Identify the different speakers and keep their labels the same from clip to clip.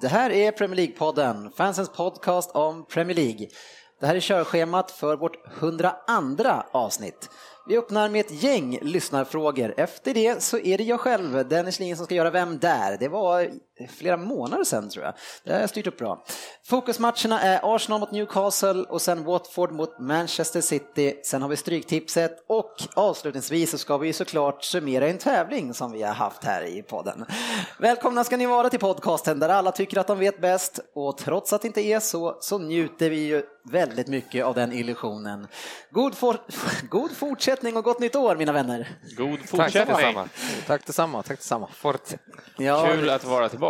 Speaker 1: Det här är Premier League-podden, fansens podcast om Premier League. Det här är körschemat för vårt 102 avsnitt. Vi öppnar med ett gäng lyssnarfrågor. Efter det så är det jag själv, Dennis Lindgren, som ska göra Vem där? Det var flera månader sedan tror jag. Det har jag styrt upp bra. Fokusmatcherna är Arsenal mot Newcastle och sen Watford mot Manchester City. Sen har vi Stryktipset och avslutningsvis så ska vi såklart summera en tävling som vi har haft här i podden. Välkomna ska ni vara till podcasten där alla tycker att de vet bäst och trots att det inte är så så njuter vi ju väldigt mycket av den illusionen. God, for, god fortsättning och gott nytt år mina vänner!
Speaker 2: God
Speaker 3: Tack
Speaker 2: fortsättning!
Speaker 3: detsamma.
Speaker 4: Tack detsamma, tack detsamma.
Speaker 3: Fort.
Speaker 1: Ja,
Speaker 2: Kul att vara tillbaks.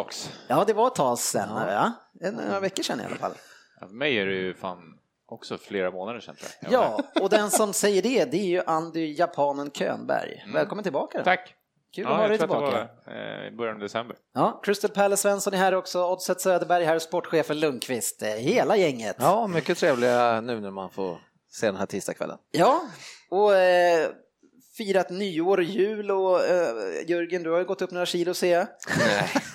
Speaker 1: ja det var ett tag sedan, ja. En- några veckor sedan i alla fall.
Speaker 2: Ja, För mig är det ju fan också flera månader sedan. tror jag.
Speaker 1: Ja, och den som säger det, det är ju Andy Japanen Könberg. Välkommen tillbaka! då.
Speaker 2: Mm. Tack!
Speaker 1: Kul att
Speaker 2: Ja,
Speaker 1: ha dig
Speaker 2: jag tror
Speaker 1: tillbaka.
Speaker 2: att det var, eh, I början av december.
Speaker 1: Ja, Crystal Palace Svensson är här också, Oddset Söderberg är här och sportchefen Lundqvist, eh, hela gänget.
Speaker 4: Ja, mycket trevliga nu när man får se den här tisdagskvällen.
Speaker 1: Ja, och eh, firat nyår och jul och eh, Jörgen, du har ju gått upp några kilo ser jag.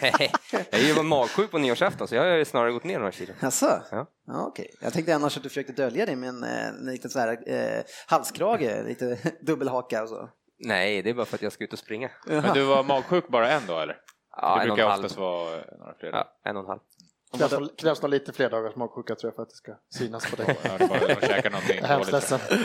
Speaker 3: Nej, jag är ju bara magsjuk på nyårsafton så jag har ju snarare gått ner några kilo.
Speaker 1: Jaså?
Speaker 3: Ja.
Speaker 1: Ja, okej. Jag tänkte annars att du försökte dölja det med en, eh, en liten sån här eh, halskrage, lite dubbelhaka och så.
Speaker 3: Nej, det är bara för att jag ska ut och springa.
Speaker 2: Men du var magsjuk bara en dag eller?
Speaker 3: Ja,
Speaker 2: det
Speaker 3: en och
Speaker 2: brukar
Speaker 3: en halv.
Speaker 2: oftast vara eh, några fler.
Speaker 3: Ja, en och en halv.
Speaker 5: Det krävs nog- krävs nog lite fler dagars magsjuka tror jag för att det ska synas på dig.
Speaker 2: Jag hörde bara att de käkade någonting
Speaker 5: Jag är hemskt
Speaker 2: dåligt.
Speaker 5: ledsen.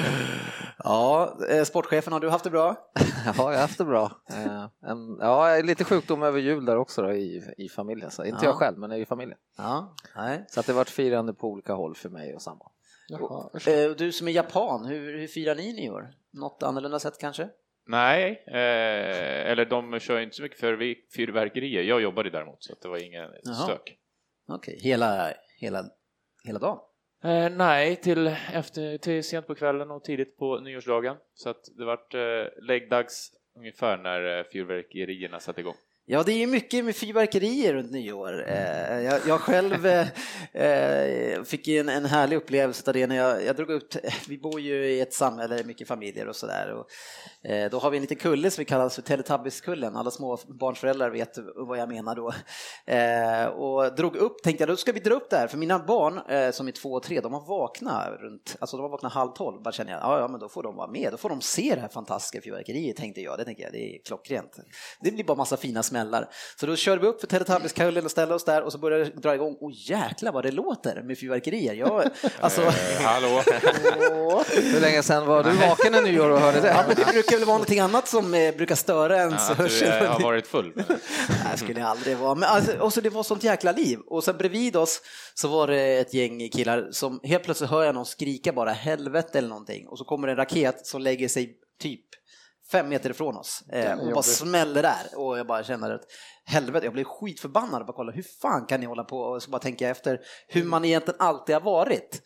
Speaker 1: Ja, eh, sportchefen, har du haft det bra?
Speaker 4: Ja, jag har haft det bra. Eh, en- Ja, lite sjukdom över jul där också då, i, i familjen. Så, inte
Speaker 1: Ja.
Speaker 4: jag själv, men i familjen.
Speaker 1: Ja, nej.
Speaker 4: Så att det varit firande på olika håll för mig och samma.
Speaker 5: Jaha, usch.
Speaker 1: Eh, och du som är japan, hur, hur firar ni nyår? Något annorlunda sätt kanske?
Speaker 2: Nej, eh, eller de kör ju inte så mycket för fyrverkerier. Jag jobbade däremot så att det var ingen
Speaker 1: Jaha.
Speaker 2: stök.
Speaker 1: Okej, hela, hela, hela dagen?
Speaker 2: Eh, nej, till, efter, till sent på kvällen och tidigt på nyårsdagen. Så att det vart eh, läggdags ungefär när eh, fyrverkerierna satte igång.
Speaker 1: Ja, det är ju mycket med fyrverkerier runt nyår. Eh, Jag, jag själv eh, eh, fick ju en, en härlig upplevelse av det när jag, jag drog upp, vi bor ju i ett samhälle med mycket familjer och sådär. och, eh, Då har vi en liten kulle som vi kallar för Teletubbies-kullen, alla små barnföräldrar vet vad jag menar då. Eh, Och drog upp, tänkte jag, då ska vi dra upp det här, för mina barn eh, som är två och tre, de har vaknat runt, alltså de har vaknat halv tolv, bara känner jag, ja, ja men då får de vara med, då får de se det här fantastiska fyrverkeriet, tänkte jag, det tänker jag, det är klockrent. Det blir bara massa fina smällar. Så då körde vi upp för Teletubbies-kullen och ställde oss där och så började det dra igång. Och jäklar vad det låter med fyrverkerier. Jag, alltså,
Speaker 2: Eh, hallå!
Speaker 4: Hur länge sedan var du vaken i nyår och hörde
Speaker 1: ja,
Speaker 4: det?
Speaker 1: men det brukar väl vara någonting annat som eh, brukar störa ens
Speaker 2: Ja, att du
Speaker 1: hörsel.
Speaker 2: eh, har varit full. men-
Speaker 1: Nej, skulle jag aldrig vara. Men alltså, och så det var sånt jäkla liv. Och sen bredvid oss så var det ett gäng killar som helt plötsligt hör jag någon skrika bara helvete eller någonting. Och så kommer en raket som lägger sig typ fem meter ifrån oss eh, och bara
Speaker 5: jobbig.
Speaker 1: smäller där och jag bara känner att helvete, jag blev skitförbannad och bara kolla hur fan kan ni hålla på och så bara tänker jag efter hur man egentligen alltid har varit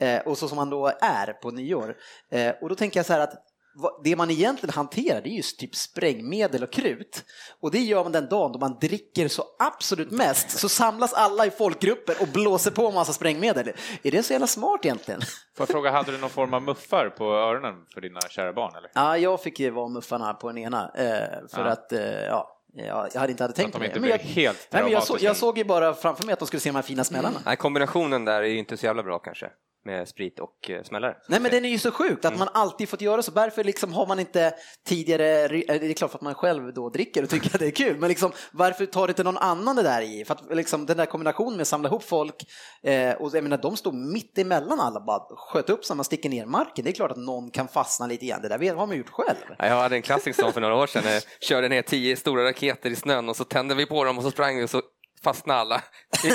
Speaker 1: eh, och så som man då är på nyår. Eh, och då tänker jag så här att vad- det man egentligen hanterar det är ju typ sprängmedel och krut och det gör man den dagen då man dricker så absolut mest så samlas alla i folkgrupper och blåser på massa sprängmedel. Är det så jävla smart egentligen?
Speaker 2: Får jag fråga, hade du någon form av muffar på öronen för dina kära barn? Eller?
Speaker 1: Ja, jag fick ju vara muffarna på den ena eh, för
Speaker 2: Ja.
Speaker 1: att eh, ja, jag jag hade inte hade tänkt
Speaker 2: de
Speaker 1: på
Speaker 2: inte
Speaker 1: det. Men jag,
Speaker 2: blir helt
Speaker 1: nej, men jag, så,
Speaker 2: traumatiska.
Speaker 1: jag såg ju bara framför mig att de skulle se de här fina smällarna.
Speaker 3: Nej, kombinationen där är ju inte så jävla bra kanske. Med sprit och eh, smällare.
Speaker 1: Nej men den är ju så sjukt att man alltid fått göra så. Därför liksom har man inte tidigare, eh, det är klart för att man själv då dricker och tycker att det är kul, men liksom varför tar inte någon annan det där i? För att liksom den där kombinationen med att samla ihop folk eh, och jag menar de stod mitt emellan alla bara sköt upp så att man sticker ner marken. Det är klart att någon kan fastna lite igen. Det där har man gjort själv.
Speaker 3: Ja, Jag hade en klassisk sån för några år sedan. när Jag körde ner tio stora raketer i snön och så tände vi på dem och så sprang vi och så fastnade alla.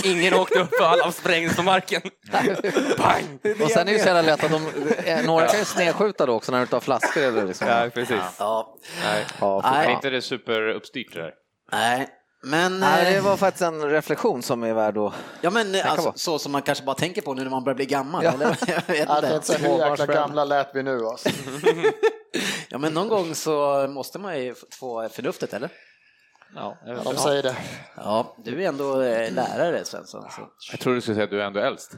Speaker 3: Ingen åkte upp och alla sprängdes på marken. Bang!
Speaker 4: Och sen är det ju så jävla lätt att de, eh, några kan ju snedskjuta då också när du tar flaskor eller liksom.
Speaker 3: Ja, precis.
Speaker 1: Ja,
Speaker 3: Nej.
Speaker 4: Ja,
Speaker 1: Nej.
Speaker 2: Är
Speaker 4: Nej.
Speaker 2: inte det superuppstyrt det där?
Speaker 1: nej. Men,
Speaker 4: Nej, det
Speaker 1: eh,
Speaker 4: var faktiskt en reflektion som är värd att...
Speaker 1: ja, men eh, alltså,
Speaker 4: på.
Speaker 1: så som man kanske bara tänker på nu när man börjar bli gammal.
Speaker 4: Ja.
Speaker 1: Eller? Jag vet
Speaker 5: Jag
Speaker 1: inte.
Speaker 5: tänkte säga, hur jäkla gamla lät vi nu alltså?
Speaker 1: Ja, men någon gång så måste man ju få förnuftet, eller?
Speaker 2: Ja, jag,
Speaker 5: De säger det.
Speaker 1: Ja, du är ändå eh, lärare Svensson. Så.
Speaker 2: tror du skulle säga att du är ändå äldst.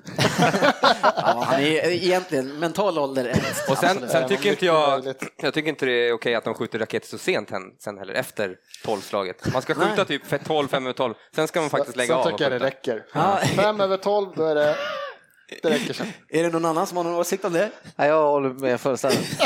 Speaker 1: Ja, han är egentligen mental ålder äldst.
Speaker 3: Och sen,
Speaker 1: absolut.
Speaker 3: sen tycker inte jag,
Speaker 5: möjligt.
Speaker 3: jag tycker inte det är okej att de skjuter raketer så sent hen- sen heller, efter tolvslaget. Man ska skjuta typ för 12, 5 över 12, sen ska man faktiskt lägga av
Speaker 5: Sen
Speaker 3: och
Speaker 5: tycker jag det
Speaker 3: skjuta.
Speaker 5: räcker.
Speaker 1: Ja.
Speaker 5: Fem över tolv, då är det... Det räcker sen.
Speaker 1: Är det någon annan som har någon åsikt om det?
Speaker 4: Nej, jag håller med fullständigt.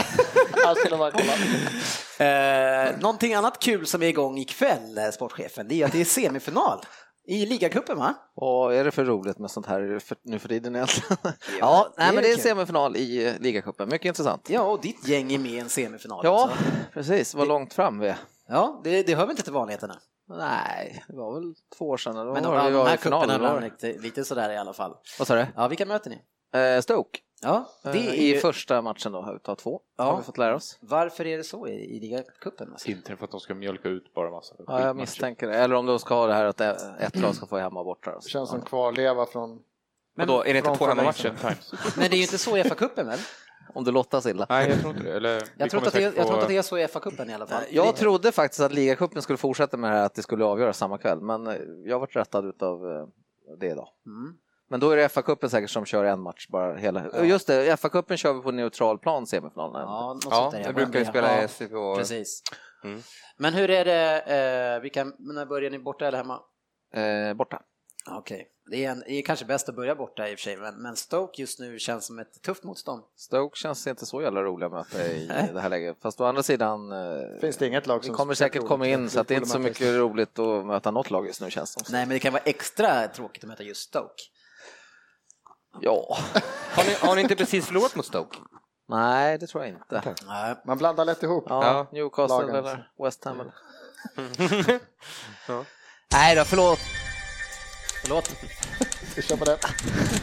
Speaker 5: Här skulle man kolla.
Speaker 1: Eh, någonting annat kul som är igång ikväll, eh, sportchefen, det är att det är semifinal i ligacupen va?
Speaker 4: Vad är det för roligt med sånt här för, nu för tiden egentligen? Ja, nej,
Speaker 1: det är
Speaker 4: men det är
Speaker 1: kul.
Speaker 4: semifinal i eh, ligacupen, mycket intressant.
Speaker 1: Ja, och ditt gäng är med i en semifinal.
Speaker 4: Ja,
Speaker 1: alltså.
Speaker 4: precis, vad långt fram vi är.
Speaker 1: ja det, det hör väl inte till vanligheterna.
Speaker 4: Nej, det var väl två år sedan. Eller
Speaker 1: Men
Speaker 4: vad
Speaker 1: de,
Speaker 4: var det? Vi
Speaker 1: de
Speaker 4: var
Speaker 1: här
Speaker 4: i finalen,
Speaker 1: cuperna
Speaker 4: eller vad
Speaker 1: ibland
Speaker 4: var det?
Speaker 1: lite, lite sådär i alla fall.
Speaker 4: Vad sa du?
Speaker 1: Ja, vilka möter ni?
Speaker 4: Eh, Stoke,
Speaker 1: Ja, eh,
Speaker 4: det
Speaker 1: det är
Speaker 4: i
Speaker 1: ju,
Speaker 4: första matchen då, utav två,
Speaker 1: Ja.
Speaker 4: har vi fått lära oss.
Speaker 1: varför är det så i, i ligacupen? Alltså?
Speaker 2: Inte för att de ska mjölka ut bara massa
Speaker 4: Ja, jag misstänker det. Eller om de ska ha det här att eh, ett lag ska få hemma och borta.
Speaker 5: Det
Speaker 4: Alltså.
Speaker 5: känns som kvarleva från...
Speaker 3: Men då är det inte
Speaker 5: från
Speaker 3: på
Speaker 5: förra
Speaker 3: hemmamatchen?
Speaker 1: Men det är ju inte så i FA-cupen väl?
Speaker 4: Om det lottas illa.
Speaker 2: Nej, jag tror inte det. Eller, vi
Speaker 1: Jag tror, inte
Speaker 2: kommer
Speaker 1: att det,
Speaker 2: säkert
Speaker 1: jag tror
Speaker 2: få-
Speaker 1: inte att det är så i FA-cupen i alla fall.
Speaker 4: Jag trodde faktiskt att ligacupen skulle fortsätta med det här att det skulle avgöras samma kväll, men eh, jag varit rättad utav eh, det idag.
Speaker 1: Mm.
Speaker 4: Men då är det FA-cupen säkert som kör en match bara hela... Just det, FA-cupen kör vi på neutral plan semifinalerna.
Speaker 1: Ja, något
Speaker 3: Ja,
Speaker 1: sånt där.
Speaker 3: det brukar ju
Speaker 1: Ja,
Speaker 3: spela i SCP och...
Speaker 1: Precis.
Speaker 3: Mm.
Speaker 1: Men hur är det, eh, vilka, när börjar ni borta eller hemma?
Speaker 4: Eh, borta.
Speaker 1: Ja, Okej, det, är en- det är kanske bäst att börja borta i och för sig, men, men Stoke just nu känns som ett tufft motstånd.
Speaker 4: Stoke känns inte så jävla roliga att möta i
Speaker 1: Nej.
Speaker 4: det här läget. Fast å andra sidan, eh,
Speaker 5: Finns det inget lag
Speaker 4: vi
Speaker 5: som...
Speaker 4: kommer säkert komma in så att det är inte så mycket roligt att möta något lag just nu känns det som.
Speaker 1: Nej, men det kan vara extra tråkigt att möta just Stoke.
Speaker 4: Ja.
Speaker 3: Har ni, har ni inte precis förlorat mot Stoke?
Speaker 4: Nej, det tror jag inte.
Speaker 1: Nej.
Speaker 5: Man blandar lätt ihop.
Speaker 4: Ja,
Speaker 3: Ja.
Speaker 4: Newcastle
Speaker 5: Lagen.
Speaker 4: eller West Ham eller... Nej då, förlåt.
Speaker 1: Förlåt,
Speaker 5: Vi kör på det.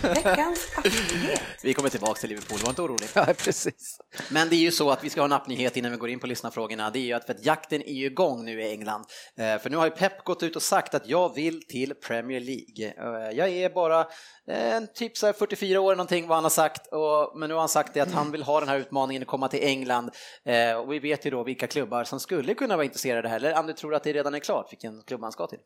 Speaker 6: Veckans aktivitet.
Speaker 1: vi kommer tillbaka till Liverpool, var inte orolig.
Speaker 4: Ja, precis.
Speaker 1: Men det är ju så att vi ska ha en appnyhet innan vi går in på lyssnarfrågorna. Det är ju att, för att jakten är ju igång nu i England. Eh, för nu har ju Pep gått ut och sagt att jag vill till Premier League. Eh, jag är bara eh, typ så här 44 år någonting vad han har sagt. Och, men nu har han sagt det att han vill ha den här utmaningen att komma till England. Eh, och vi vet ju då vilka klubbar som skulle kunna vara intresserade här. Eller Ann, du tror att det redan är klart vilken klubb han ska till?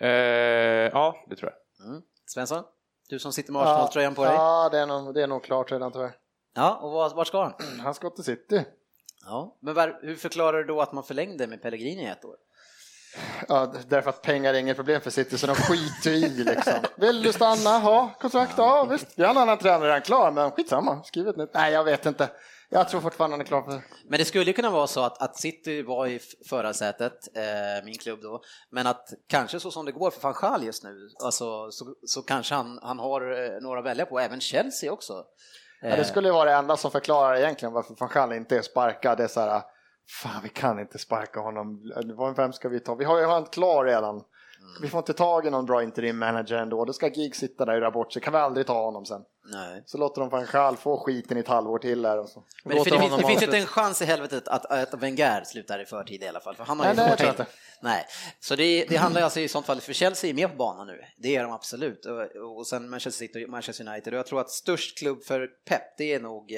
Speaker 2: Eh, ja, det tror jag.
Speaker 1: Mm. Svensson, du som sitter med Arsenal-tröjan på dig.
Speaker 5: Ja, det är nog, det är nog klart redan tyvärr.
Speaker 1: Ja, och vart var ska han?
Speaker 5: Han ska till City.
Speaker 1: Ja. Men var, hur förklarar du då att man förlängde med Pellegrini i ett år?
Speaker 5: Ja, därför att pengar är inget problem för City, så de skiter i liksom. Vill du stanna? Ha kontrakt? Ja, visst. Vi har en annan tränare redan klar, men skitsamma. Skriv ett nytt. Nej, jag vet inte. Jag tror fortfarande han är klar för...
Speaker 1: Men det skulle ju kunna vara så att, att City var i f- förarsätet, eh, min klubb då, men att kanske så som det går för van Gaal just nu, alltså, så, så kanske han, han har eh, några att välja på, även Chelsea också.
Speaker 5: Ja, det skulle ju vara det enda som förklarar egentligen varför van Gaal inte är sparkad. Det är så här, fan vi kan inte sparka honom. Vad- Vem ska vi ta? Vi har ju han klar redan. Vi får inte tag i någon bra interim manager ändå. Då ska Gig sitta där och göra bort sig. Kan vi aldrig ta honom sen.
Speaker 1: Nej.
Speaker 5: Så låter de van Gaal få skiten i ett halvår till där och så.
Speaker 1: Men det,
Speaker 4: Låter
Speaker 1: fin- det,
Speaker 4: honom
Speaker 1: finns- det finns
Speaker 4: avsluta.
Speaker 1: inte en chans i helvetet att, att Wenger slutar i förtid i alla fall, för han har ju
Speaker 5: Nej, nej,
Speaker 1: ett år
Speaker 5: jag tror
Speaker 1: till.
Speaker 5: inte.
Speaker 1: Nej, så det, det handlar ju alltså i sånt fall, för Chelsea är med på banan nu, det är de absolut, och, och sen Manchester City och Manchester United, och jag tror att störst klubb för Pep, det är nog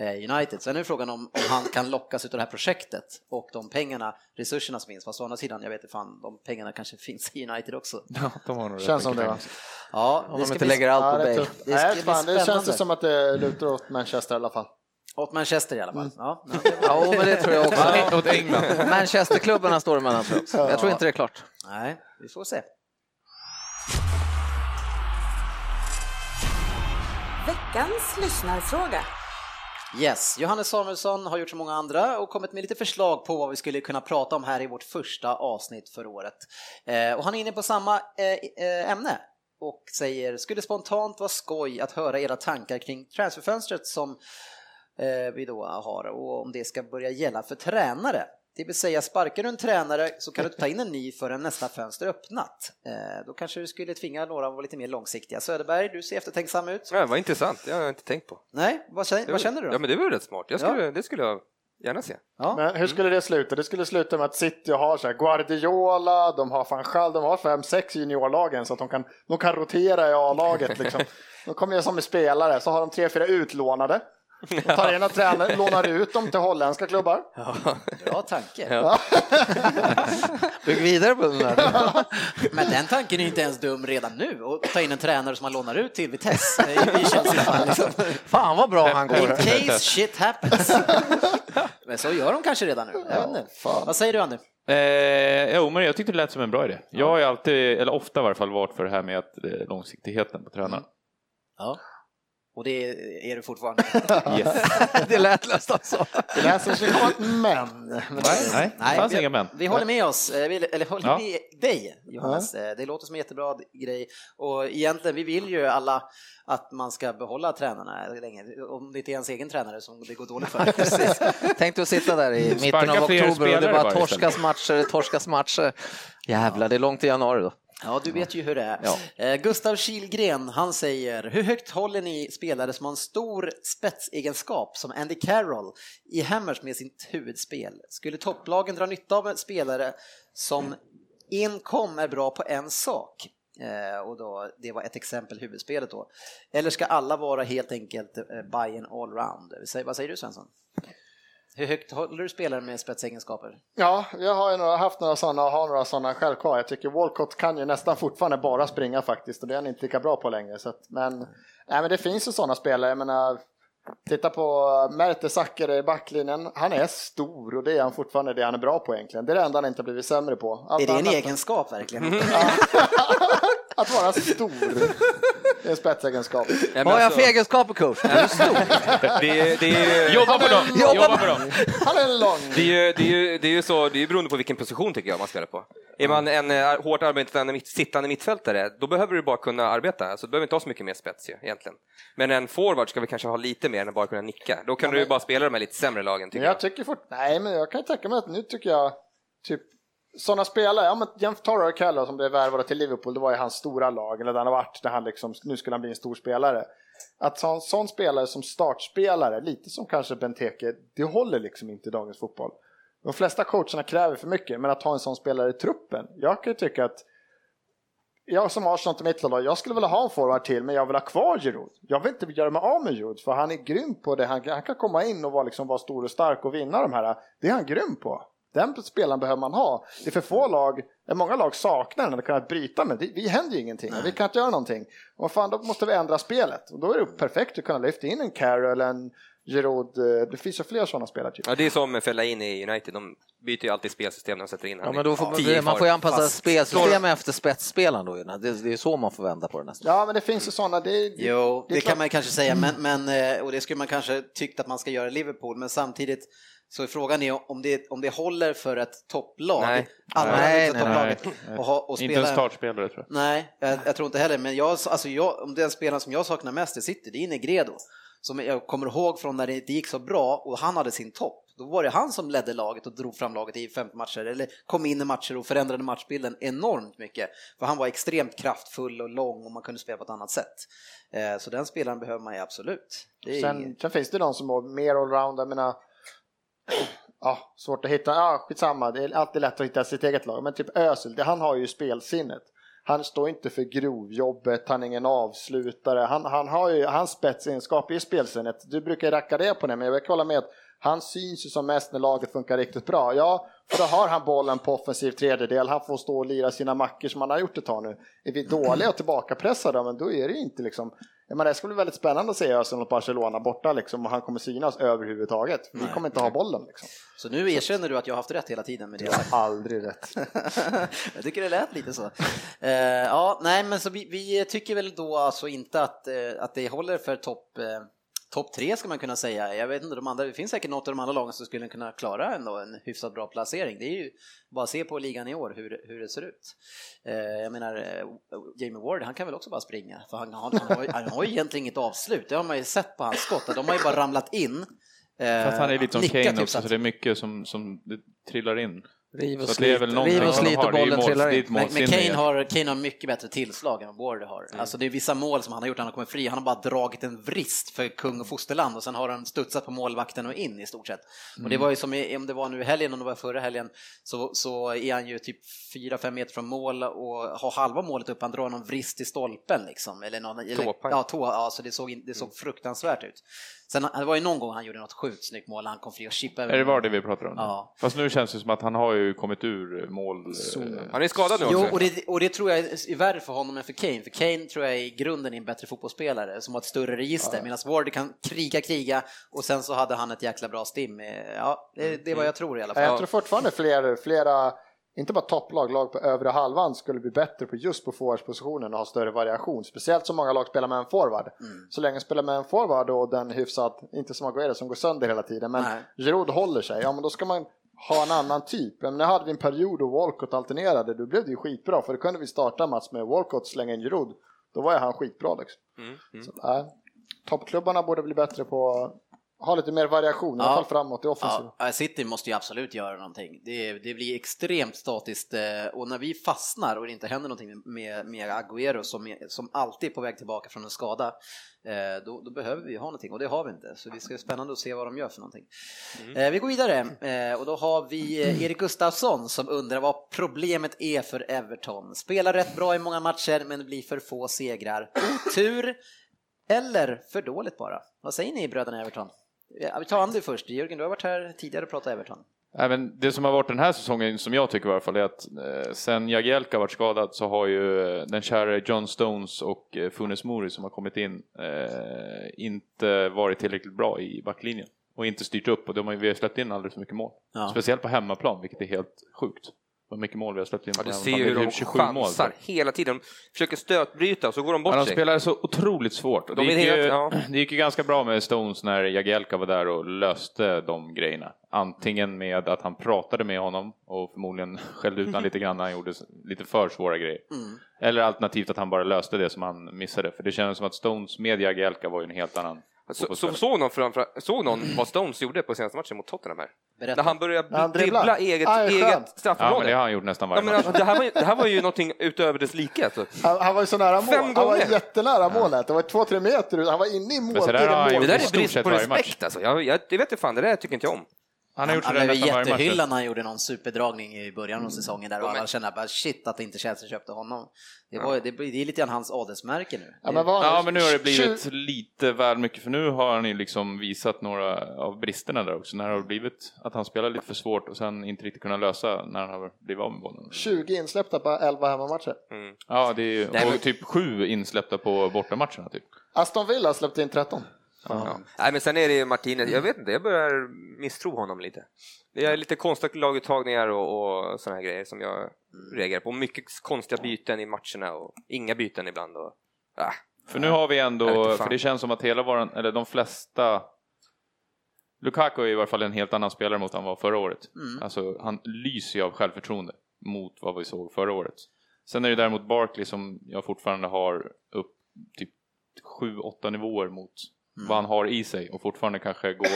Speaker 1: eh, United. Sen är frågan om, om han kan lockas av det här projektet och de pengarna, resurserna som finns, fast å andra sidan, jag vet inte fan, de pengarna kanske finns i United också.
Speaker 2: Ja, de har nog rätt
Speaker 5: Känns som
Speaker 2: mycket
Speaker 5: det va?
Speaker 2: pengar.
Speaker 1: Ja,
Speaker 4: Om
Speaker 1: det
Speaker 4: de
Speaker 1: ska
Speaker 4: inte
Speaker 1: bli
Speaker 4: lägger allt
Speaker 5: Ja,
Speaker 4: på
Speaker 5: det, är
Speaker 4: Bale.
Speaker 5: tufft.
Speaker 1: Det ska
Speaker 5: Nej,
Speaker 1: bli
Speaker 5: fan, det känns
Speaker 1: spännande.
Speaker 5: det som att det lutar åt Manchester i alla fall.
Speaker 1: åt Manchester i alla
Speaker 5: Mm.
Speaker 1: fall. Ja, nej, det var-
Speaker 4: Ja, men det tror jag också.
Speaker 2: Ja, Åt England.
Speaker 4: Manchesterklubbarna står emellan tror jag också. Jag tror inte det är klart.
Speaker 1: Nej, vi får se.
Speaker 6: Veckans lyssnarfråga.
Speaker 1: Yes, Johannes Samuelsson har gjort som många andra och kommit med lite förslag på vad vi skulle kunna prata om här i vårt första avsnitt för året. Eh, och han är inne på samma eh, eh, ämne och säger, skulle spontant vara skoj att höra era tankar kring transferfönstret som eh, vi då har och om det ska börja gälla för tränare. Det vill säga, sparkar du en tränare så kan du inte ta in en ny förrän nästa fönster är öppnat. Eh, då kanske du skulle tvinga några att vara lite mer långsiktiga. Söderberg, du ser eftertänksam ut.
Speaker 3: Ja, vad intressant, det har jag inte tänkt på.
Speaker 1: Nej, vad känner,
Speaker 3: Det
Speaker 1: vad
Speaker 3: var-
Speaker 1: känner du
Speaker 3: Ja,
Speaker 1: då?
Speaker 3: men det var ju rätt smart. Jag
Speaker 1: Ja.
Speaker 3: skulle, Det skulle jag gärna se.
Speaker 1: Ja.
Speaker 5: Men hur skulle det sluta? Det skulle sluta med att City har så här Guardiola, de har Fanchal, de har fem, sex i juniorlagen så att de kan, de kan rotera i A-laget. Liksom. De kommer ju som spelare, så har de tre, fyra utlånade. De tar in och tränar, lånar ut dem till holländska klubbar.
Speaker 1: Bra tanke.
Speaker 3: Ja.
Speaker 4: Bygg vidare på den här.
Speaker 1: Men den tanken är ju inte ens dum redan nu, att ta in en tränare som man lånar ut till Vitesse i i Chelseas fall. Liksom.
Speaker 4: Fan vad bra han
Speaker 1: In
Speaker 4: går.
Speaker 1: case shit happens. Men så gör de kanske redan nu. Jag vet inte. Vad säger du Andy?
Speaker 2: Eh, jo, men jag tyckte det lät som en bra idé. Jag har ju alltid, eller ofta i varje fall, varit för det här med att eh, långsiktigheten på
Speaker 1: Mm.
Speaker 2: tränaren.
Speaker 1: Ja. Och det är du fortfarande?
Speaker 2: Yes.
Speaker 4: Det lät nästan så.
Speaker 5: Det läser sig som ett men.
Speaker 2: Nej, nej, det fanns
Speaker 1: vi,
Speaker 2: inga men.
Speaker 1: Vi håller med oss, eh, vi, eller håller
Speaker 2: Ja.
Speaker 1: med dig Johannes. Eh, Det låter som en jättebra grej och egentligen, vi vill ju alla att man ska behålla tränarna länge, om det inte är ens egen tränare som det går dåligt för.
Speaker 4: Tänk dig att sitta där i mitten
Speaker 2: Sparka
Speaker 4: av
Speaker 2: fler
Speaker 4: oktober och det
Speaker 2: spelare
Speaker 4: bara
Speaker 2: bara
Speaker 4: torskas matcher, det torskas matcher. Jävlar, det är långt till januari då.
Speaker 1: Ja, du vet ju hur det är.
Speaker 4: Ja.
Speaker 1: Eh, Gustav Kilgren, han säger, hur högt håller ni spelare som har en stor spetsegenskap som Andy Carroll i Hammers med sitt huvudspel? Skulle topplagen dra nytta av en spelare som enkom är bra på en sak? Eh, och då, det var ett exempel, huvudspelet då. Eller ska alla vara helt enkelt eh, buy and allround? Eh, Säg- Vad säger du Svensson? Hur högt håller du spelare med spetsegenskaper?
Speaker 5: Ja, jag har ju några, haft några sådana och har några sådana själv kvar. Jag tycker Walcott kan ju nästan fortfarande bara springa faktiskt och det är han inte lika bra på längre. Så att, men, nej, men det finns ju sådana spelare. Jag menar, titta på eh, Mertesacker i backlinjen. Han är stor och det är han fortfarande det han är bra på egentligen. Det är det enda han inte har blivit sämre på. Allt
Speaker 1: Är det en
Speaker 5: annat-
Speaker 1: egenskap verkligen?
Speaker 5: Att vara stor. Det är en spetsegenskap.
Speaker 3: Nej, men
Speaker 4: Vad har jag
Speaker 3: alltså,
Speaker 4: för egenskaper kurs?
Speaker 3: det, är- det är ju-
Speaker 2: Jobba på dem!
Speaker 4: Jobba
Speaker 2: Jobba
Speaker 4: på-
Speaker 2: på dem!
Speaker 5: Han är lång.
Speaker 3: det är ju- det är ju- det är ju så, det är ju beroende på vilken position tycker jag man spelar på. Är man en eh, hårt arbetande mitt, sittande mittfältare, då behöver du bara kunna arbeta. Alltså, du behöver inte ha så mycket mer spets ju, egentligen. Men en forward ska vi kanske ha lite mer än att bara kunna nicka. Då kan du ju bara spela de här lite sämre lagen
Speaker 5: Men
Speaker 3: tycker jag.
Speaker 5: jag tycker fort, nej men jag kan ju tänka mig att nu tycker jag typ sådana spelare, ja men jämför Torre Keller som blev värvade till Liverpool, det var ju hans stora lag, eller där han har varit, där han liksom, nu skulle han bli en stor spelare. Att ha en sån spelare som startspelare, lite som kanske Benteke, det håller liksom inte i dagens fotboll. De flesta coacherna kräver för mycket, men att ha en sån spelare i truppen, jag kan ju tycka att jag som Arsenal till mitt lag, jag skulle vilja ha en forward till men jag vill ha kvar Giroud. Jag vill inte göra mig av med Giroud för han är grym på det. Han, han kan komma in och vara, liksom, vara stor och stark och vinna de här. Det är han grym på. Den spelaren behöver man ha. Det är för få lag, eh, många lag saknar den att kunna bryta med. Det, vi händer ju ingenting, vi kan inte göra någonting. Och fan, då måste vi ändra spelet. Och då är det perfekt att kunna lyfta in en Carroll, en Giroud. eh, Det finns ju fler sådana spelare. Typ.
Speaker 3: Ja, det är som Fellaini i United, de byter ju alltid spelsystem när de sätter in
Speaker 4: Ja,
Speaker 3: han
Speaker 4: men
Speaker 3: i
Speaker 4: då får
Speaker 3: tio
Speaker 4: man, man
Speaker 3: kvar.
Speaker 4: får ju anpassa
Speaker 3: Fast-
Speaker 4: spelsystem efter spetsspelaren då. ju. Det, det är så man får vända på det nästan.
Speaker 5: Ja, men det finns ju sådana. Det, det,
Speaker 1: Jo, det,
Speaker 5: är klart. Mm.
Speaker 1: kan man kanske säga, men, men, eh, och det skulle man kanske tyckt att man ska göra i Liverpool, men samtidigt så är frågan är om det, om det håller för ett topplag.
Speaker 3: Nej.
Speaker 1: Alla
Speaker 4: Nej,
Speaker 1: inte
Speaker 4: nej,
Speaker 1: topplaget. Och, ha, och
Speaker 2: Inte en
Speaker 1: spela,
Speaker 2: startspelare tror jag.
Speaker 1: Nej, jag, jag tror inte heller, men jag, alltså jag, om den spelaren som jag saknar mest i City, det är Negredo. Som jag kommer ihåg från när det inte gick så bra och han hade sin topp. Då var det han som ledde laget och drog fram laget i fem matcher, eller kom in i matcher och förändrade matchbilden enormt mycket. För han var extremt kraftfull och lång och man kunde spela på ett annat sätt. Eh, Så den spelaren behöver man ju absolut. Det är
Speaker 5: Sen,
Speaker 1: inget-
Speaker 5: sen finns det de som är mer allround. Jag menar, ja, svårt att hitta. Ja, skitsamma, det är alltid lätt att hitta sitt eget lag. Men typ Özil, det, han har ju spelsinnet. Han står inte för grovjobbet, han är ingen avslutare. Han, han har ju, hans spetsegenskap är ju spelsinnet. Du brukar ju racka det på det, men jag vill kolla med att han syns ju som mest när laget funkar riktigt bra. Ja, för då har han bollen på offensiv tredjedel, han får stå och lira sina mackor som han har gjort ett tag nu. Är vi dåliga och tillbakapressade, men då är det ju inte liksom jag menar, det skulle bli väldigt spännande att se Özil och Barcelona borta liksom, och han kommer synas överhuvudtaget. Vi kommer inte ha bollen. Liksom.
Speaker 1: Så nu erkänner du att jag har haft rätt hela tiden med det jag
Speaker 5: Jag
Speaker 1: sagt.
Speaker 5: har aldrig rätt.
Speaker 1: jag tycker det lät lite så. Eh, ja, nej, men så vi, vi tycker väl då alltså inte att, eh, att det håller för topp eh, Topp tre ska man kunna säga. Jag vet inte, de andra, det finns säkert något av de andra lagen som skulle kunna klara ändå en hyfsat bra placering. Det är ju bara att se på ligan i år hur, hur det ser ut. Eh, jag menar, eh, Jamie Ward, han kan väl också bara springa? För han, han, han, har, ju- han har ju egentligen inget avslut, det har man ju sett på hans skott. De har ju bara ramlat in
Speaker 2: Fast han är lite som
Speaker 1: nicka,
Speaker 2: Kane
Speaker 1: typ,
Speaker 2: också,
Speaker 1: att-
Speaker 2: så det är mycket som, som det trillar in.
Speaker 4: alltså. Riv och
Speaker 2: Så att det är
Speaker 4: slit,
Speaker 2: väl
Speaker 4: riv
Speaker 2: någonting
Speaker 4: och,
Speaker 2: som de
Speaker 4: slit och
Speaker 2: har, det är ju
Speaker 4: bollen
Speaker 2: måls-
Speaker 4: trillar
Speaker 2: det är
Speaker 4: in.
Speaker 2: ett
Speaker 1: Men, men
Speaker 2: målsinne i
Speaker 1: Kane,
Speaker 2: det.
Speaker 1: har, Kane har mycket bättre tillslag än vad Warder har. Alltså det är vissa mål som han har gjort, han har kommit fri, han har bara dragit en vrist för kung och fosterland och sen har han studsat på målvakten och in i stort sett. Och det var ju som i- om det var nu i helgen, om det var förra helgen, så, så är han ju typ 4-5 meter från mål och har halva målet upp, han drar någon vrist i stolpen liksom. Eller någon, eller,
Speaker 3: Tåpang.
Speaker 1: ja, tå, ja, så det såg, in- det såg fruktansvärt ut. Sen det var ju någon gång han gjorde något sjukt snyggt mål, han kom fri och chippade. över
Speaker 2: Är det var det
Speaker 1: målet.
Speaker 2: vi pratar om?
Speaker 1: Ja.
Speaker 2: Fast nu känns det som att han har ju kommit ur eh, mål...
Speaker 3: Han är skadad nu
Speaker 1: Jo,
Speaker 3: också.
Speaker 1: och det, och det tror jag är värre för honom än för Kane. För Kane tror jag i grunden är en bättre fotbollsspelare som har ett större register. Medan Ward kan kriga, kriga och sen så hade han ett jäkla bra stim. Eh, Ja, det, det är vad jag tror i alla
Speaker 5: Mm, Jag
Speaker 1: fall.
Speaker 5: tror fortfarande fler, flera, inte bara topplag, lag på övre halvan skulle bli bättre på just på forwardspositionen och ha större variation. Speciellt så många lag spelar med en forward. Så länge de spelar med en forward och den hyfsat, inte som Aguero som går sönder hela tiden, men
Speaker 1: Nej.
Speaker 5: Giroud håller sig, ja men då ska man ha en annan typ. Men nu hade vi en period då Walcott alternerade, då blev det ju skitbra för då kunde vi starta match med Walcott, slänga in Giroud. Då var ju han skitbra liksom.
Speaker 3: Mm,
Speaker 2: Mm.
Speaker 5: Så, äh, toppklubbarna borde bli bättre på att ha lite mer variation, i
Speaker 1: Ja.
Speaker 5: alla fall framåt i offensiven.
Speaker 1: Ja, City måste ju absolut göra någonting. Det, det blir extremt statiskt eh, och när vi fastnar och det inte händer någonting med, med Agüero som, är- som alltid är på väg tillbaka från en skada, eh, då, då behöver vi ju ha någonting och det har vi inte. Så det ska bli spännande att se vad de gör för någonting. Eh, Vi går vidare eh, och då har vi eh, Erik Gustafsson som undrar vad problemet är för Everton. Spelar rätt bra i många matcher men det blir för få segrar. Tur eller för dåligt bara. Vad säger ni bröderna Everton? Ja, Vi tar Andy först. Jörgen, du har varit här tidigare och pratat Everton.
Speaker 2: Nej, men det som har varit den här säsongen, som jag tycker i alla fall, är att eh, sen Jagielka varit skadad så har ju eh, den kära John Stones och eh, Funes Mori som har kommit in eh, inte varit tillräckligt bra i backlinjen och inte styrt upp och de har, ju- vi har släppt in alldeles för mycket mål.
Speaker 1: Ja.
Speaker 2: Speciellt på hemmaplan, vilket är helt sjukt. Vad mycket mål vi har släppt in
Speaker 3: Ja,
Speaker 2: på
Speaker 3: du ser
Speaker 2: hemmaplan.
Speaker 3: ju
Speaker 2: Det är
Speaker 3: hur de
Speaker 2: typ 27 mål.
Speaker 3: chansar hela tiden. De försöker stötbryta och så går de bort
Speaker 2: Ja, de
Speaker 3: sig.
Speaker 2: spelar så otroligt svårt. Och
Speaker 3: De
Speaker 2: det,
Speaker 3: är
Speaker 2: gick ju,
Speaker 3: helt- ja.
Speaker 2: det gick ju ganska bra med Stones när Jagielka var där och löste de grejerna. Antingen med att han pratade med honom och förmodligen skällde ut honom lite grann när han gjorde s- lite för svåra grejer.
Speaker 3: Mm.
Speaker 2: Eller alternativt att han bara löste det som han missade. För det kändes som att Stones med Jagielka var ju en helt annan
Speaker 3: Så, så
Speaker 2: fotbollsspelare.
Speaker 3: såg, någon framför, såg någon vad Stones gjorde på senaste matchen mot Tottenham här?
Speaker 1: Berätta.
Speaker 3: När han började
Speaker 5: När han dribblar.
Speaker 3: dribbla eget,
Speaker 5: Ah, det är
Speaker 3: eget
Speaker 5: skönt.
Speaker 2: Ja, men
Speaker 3: straffområde.
Speaker 2: det har
Speaker 3: Ja,
Speaker 2: han gjort nästan varje
Speaker 3: men
Speaker 2: match.
Speaker 3: alltså, det, här var ju, det här var ju någonting utöver dess like. Alltså.
Speaker 5: Han, han var ju så nära mål.
Speaker 3: Fem
Speaker 5: Han var
Speaker 3: gånger.
Speaker 5: jättenära målet. Det var två, tre meter ut. Han var inne i mål.
Speaker 2: så där har han
Speaker 5: mål.
Speaker 3: Det
Speaker 2: gjort
Speaker 3: där
Speaker 2: I
Speaker 3: är
Speaker 2: stort
Speaker 3: brist
Speaker 2: sett
Speaker 3: på
Speaker 2: varje
Speaker 3: respekt alltså. Jag, jag, jag vet inte fan, det där tycker inte jag om.
Speaker 2: Han har
Speaker 1: Han,
Speaker 2: gjort
Speaker 1: han
Speaker 2: sådär
Speaker 1: blev
Speaker 2: nästan varje match. Mm.
Speaker 1: jättehyllad när han gjorde någon superdragning i början av säsongen där och alla kände bara shit att inte Chelsea köpte honom. Det, var, det, blir- det är lite grann hans adelsmärke nu.
Speaker 5: Ja, men vad-
Speaker 2: Ja, men nu har det blivit
Speaker 5: Tju-
Speaker 2: lite väl mycket, för nu har han ju liksom visat några av bristerna där också. När det har blivit att han spelar lite för svårt och sen inte riktigt kunnat lösa när han har blivit av med bollen.
Speaker 5: 20 insläppta på 11 hemmamatcher.
Speaker 3: Mm.
Speaker 2: Ja, det är ju,
Speaker 3: Nej, men-
Speaker 2: och typ sju insläppta på bortamatcherna typ.
Speaker 5: Aston Villa släppte in 13.
Speaker 3: Ja. Nej, men sen är det ju Martinez, jag vet inte, jag börjar misstro honom lite. Det är lite konstiga laguttagningar och, och såna här grejer som
Speaker 2: Mm.
Speaker 3: jag reagerar på. Mycket konstiga byten i matcherna och inga byten ibland. Och, ah.
Speaker 2: För nu har vi
Speaker 3: Jag vet
Speaker 2: ändå,
Speaker 3: inte fan.
Speaker 2: för det känns som att hela våran, eller de flesta Lukaku är i varje fall en helt annan spelare mot han var förra året.
Speaker 5: Mm.
Speaker 2: Alltså han lyser ju av självförtroende mot vad vi såg förra året. Sen är det däremot Barkley som jag fortfarande har upp typ 7-8 nivåer mot
Speaker 5: Mm.
Speaker 2: vad han har i sig och fortfarande kanske går...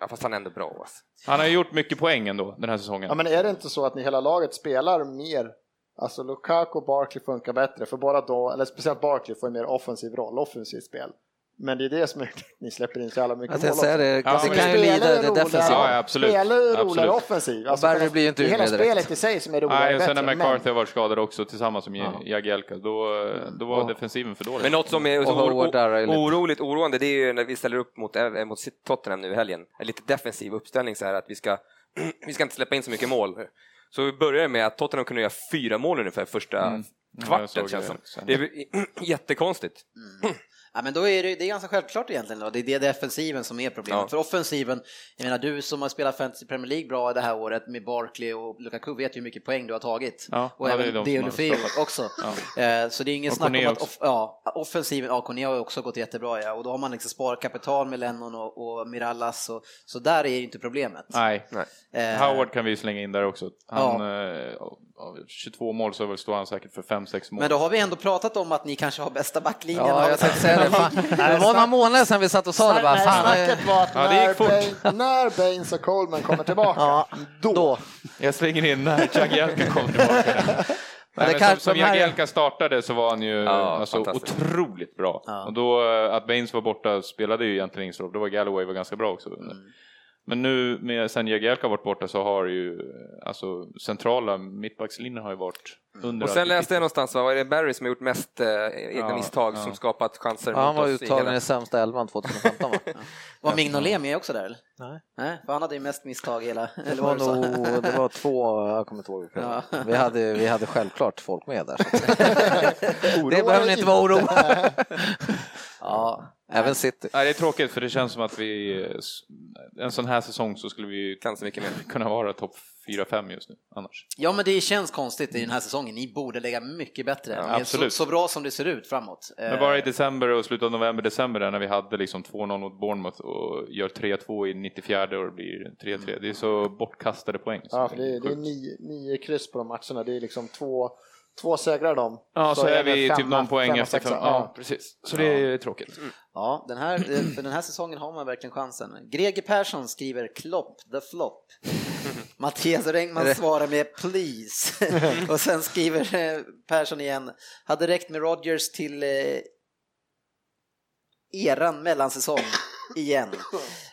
Speaker 3: Ja, fast han är ändå bra. Alltså.
Speaker 2: Han har ju gjort mycket poäng ändå den här säsongen.
Speaker 5: Ja, men är det inte så att ni hela laget spelar mer? Alltså Lukaku och Barkley funkar bättre. För bara då, eller speciellt Barkley får en mer offensiv roll, offensivt spel. Men det är det som är ni släpper in så jävla mycket
Speaker 4: Att
Speaker 5: mål
Speaker 4: Alltså, jag säger
Speaker 5: också.
Speaker 4: det,
Speaker 2: Ja,
Speaker 4: det
Speaker 2: men-
Speaker 4: kan ju
Speaker 5: Spelare
Speaker 4: lida i
Speaker 5: är
Speaker 4: det
Speaker 5: roligare.
Speaker 4: defensiva.
Speaker 2: Ja, ja. absolut.
Speaker 5: Spelare är roligare
Speaker 2: Absolut.
Speaker 5: offensiv.
Speaker 4: Och Barry blir ju inte
Speaker 5: det är hela
Speaker 4: ur med direkt.
Speaker 5: spelet i sig som är roligare.
Speaker 2: Nej, och sen när
Speaker 5: bättre, men-
Speaker 2: McCarthy har varit skadad också tillsammans med Jagielka, då, då var defensiven för dålig.
Speaker 3: Men något som är
Speaker 4: Och
Speaker 3: så
Speaker 4: Howard där är
Speaker 3: oro,
Speaker 4: lite-
Speaker 3: oroligt oroande, det är ju när vi ställer upp mot, eh, mot Tottenham nu i helgen. En lite defensiv uppställning så här att vi ska, vi ska inte släppa in så mycket mål. Så vi börjar med att Tottenham kunde göra fyra mål ungefär första
Speaker 2: Mm. jag
Speaker 3: kvarten
Speaker 2: såg
Speaker 3: känns
Speaker 2: det
Speaker 3: som.
Speaker 2: också.
Speaker 3: Det är jättekonstigt.
Speaker 1: Ja, men då är det, det är ganska självklart egentligen då. Det är det defensiven som är problemet.
Speaker 3: Ja.
Speaker 1: För offensiven, jag menar du som har spelat fantasy Premier League bra det här året med Barkley och Lukaku vet ju hur mycket poäng du har tagit.
Speaker 2: Ja,
Speaker 1: och
Speaker 2: ja, det är
Speaker 1: även
Speaker 2: de som har
Speaker 1: Deulofeu
Speaker 2: skapat.
Speaker 1: också. Eh, Så det är ingen
Speaker 2: Och
Speaker 1: snack om
Speaker 2: Cornea
Speaker 1: att off, ja, offensiven, ja Cornea har ju också gått jättebra ja. Och då har man liksom sparkapital med Lennon och, och Mirallas och, så där är ju inte problemet.
Speaker 2: Nej.
Speaker 3: Nej.
Speaker 1: Eh,
Speaker 2: Howard kan vi ju slänga in där också. Han, eh, av 22 mål så väl står han säkert för 5-6 mål.
Speaker 1: Men då har vi ändå pratat om att ni kanske har bästa backlinjen.
Speaker 4: Ja,
Speaker 1: av-
Speaker 4: jag tänkte säga det. Fan. Det var några månader sedan vi satt och sa det. Bara,
Speaker 5: Nej,
Speaker 4: fan, eh,
Speaker 5: snacket var att
Speaker 2: Ja, det gick
Speaker 5: när,
Speaker 2: fort.
Speaker 5: Bain, när Baines och Coleman kommer tillbaka,
Speaker 4: Ja,
Speaker 5: då,
Speaker 4: då.
Speaker 2: Jag slänger in när Jagielka kommer tillbaka. Nej, men som
Speaker 4: kanske-
Speaker 2: som
Speaker 4: de här-
Speaker 2: Jagielka startade så var han ju alltså,
Speaker 3: fantastiskt.
Speaker 2: otroligt bra. Och då, eh, att Baines var borta spelade ju egentligen ingen roll. Då var Galloway var ganska bra också. Men nu med, sen Jagielka varit borta så har ju eh, alltså, centrala mittbackslinjen har ju varit under
Speaker 3: Och sen läste jag någonstans, va, var det Barry som har gjort mest eh, egna
Speaker 2: Ja,
Speaker 3: misstag
Speaker 2: ja.
Speaker 3: som skapat chanser
Speaker 4: ja, han
Speaker 3: mot
Speaker 4: var
Speaker 3: oss i
Speaker 4: uttagen
Speaker 3: hela...
Speaker 4: i sämsta elvan 2015 va?
Speaker 1: Var Mignolet med också där eller?
Speaker 4: Nej.
Speaker 1: Nej, för han hade ju mest misstag i hela...
Speaker 4: Det
Speaker 1: Eller
Speaker 4: var
Speaker 1: vad du sa.
Speaker 4: nog, det var två, jag kommer inte ihåg vilka det var. vi hade, vi hade självklart folk med där. så att-
Speaker 5: Oroa
Speaker 4: Det behöver ni
Speaker 5: dig
Speaker 4: inte vara oroliga. Ja, även City.
Speaker 2: Nej, det är tråkigt för det känns som att vi eh, s- en sån här säsong så skulle vi ju
Speaker 3: Kan så mycket mer.
Speaker 2: kunna vara topp 4-5 just nu annars.
Speaker 1: Ja, men det känns konstigt i den här säsongen. Ni borde lägga mycket bättre.
Speaker 2: Ja,
Speaker 1: Men
Speaker 2: absolut.
Speaker 1: Så, så bra som det ser ut framåt.
Speaker 2: Men
Speaker 1: Eh,
Speaker 2: bara i december och slutet av november, december där när vi hade liksom 2-0 mot Bournemouth och gör 3-2 i 94 och det blir 3-3. Det är så bortkastade poäng. så
Speaker 5: Mm. Ja, för det är, det är
Speaker 2: sjukt.
Speaker 5: nio, nio kryss på de matcherna. Det är liksom två, två segrar dem.
Speaker 2: Ja, så, är
Speaker 5: det
Speaker 2: vi typ
Speaker 5: femma-
Speaker 2: någon poäng
Speaker 5: femma,
Speaker 2: efter fem.
Speaker 5: sexa.
Speaker 2: Ja, precis. Så det är tråkigt.
Speaker 1: Ja, den här, eh, för den här säsongen har man verkligen chansen. Greger Persson skriver Klopp the flop. Mattias Rengman svarar med please. Och sen skriver eh, Persson igen, hade räckt med Rodgers till eh, eran mellansäsong igen.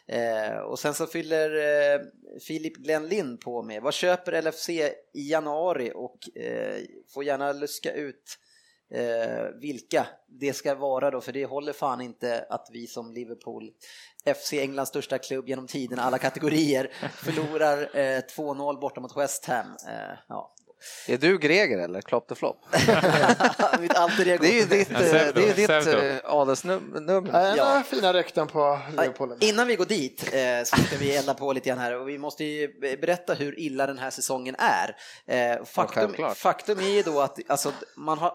Speaker 1: Eh, och sen så fyller eh, Filip Glenn Lind på med, vad köper LFC i januari och eh, får gärna luska ut eh, vilka det ska vara då, för det håller fan inte att vi som Liverpool, FC Englands största klubb genom tiden, alla kategorier, förlorar eh, 2-0 borta mot West Ham. Eh, ja.
Speaker 4: Är du Greger eller Klopp the Flop?
Speaker 1: Mitt alter ego.
Speaker 4: Det är ju ditt, eh,
Speaker 2: Ja, Sevdo.
Speaker 4: det är ju ditt
Speaker 2: Sevdo.
Speaker 4: eh, adelsnummer.
Speaker 5: Nej,
Speaker 1: Ja.
Speaker 5: några fina rykten på Leopolden.
Speaker 1: Innan vi går dit eh, så ska vi elda på lite grann här och vi måste ju berätta hur illa den här säsongen är. Eh, faktum,
Speaker 4: självklart.
Speaker 1: faktum är ju då att alltså, man har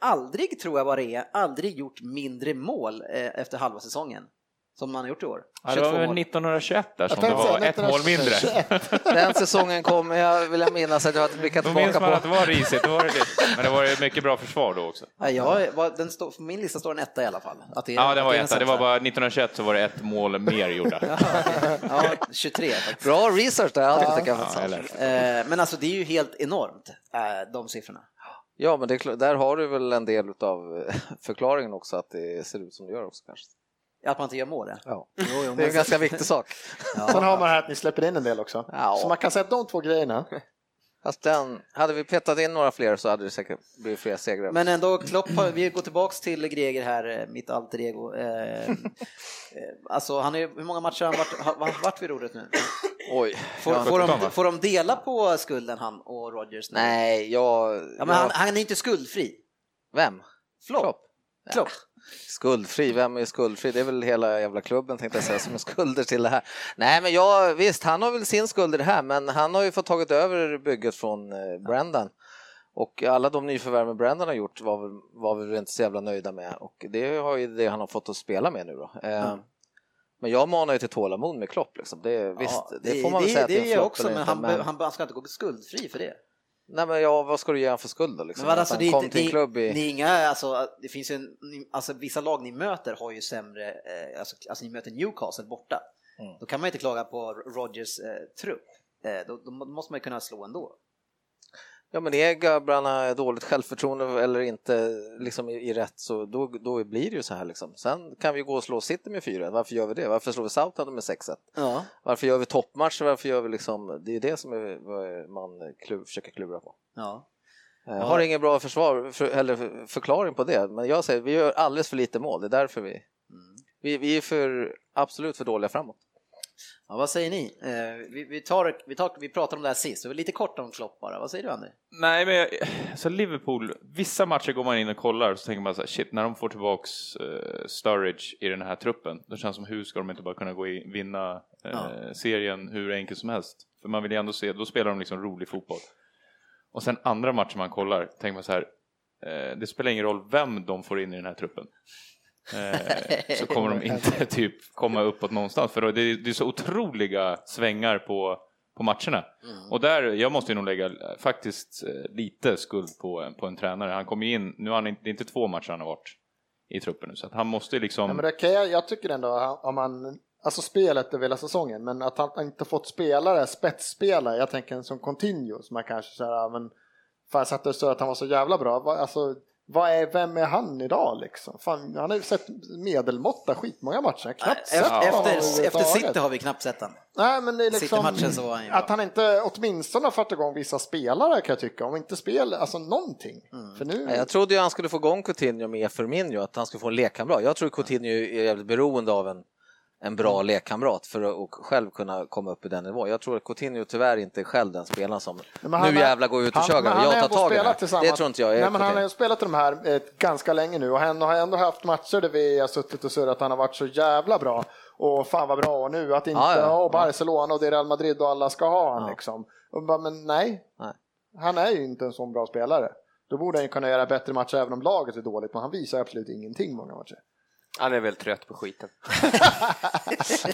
Speaker 1: aldrig, tror jag vad det är, aldrig gjort mindre mål eh, efter halva säsongen som man har gjort i år.
Speaker 2: Ja, det var
Speaker 1: 22
Speaker 2: väl
Speaker 1: mål.
Speaker 2: 1921 där som det
Speaker 5: tänkte
Speaker 2: var
Speaker 5: säga
Speaker 2: ett mål mindre.
Speaker 5: 1921.
Speaker 4: Den säsongen kom, jag vill jag minnas att jag hade blickat
Speaker 2: Då minns
Speaker 4: tillbaka
Speaker 2: man att det
Speaker 4: på.
Speaker 2: var risigt, då var det det. men det var ju mycket bra försvar då också.
Speaker 1: Ja, jag, vad- den står- på min lista står en etta i alla fall. Att det är-
Speaker 2: Ja, den
Speaker 1: att
Speaker 2: var
Speaker 1: är en
Speaker 2: etta. Det var
Speaker 1: sexa.
Speaker 2: bara 1921 så var det ett mål mer gjorda.
Speaker 1: Ja, 23 faktiskt.
Speaker 4: Bra research där, alltid tycker jag.
Speaker 2: Ja,
Speaker 4: faktiskt.
Speaker 2: eller?
Speaker 1: Eh, Men alltså det är ju helt enormt, eh, de siffrorna.
Speaker 4: Ja, men det är klart, där har du väl en del av förklaringen också att det ser ut som det gör också kanske.
Speaker 1: Att man inte gör mål, ja.
Speaker 4: Ja.
Speaker 1: Jo, jo,
Speaker 4: Det är
Speaker 1: men-
Speaker 4: en ganska viktig sak.
Speaker 5: Sen har man här att ni släpper in en del också.
Speaker 4: Ja.
Speaker 5: Så man kan säga de två grejerna.
Speaker 4: Fast den, hade vi petat in några fler så hade det säkert blivit fler segrar.
Speaker 1: Men ändå, Klopp, har- vi går tillbaks till Greger här, eh, mitt alter ego. Eh, eh, Alltså, han är, hur många matcher har han varit, har- har varit vid rodret nu?
Speaker 4: Oj.
Speaker 1: Får,
Speaker 4: Ja.
Speaker 1: får,
Speaker 2: 17, va?
Speaker 1: de, får de dela på skulden, han och Rodgers? nu?
Speaker 4: Nej, jag...
Speaker 1: Ja, men
Speaker 4: jag
Speaker 1: han, han är inte skuldfri.
Speaker 4: Vem?
Speaker 1: Flopp. Klopp.
Speaker 4: Skuldfri, vem är skuldfri? Det är väl hela jävla klubben tänkte jag säga som är skulder till det här. Nej men jag, visst han har väl sin skuld i det här men han har ju fått tagit över bygget från eh, Brendan. Och alla de nyförvärven Brendan har gjort var, väl- var vi väl inte så jävla nöjda med och det har ju det han har fått att spela med nu då. Eh, Men jag manar ju till tålamod med Klopp liksom. Det, visst,
Speaker 1: Ja,
Speaker 4: det, får man väl säga att
Speaker 1: det,
Speaker 4: är
Speaker 1: det
Speaker 4: en
Speaker 1: är
Speaker 4: flopp
Speaker 1: också,
Speaker 4: eller
Speaker 1: men
Speaker 4: inte,
Speaker 1: han, be- han, han ska inte gå skuldfri för det.
Speaker 4: Nej men ja, vad ska du ge han för skuld då liksom?
Speaker 1: Men vad,
Speaker 4: Att
Speaker 1: alltså,
Speaker 4: han
Speaker 1: det, är
Speaker 4: kom
Speaker 1: inte-
Speaker 4: till en
Speaker 1: ni,
Speaker 4: klubb i...
Speaker 1: ni är inga, alltså, det finns ju en, ni- alltså, vissa lag ni möter har ju sämre, eh, alltså, alltså ni möter Newcastle borta.
Speaker 4: Mm.
Speaker 1: Då kan man ju inte klaga på Rodgers eh, trupp. Eh, då, då måste man ju kunna slå ändå.
Speaker 4: Ja men är grabbarna dåligt självförtroende eller inte liksom i, i rätt så då, då blir det ju så här liksom. Sen kan vi ju gå och slå City med 4 varför gör vi det? Varför slår vi Southampton med 6-1?
Speaker 1: Ja.
Speaker 4: Varför gör vi toppmatcher? Varför gör vi liksom, det är ju det som är, vad man klur, försöker klura på.
Speaker 1: ja.
Speaker 4: Jag har ingen bra försvar, för, eller för- förklaring på det, men jag säger vi gör alldeles för lite mål, det är därför vi,
Speaker 1: Mm.
Speaker 4: vi, vi är för, absolut för dåliga framåt.
Speaker 1: ja vad säger ni? Eh, vi, vi, tar, vi, tar, vi pratade om det här sist, det var lite kort om Klopp bara. Vad säger du Andy?
Speaker 2: Nej, men jag- så Liverpool, vissa matcher går man in och kollar och så tänker man så här, shit, när de får tillbaks eh, Sturridge i den här truppen, då känns det som hur ska de inte bara kunna gå in, vinna eh,
Speaker 1: Ja.
Speaker 2: serien hur enkelt som helst? För man vill ju ändå se, då spelar de liksom rolig fotboll. Och sen andra matcher man kollar, tänker man så här, eh, det spelar ingen roll vem de får in i den här truppen. Eh, så kommer de inte typ komma uppåt någonstans, för då- det är, det är så otroliga svängar på på matcherna.
Speaker 4: Mm.
Speaker 2: Och där, jag måste ju nog lägga eh, faktiskt eh, lite skuld på, en- på en tränare. Han kom ju in, nu har han inte, det är inte två matcher han har varit i truppen nu, så att han måste ju liksom...
Speaker 5: Ja, men det kan jag, jag tycker ändå om man, alltså spelet över hela säsongen, men att han inte fått spelare, spetsspelare, jag tänker en som Coutinho som man kanske så här, ja, men fan satte så att han var så jävla bra, vad, alltså vad är, vem är han idag liksom? Fan, han har ju sett medelmåtta skitmånga matcher, knappt sett
Speaker 1: Efter,
Speaker 5: honom
Speaker 1: efter, efter
Speaker 5: överhuvudtaget.
Speaker 1: City har vi knappt sett den.
Speaker 5: Nej, men det är liksom,
Speaker 1: City-matchen så var han ju bra.
Speaker 5: att han inte åtminstone har fått igång vissa spelare kan jag tycka, om inte spel, alltså någonting.
Speaker 1: Mm.
Speaker 5: För nu,
Speaker 4: Jag trodde ju han skulle få igång Coutinho med Firmino, att han skulle få en lekkamrat. Jag tror Coutinho är jävligt beroende av en, en bra lekkamrat för att och själv kunna komma upp i den nivån. Jag tror att Coutinho tyvärr inte är själv den spelaren som
Speaker 5: men han
Speaker 4: nu
Speaker 5: är-
Speaker 4: jävlar går jag ut och
Speaker 5: han-
Speaker 4: kör
Speaker 5: men
Speaker 4: grabbar,
Speaker 5: han har
Speaker 4: jag
Speaker 5: ändå
Speaker 4: tar
Speaker 5: spelat
Speaker 4: tag i det här.
Speaker 5: tillsammans-
Speaker 4: Det tror inte jag är
Speaker 5: Nej, men Han har
Speaker 4: Coutinho.
Speaker 5: ju spelat i de här eh, ganska länge nu och han har ändå haft matcher där vi har suttit och surrat han har varit så jävla bra. Och fan vad bra och nu att inte
Speaker 4: Ja, ja.
Speaker 5: och Barcelona och det är Real Madrid och alla ska ha han liksom. Och bara, men nej,
Speaker 4: Nej.
Speaker 5: han är ju inte en sån bra spelare. Då borde han ju kunna göra bättre matcher även om laget är dåligt, men han visar absolut ingenting många matcher.
Speaker 3: Han är väl trött på skiten.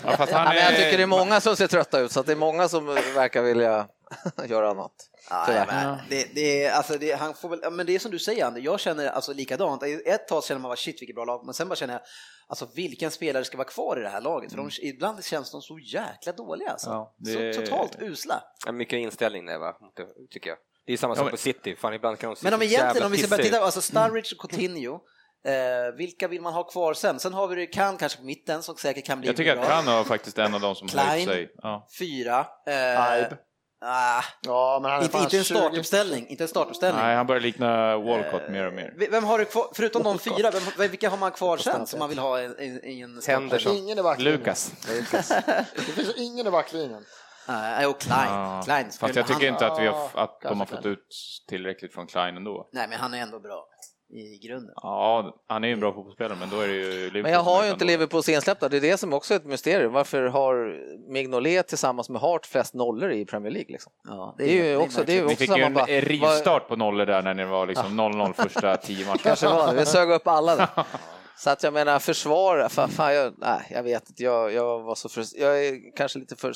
Speaker 2: Ja, fast han
Speaker 4: Ja, men jag
Speaker 2: är-
Speaker 4: tycker det är många som ser trötta ut, så att det är många som verkar vilja göra något.
Speaker 1: Nej, men det, det, är- alltså det, han får väl, ja, men det är som du säger Ander, jag känner alltså likadant. Ett tag känner man bara shit vilket bra lag, men sen bara känner jag alltså vilken spelare ska vara kvar i det här laget? För de,
Speaker 4: Mm.
Speaker 1: ibland känns de så jäkla dåliga alltså.
Speaker 2: Ja, det-
Speaker 1: Så totalt usla.
Speaker 3: Ja, Mycket inställning där va, Det tycker jag. Det är samma
Speaker 2: Ja,
Speaker 3: sak
Speaker 2: men-
Speaker 3: på City, fan ibland kan de se
Speaker 1: Men om
Speaker 3: så
Speaker 1: egentligen,
Speaker 3: jävla
Speaker 1: om vi ska
Speaker 3: pissiga
Speaker 1: börja
Speaker 3: ut.
Speaker 1: titta, alltså
Speaker 4: Mm.
Speaker 1: Sturridge och Coutinho, eh, vilka vill man ha kvar sen? Sen har vi det Kan kanske på mitten som säkert kan bli
Speaker 2: jag tycker
Speaker 1: bra.
Speaker 2: att han har faktiskt en av de som
Speaker 1: Klein.
Speaker 2: höjt sig. Ja.
Speaker 1: Fyra.
Speaker 5: Aib.
Speaker 1: Eh, ah,
Speaker 5: Ja, men han är
Speaker 1: inte,
Speaker 5: fan
Speaker 1: inte en
Speaker 5: 20
Speaker 1: startuppställning, inte en startuppställning.
Speaker 2: Nej, han börjar likna Walcott mer och mer.
Speaker 1: V- Vem har du kvar, förutom de fyra, vem, vem- vilka har man kvar sen som man vill ha i, i, i en
Speaker 4: liksom.
Speaker 3: Henderson.
Speaker 5: Ingen i backlinjen.
Speaker 2: Lukas.
Speaker 5: Det finns ju ingen i backlinjen.
Speaker 1: Nej, och Klein.
Speaker 2: Ja.
Speaker 1: Klein skulle
Speaker 2: Fast jag tycker
Speaker 1: han,
Speaker 2: inte att, vi har,
Speaker 5: Ja,
Speaker 2: att de har
Speaker 5: kanske
Speaker 2: fått
Speaker 5: Klein.
Speaker 2: ut tillräckligt från Klein ändå.
Speaker 1: Nej, men han är ändå bra i grunden.
Speaker 2: Ja, han är ju en bra fotbollsspelare, men då är det ju Liverpool
Speaker 4: Men jag har
Speaker 2: som
Speaker 4: ju
Speaker 2: är
Speaker 4: inte
Speaker 2: ändå.
Speaker 4: Liverpools insläppta, det är det som också är ett mysterium. Varför har Mignolet tillsammans med Hart flest nollor i Premier League? Liksom?
Speaker 1: Ja,
Speaker 4: Det är ju också, det är ju
Speaker 2: Ni
Speaker 4: också
Speaker 2: fick ju
Speaker 4: samma...
Speaker 2: en eh,
Speaker 4: bara- vad-
Speaker 2: rivstart på nollor där när ni var liksom 0-0 första tio matcherna.
Speaker 4: Kanske var det, vi sög upp alla där. Så att jag menar försvara, fan, fan jag, nej, jag vet inte, jag, jag var så frus- jag är kanske lite för,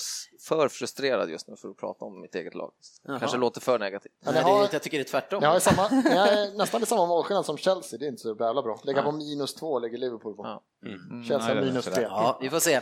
Speaker 4: för frustrerad just nu för att prata om mitt eget lag.
Speaker 1: Jaha.
Speaker 4: Kanske låter för negativt.
Speaker 1: Nej, det,
Speaker 5: har-
Speaker 1: jag tycker det är tvärtom.
Speaker 5: Ni har ju samma, ni har nästan det samma målskillnad som Chelsea, det är inte så jävla bra. Lägga på minus två lägger Liverpool på.
Speaker 4: Ja.
Speaker 2: Mm,
Speaker 5: Chelsea
Speaker 2: nej, det är
Speaker 5: minus
Speaker 2: sådär.
Speaker 5: tre.
Speaker 1: Ja, vi får se. Eh,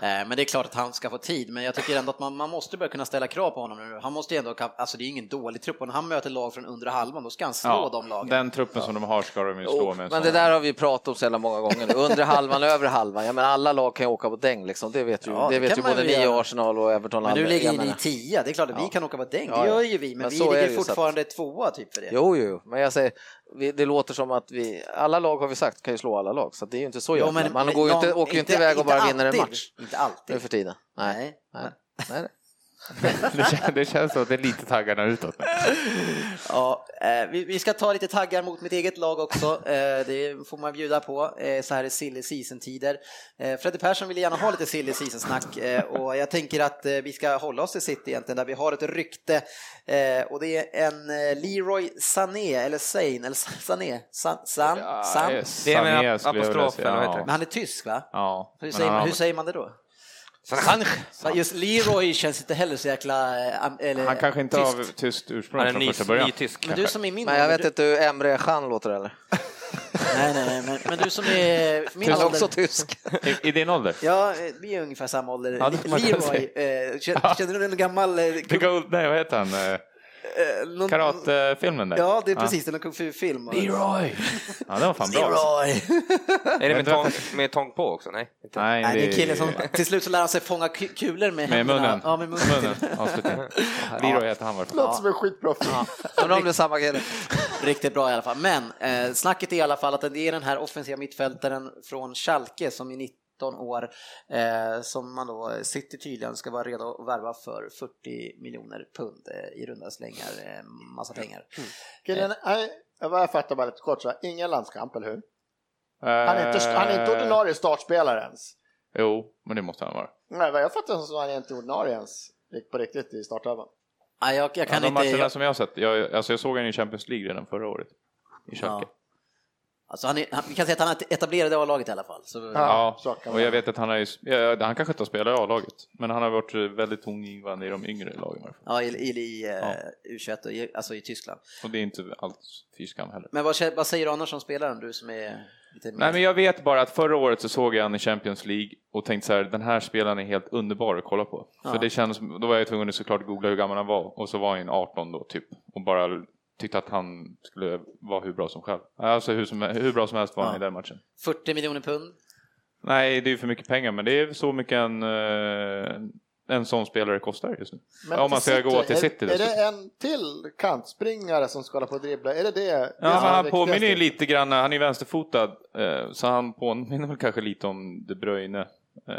Speaker 1: Men det är klart att han ska få tid, men jag tycker ändå att man, man måste börja kunna ställa krav på honom nu. Han måste ju ändå, kan- alltså det är ju ingen dålig trupp, och när han möter lag från under halvan, då ska han slå de lagen.
Speaker 2: Den truppen som de har ska de ju slå
Speaker 4: Jo,
Speaker 2: med. en
Speaker 4: men det
Speaker 2: sån.
Speaker 4: där har vi pratat om så jävla många gånger nu. Undre halvan, övre halvan. Jag menar, alla lag kan ju åka på däng liksom. Det vet ju,
Speaker 1: Ja,
Speaker 4: det
Speaker 1: det
Speaker 4: vet
Speaker 1: kan
Speaker 4: ju
Speaker 1: man
Speaker 4: både
Speaker 1: väl
Speaker 4: ni och
Speaker 1: göra.
Speaker 4: Arsenal och Everton.
Speaker 1: Men
Speaker 4: Lambert.
Speaker 1: nu ligger
Speaker 4: Jag
Speaker 1: ni i
Speaker 4: menar-
Speaker 1: tia, det är klart att vi kan åka på däng,
Speaker 4: Ja,
Speaker 1: det
Speaker 4: ja.
Speaker 1: gör ju vi, men,
Speaker 4: Men
Speaker 1: vi
Speaker 4: så är
Speaker 1: ligger
Speaker 4: det ju, så att-
Speaker 1: fortfarande tvåa typ för det.
Speaker 4: Jo, jo, men jag säger, vi, det låter som att vi, alla lag har vi sagt kan ju slå alla lag, så att det är ju inte så
Speaker 1: Jo,
Speaker 4: jävla.
Speaker 1: men- eh,
Speaker 4: Man
Speaker 1: men
Speaker 4: går ju inte,
Speaker 1: någon-
Speaker 4: åker ju inte iväg och bara vinner en
Speaker 1: alltid.
Speaker 4: match
Speaker 1: Inte
Speaker 4: nu
Speaker 1: alltid.
Speaker 4: för tiden. Nej,
Speaker 1: Nej.
Speaker 4: nej, nej.
Speaker 2: det, kän- det känns som att det är lite taggarna utåt.
Speaker 1: Ja, eh, vi, vi ska ta lite taggar mot mitt eget lag också. Eh, det får man bjuda på eh, så här i silly season-tider. Eh, Fredde Persson ville gärna ha lite silly season-snack eh, och jag tänker att eh, vi ska hålla oss till City egentligen där vi har ett rykte eh, och det är en eh, Leroy Sané eller Sane eller Sané, San, San,
Speaker 2: Ja,
Speaker 1: San.
Speaker 3: Det är med
Speaker 2: Sané skulle jag vilja
Speaker 3: apostrofen,
Speaker 2: säga,
Speaker 3: vad heter
Speaker 2: ja.
Speaker 1: Men han är tysk va?
Speaker 2: Ja.
Speaker 1: Hur
Speaker 2: men
Speaker 1: säger,
Speaker 2: han
Speaker 1: man,
Speaker 2: har-
Speaker 1: hur säger man det då?
Speaker 4: Sanche.
Speaker 1: Va, Just Leroy känns inte heller så jäkla... eh, am- Eller,
Speaker 2: Han kanske inte
Speaker 1: tyskt.
Speaker 2: har tyskt ursprung
Speaker 3: Han är
Speaker 2: från första början.
Speaker 3: ny, ny tysk.
Speaker 1: Men du som är min
Speaker 4: Men jag
Speaker 1: ålder,
Speaker 4: vet inte hur Emre Can låter eller?
Speaker 1: Nej, nej, nej, men, men du som är min
Speaker 4: Han är
Speaker 1: ålder.
Speaker 4: också tysk.
Speaker 2: I, I din ålder?
Speaker 1: Ja, eh, vi är ungefär samma ålder.
Speaker 2: Ja, det får man kunna
Speaker 1: Leroy, eh, känner känner du en gammal... eh, kung-
Speaker 2: Big Old, nej vad heter han? Eh,
Speaker 1: eh, någon-
Speaker 2: Karatfilmen där?
Speaker 1: Ja, det är precis, det är en kung fu-film.
Speaker 2: Leroy! Ja, den var fan bra. alltså.
Speaker 1: Leroy!
Speaker 3: Är det
Speaker 2: Men
Speaker 3: med tång,
Speaker 2: du-
Speaker 3: med tång på också? Nej. inte.
Speaker 2: Nej,
Speaker 1: Nej, det är killen som... Till slut så lär han sig fånga ku- kulor med,
Speaker 2: Med
Speaker 1: händerna.
Speaker 2: munnen.
Speaker 1: Ja, med munnen.
Speaker 2: Avslutning. Leroy heter han var det.
Speaker 5: Låter som en skitbra film.
Speaker 4: Undrar om det är samma kille.
Speaker 1: Riktigt bra i alla fall. Men eh, snacket är i alla fall att det är den här offensiva mittfältaren från Schalke som är 19 år, eh, som man då, City tydligen ska vara redo att värva för 40 miljoner pund eh, i runda slängar, eh, massa pengar.
Speaker 4: Mm.
Speaker 5: Killen, nej, vad jag fattar bara lite kort så här, ingen landskamp, eller hur? Han är inte, han är inte ordinarie startspelare ens.
Speaker 2: Eh, Jo, men det måste han vara.
Speaker 5: Nej, vad jag fattar så är han inte ordinarie ens på riktigt i startelvan.
Speaker 1: Nej, Ah, jag, jag
Speaker 2: Ja,
Speaker 1: kan
Speaker 2: de
Speaker 1: inte...
Speaker 2: matcherna
Speaker 1: Jag,
Speaker 2: som jag har sett, jag, alltså jag såg honom i Champions League redan förra året. I Schalke.
Speaker 1: Ja. Alltså han är, han, vi kan säga att han är etablerad i A-laget i alla fall. Så,
Speaker 2: Ja,
Speaker 5: så kan
Speaker 2: och
Speaker 5: det
Speaker 2: jag
Speaker 5: vara.
Speaker 2: vet att han, är, ju- ja, han kanske inte har spelat i A-laget, men han har varit eh, väldigt tongivande i de yngre lagen. i alla fall.
Speaker 1: Ja, i, i, i eh, U21, och i, alltså i Tyskland.
Speaker 2: Och det är inte allt fyskam heller.
Speaker 1: Men vad, kä- vad säger du annars om spelaren, du som är lite mer...
Speaker 2: Nej, men jag vet bara att förra året så såg jag han i Champions League och tänkte så här, den här spelaren är helt underbar att kolla på.
Speaker 1: Ja.
Speaker 2: För det kändes, då var jag tvungen att såklart googla hur gammal han var och så var han 18 då typ och bara tyckte att han skulle vara hur bra som själv. Alltså hur, som, hur bra som helst var han
Speaker 1: Ja.
Speaker 2: i den matchen.
Speaker 1: 40 miljoner pund?
Speaker 2: Nej, det är ju för mycket pengar, men det är så mycket en, eh, en sån spelare kostar just nu.
Speaker 5: Men
Speaker 2: Om man ska
Speaker 5: City,
Speaker 2: gå till
Speaker 5: är-
Speaker 2: City
Speaker 5: Är
Speaker 2: dessutom.
Speaker 5: det en till kantspringare som ska hålla på och dribbla? Är det det? det
Speaker 2: Ja,
Speaker 5: som
Speaker 2: men
Speaker 5: är
Speaker 2: han
Speaker 5: det
Speaker 2: påminner ju
Speaker 5: viktigaste?
Speaker 2: lite grann, han är ju vänsterfotad, eh, så han påminner väl kanske lite om De Bruyne. Eh,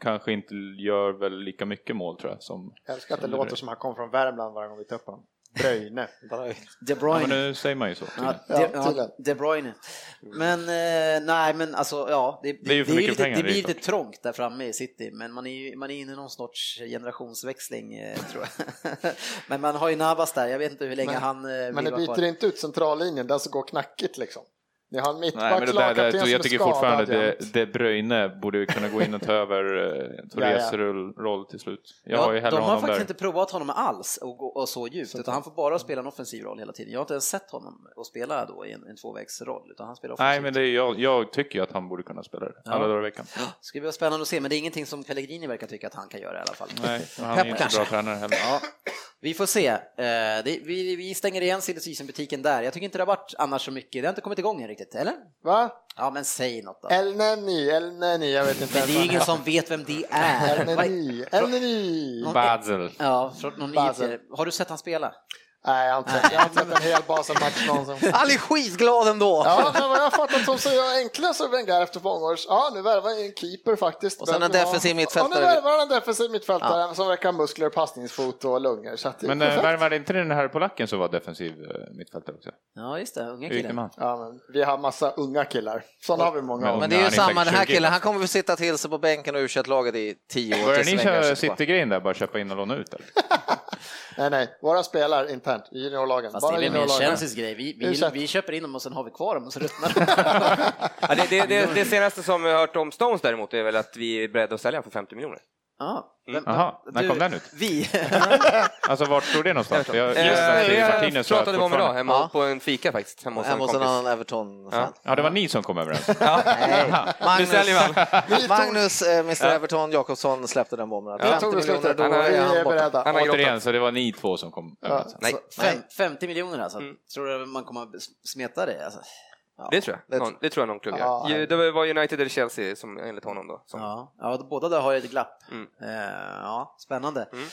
Speaker 2: Kanske inte gör väl lika mycket mål tror jag. Som,
Speaker 5: Jag älskar att det
Speaker 2: som De
Speaker 5: låter
Speaker 2: Bruyne.
Speaker 5: som han kom från Värmland varje gång vi tar upp honom. Bröjne.
Speaker 1: De
Speaker 2: Ja,
Speaker 1: Bruyne.
Speaker 2: men nu säger man ju så.
Speaker 1: Ja,
Speaker 5: Ja,
Speaker 1: de, ja,
Speaker 5: tydligen.
Speaker 1: de Bruyne. Men eh, nej, men alltså ja, det,
Speaker 2: Det är ju för mycket
Speaker 1: lite,
Speaker 2: pengar,
Speaker 1: det
Speaker 2: det är
Speaker 1: blir
Speaker 2: klart.
Speaker 1: lite trångt där framme i city, men man är ju man är inne i någon sorts generationsväxling eh, tror jag. men man har ju Navas där, jag vet inte hur länge
Speaker 5: Men-
Speaker 1: han eh, vill
Speaker 5: Men ni
Speaker 1: vara kvar.
Speaker 5: byter inte ut centrallinjen, den som går knackigt liksom. Ni har en
Speaker 2: Nej, men
Speaker 5: mittback,
Speaker 2: det där,
Speaker 5: lagkapten
Speaker 2: där,
Speaker 5: som är
Speaker 2: jag tycker
Speaker 5: skadad
Speaker 2: fortfarande De,
Speaker 5: jämt.
Speaker 2: de Bruyne borde ju kunna gå in och ta över eh, Torres
Speaker 5: Ja,
Speaker 2: rull- roll till slut. Jag
Speaker 1: Ja,
Speaker 2: har ju hellre
Speaker 1: de har
Speaker 2: honom
Speaker 1: faktiskt
Speaker 2: där.
Speaker 1: inte provat honom alls och, gå- och så djupt, utan han får bara spela en offensiv roll hela tiden. Jag har inte ens sett honom och spela då i en, en tvåvägsroll, utan han spelar offensivt.
Speaker 2: Nej, men det är, jag, jag tycker ju att han borde kunna spela det.
Speaker 1: Ja.
Speaker 2: Alla dagar i veckan.
Speaker 1: Det ska bli spännande att se, men det är ingenting som Pellegrini verkar tycka att han kan göra i alla fall.
Speaker 2: Nej, och han
Speaker 1: Pep
Speaker 2: är ju inte
Speaker 1: kanske.
Speaker 2: bra tränare heller.
Speaker 1: Ja, vi får se. Eh, det, vi, vi stänger igen Silly butiken där. Jag tycker inte det har varit annars så mycket. Det har inte kommit igång än riktigt, eller?
Speaker 5: Va?
Speaker 1: Ja, men säg något
Speaker 4: Eh,
Speaker 1: då.
Speaker 5: El Neni, El Neni, jag vet inte
Speaker 1: Men det är
Speaker 5: vad
Speaker 1: ju ingen
Speaker 5: han
Speaker 1: som vet vem det
Speaker 5: heter.
Speaker 1: är.
Speaker 5: El Neni, El Neni.
Speaker 2: Basel.
Speaker 1: Ja, från någon
Speaker 5: Basel.
Speaker 1: it Har du sett han spela?
Speaker 5: Nej, jag har inte sett- jag har inte sett en hel Basel-match någonsin.
Speaker 4: Han är skitglad ändå!
Speaker 5: Ja, men vad jag har fattat som så är jag enklare så Wenger efter många år. Ja, nu värvar jag en keeper faktiskt.
Speaker 4: Och sen
Speaker 5: Vem
Speaker 4: en
Speaker 5: var-
Speaker 4: defensiv mittfältare.
Speaker 5: Ja, nu värvar han en defensiv mittfältare som verkar ha muskler, passningsfot och lungor. Så att det är
Speaker 2: Men eh,
Speaker 5: perfekt.
Speaker 2: värvade inte den här polacken som var defensiv eh, mittfältare också?
Speaker 1: Ja, just det. Unga killen.
Speaker 2: Ygeman.
Speaker 5: Ja, men vi har massa unga killar. Sådana har vi många
Speaker 2: Men-
Speaker 5: av.
Speaker 4: Men det är
Speaker 2: Nej,
Speaker 4: ju
Speaker 2: han är
Speaker 4: samma, den här
Speaker 2: säkert 20.
Speaker 4: killen, han kommer väl sitta till sig på bänken och u laget i tio år.
Speaker 2: Börjar
Speaker 4: tills
Speaker 2: ni köra
Speaker 4: Wenger sitter kvar.
Speaker 2: City-grejen där, bara köpa in och låna ut? Eller?
Speaker 5: Nej, nej. Våra spelar internt i juniorlagen.
Speaker 1: Fast det är väl mer
Speaker 5: juniorlagen.
Speaker 1: Chelseas grej. Vi, vi,
Speaker 5: Ursäkta.
Speaker 1: vi köper in dem och sen har vi kvar dem och så ruttnar de.
Speaker 3: Ja, det, det, det, det senaste som vi har hört om Stones däremot är väl att vi är beredda att sälja honom för 50 miljoner.
Speaker 1: Ja, vem-
Speaker 2: Jaha, när
Speaker 1: du-
Speaker 2: kom den ut?
Speaker 1: Vi.
Speaker 2: Alltså vart står det någonstans? Jag
Speaker 3: Eh,
Speaker 2: gissar att det är
Speaker 3: jag
Speaker 2: Martinez
Speaker 3: pratade om idag
Speaker 2: fortfarande.
Speaker 3: hemma
Speaker 4: Ja.
Speaker 3: på en fika faktiskt. Hemma hos en
Speaker 4: Hemma hos en
Speaker 3: kompis.
Speaker 4: annan Everton-fan.
Speaker 2: Ja, det var ni som kom överens.
Speaker 4: Magnus,
Speaker 3: säljer
Speaker 4: Magnus eh, Mr Everton Jakobsson släppte den bomben.
Speaker 5: Vi tog
Speaker 4: 50 miljoner,
Speaker 5: beslutet.
Speaker 4: då
Speaker 5: Vi
Speaker 4: är han
Speaker 5: är
Speaker 4: borta.
Speaker 5: beredda.
Speaker 3: Han har grottat.
Speaker 2: Återigen, så det var ni två som kom överens.
Speaker 3: Nej,
Speaker 1: Alltså, Fem, 50 miljoner alltså.
Speaker 4: Mm.
Speaker 1: Tror du man kommer att smeta det? Alltså. Ja.
Speaker 3: det tror jag. Någon, det tror jag någon klubb
Speaker 5: Ja,
Speaker 3: gör. Ju- Det var United eller Chelsea som enligt honom då. Som.
Speaker 1: Ja, ja då- båda där har ju ett glapp.
Speaker 3: Mm.
Speaker 1: Eh, ja, spännande.
Speaker 3: Mm.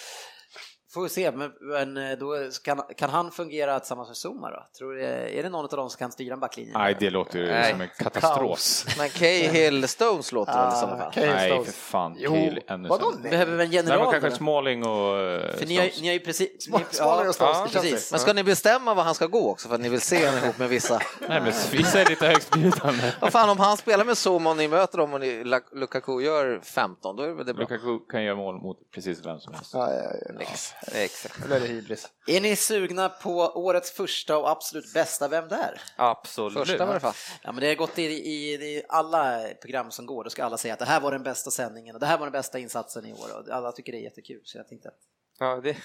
Speaker 1: Får vi se, men, men eh, då kan, kan han fungera tillsammans med Zuma då? Tror du, eh, är det någon av dem som kan styra backlinjen?
Speaker 2: Nej, det låter ju
Speaker 3: Nej.
Speaker 2: som en katastrof.
Speaker 4: Men Cahill Stones låter väl i sådana
Speaker 5: Ah,
Speaker 4: fall.
Speaker 5: Kane
Speaker 2: Nej, för
Speaker 5: Stones.
Speaker 2: fan.
Speaker 5: Jo,
Speaker 2: Till ännu
Speaker 5: vadå
Speaker 2: sämre.
Speaker 1: Vi
Speaker 5: nej?
Speaker 1: Behöver vi en
Speaker 2: Nej, men
Speaker 1: general?
Speaker 2: kanske
Speaker 1: då?
Speaker 2: Smalling och eh,
Speaker 1: För ni har,
Speaker 2: Stones.
Speaker 1: ni har ju precis...
Speaker 5: Smalling
Speaker 1: ni-
Speaker 5: och Stones i Chelsea.
Speaker 1: precis.
Speaker 4: Men ska ni bestämma var han ska gå också för att ni vill se honom ihop med vissa?
Speaker 2: Nej, men vissa är lite högstbjudande.
Speaker 4: Vad fan om han spelar med Zuma och ni möter dem och ni, La- Lukaku gör 15, då är väl det bra.
Speaker 2: Lukaku kan göra mål mot precis vem som helst.
Speaker 5: Ja, ja, ja.
Speaker 3: Exakt.
Speaker 5: Nu är det hybris.
Speaker 1: Är ni sugna på årets första och absolut bästa Vem där?
Speaker 3: Absolut.
Speaker 4: Första i alla fall.
Speaker 1: Ja, men det har gått i, i, i alla program som går, då ska alla säga att det här var den bästa sändningen och det här var den bästa insatsen i år och alla tycker det är jättekul så jag tänkte att
Speaker 3: Ja, det,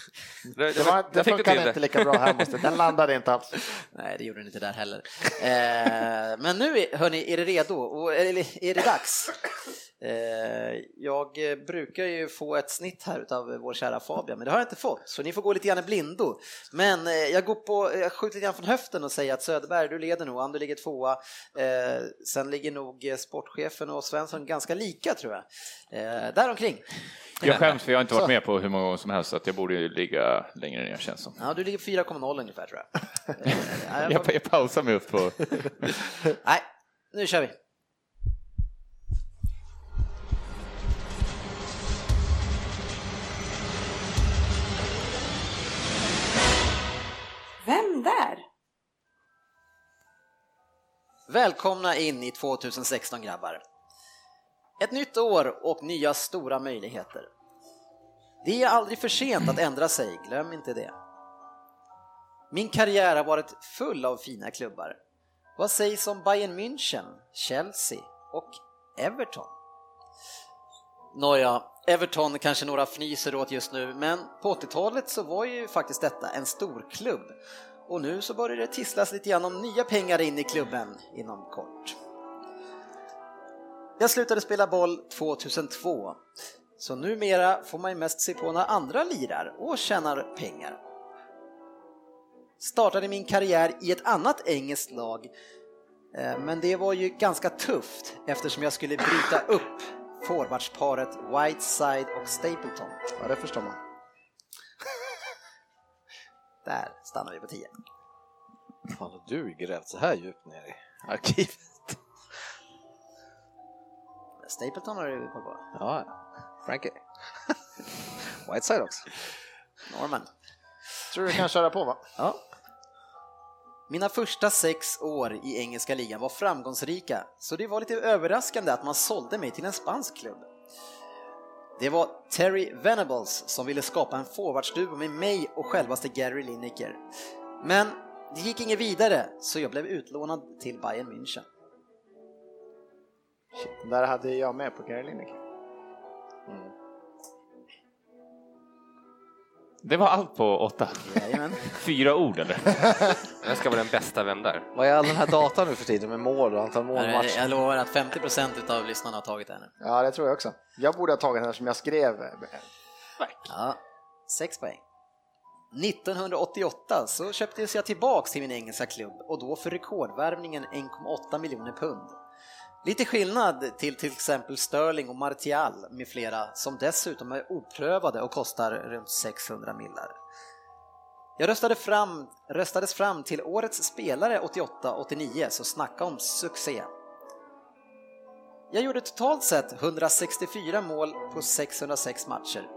Speaker 3: det,
Speaker 5: Det, var, det
Speaker 3: jag fick du till
Speaker 5: funkade inte
Speaker 3: det.
Speaker 5: lika bra här måste Den landade inte alls.
Speaker 1: Nej, det gjorde den inte där heller. Eh, men nu, är- hörni, är det redo? Och, eller är det dags? Eh, jag eh, brukar ju få ett snitt här utav vår kära Fabian, men det har jag inte fått, så ni får gå lite grann i blindo. Men eh, jag går på, jag skjuter lite grann från höften och säger att Söderberg, du leder nog, Ander ligger tvåa. Eh, sen ligger nog eh, sportchefen och Svensson ganska lika tror jag. Eh, däromkring.
Speaker 2: Jag skäms för jag har inte varit med på hur många gånger som helst, så att jag borde ju ligga längre ner känns som.
Speaker 1: Ja, du ligger 4,0 ungefär tror jag. Eh, nej, jag
Speaker 2: Jag, jag pausar mig upp på...
Speaker 1: nej, nu kör vi.
Speaker 7: Vem där?
Speaker 1: Välkomna in i 2016 grabbar. Ett nytt år och nya stora möjligheter. Det är aldrig för sent att ändra sig, glöm inte det. Min karriär har varit full av fina klubbar. Vad sägs om Bayern München, Chelsea och Everton? Nåja, Everton kanske några fnyser åt just nu, men på 80-talet så var ju faktiskt detta en stor klubb. Och nu så börjar det tisslas lite grann om nya pengar in i klubben inom kort. Jag slutade spela boll 2002, så numera får man ju mest se på när andra lirar och tjänar pengar startade min karriär i ett annat engelskt lag. Eh, Men det var ju ganska tufft eftersom jag skulle bryta upp forwardsparet Whiteside och Stapleton.
Speaker 5: Ja, det förstår man.
Speaker 1: Där stannar vi på 10.
Speaker 4: Fan har du grävt så här djupt ner i arkivet?
Speaker 1: Stapleton har du koll på.
Speaker 4: Ja, Frankie. Whiteside också.
Speaker 1: Norman.
Speaker 5: Tror du kan köra på va?
Speaker 1: Ja. Mina första sex år i engelska ligan var framgångsrika, så det var lite överraskande att man sålde mig till en spansk klubb. Det var Terry Venables som ville skapa en forwardsduo med mig och självaste Gary Lineker. Men det gick inget vidare, så jag blev utlånad till Bayern München.
Speaker 5: Shit, där hade jag med på Gary Lineker.
Speaker 2: Det var allt på åtta.
Speaker 1: Jajamän.
Speaker 2: Fyra ord eller?
Speaker 3: Jag ska vara den bästa, vem där?
Speaker 4: Vad är all den här datan nu för tiden med mål och antal mål
Speaker 1: Jag,
Speaker 4: match?
Speaker 1: jag lovar att 50% utav lyssnarna har tagit det här nu.
Speaker 5: Ja, det tror jag också. Jag borde ha tagit den här som jag skrev.
Speaker 1: Ja, sex poäng. 1988 så köptes jag tillbaks till min engelska klubb och då för rekordvärvningen 1,8 miljoner pund. Lite skillnad till till exempel Sterling och Martial med flera som dessutom är oprövade och kostar runt 600 millar. Jag röstade fram, röstades fram till årets spelare 88-89 så snacka om succé. Jag gjorde totalt sett 164 mål på 606 matcher.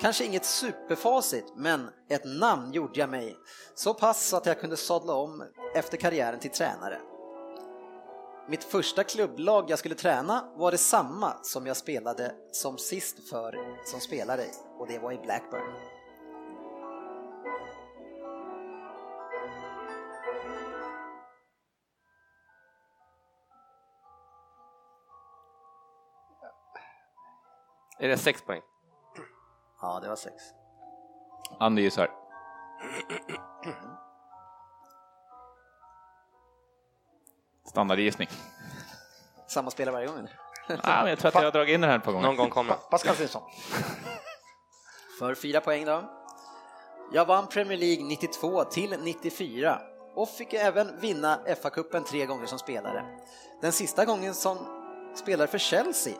Speaker 1: Kanske inget superfacit, men ett namn gjorde jag mig. Så pass så att jag kunde sadla om efter karriären till tränare. Mitt första klubblag jag skulle träna var detsamma som jag spelade som sist för som spelare i och det var i Blackburn.
Speaker 3: Är det sex poäng?
Speaker 1: Ja, det var sex.
Speaker 2: Andy gissar. Standardgissning.
Speaker 1: Samma spelare varje gång. eller?
Speaker 2: Ah, men jag tror att jag har dragit in den här ett par gånger.
Speaker 3: Någon gång kommer.
Speaker 5: Pascal Simpson.
Speaker 1: För fyra poäng då. Jag vann Premier League 92 till 94 och fick även vinna FA-cupen tre gånger som spelare. Den sista gången som spelare för Chelsea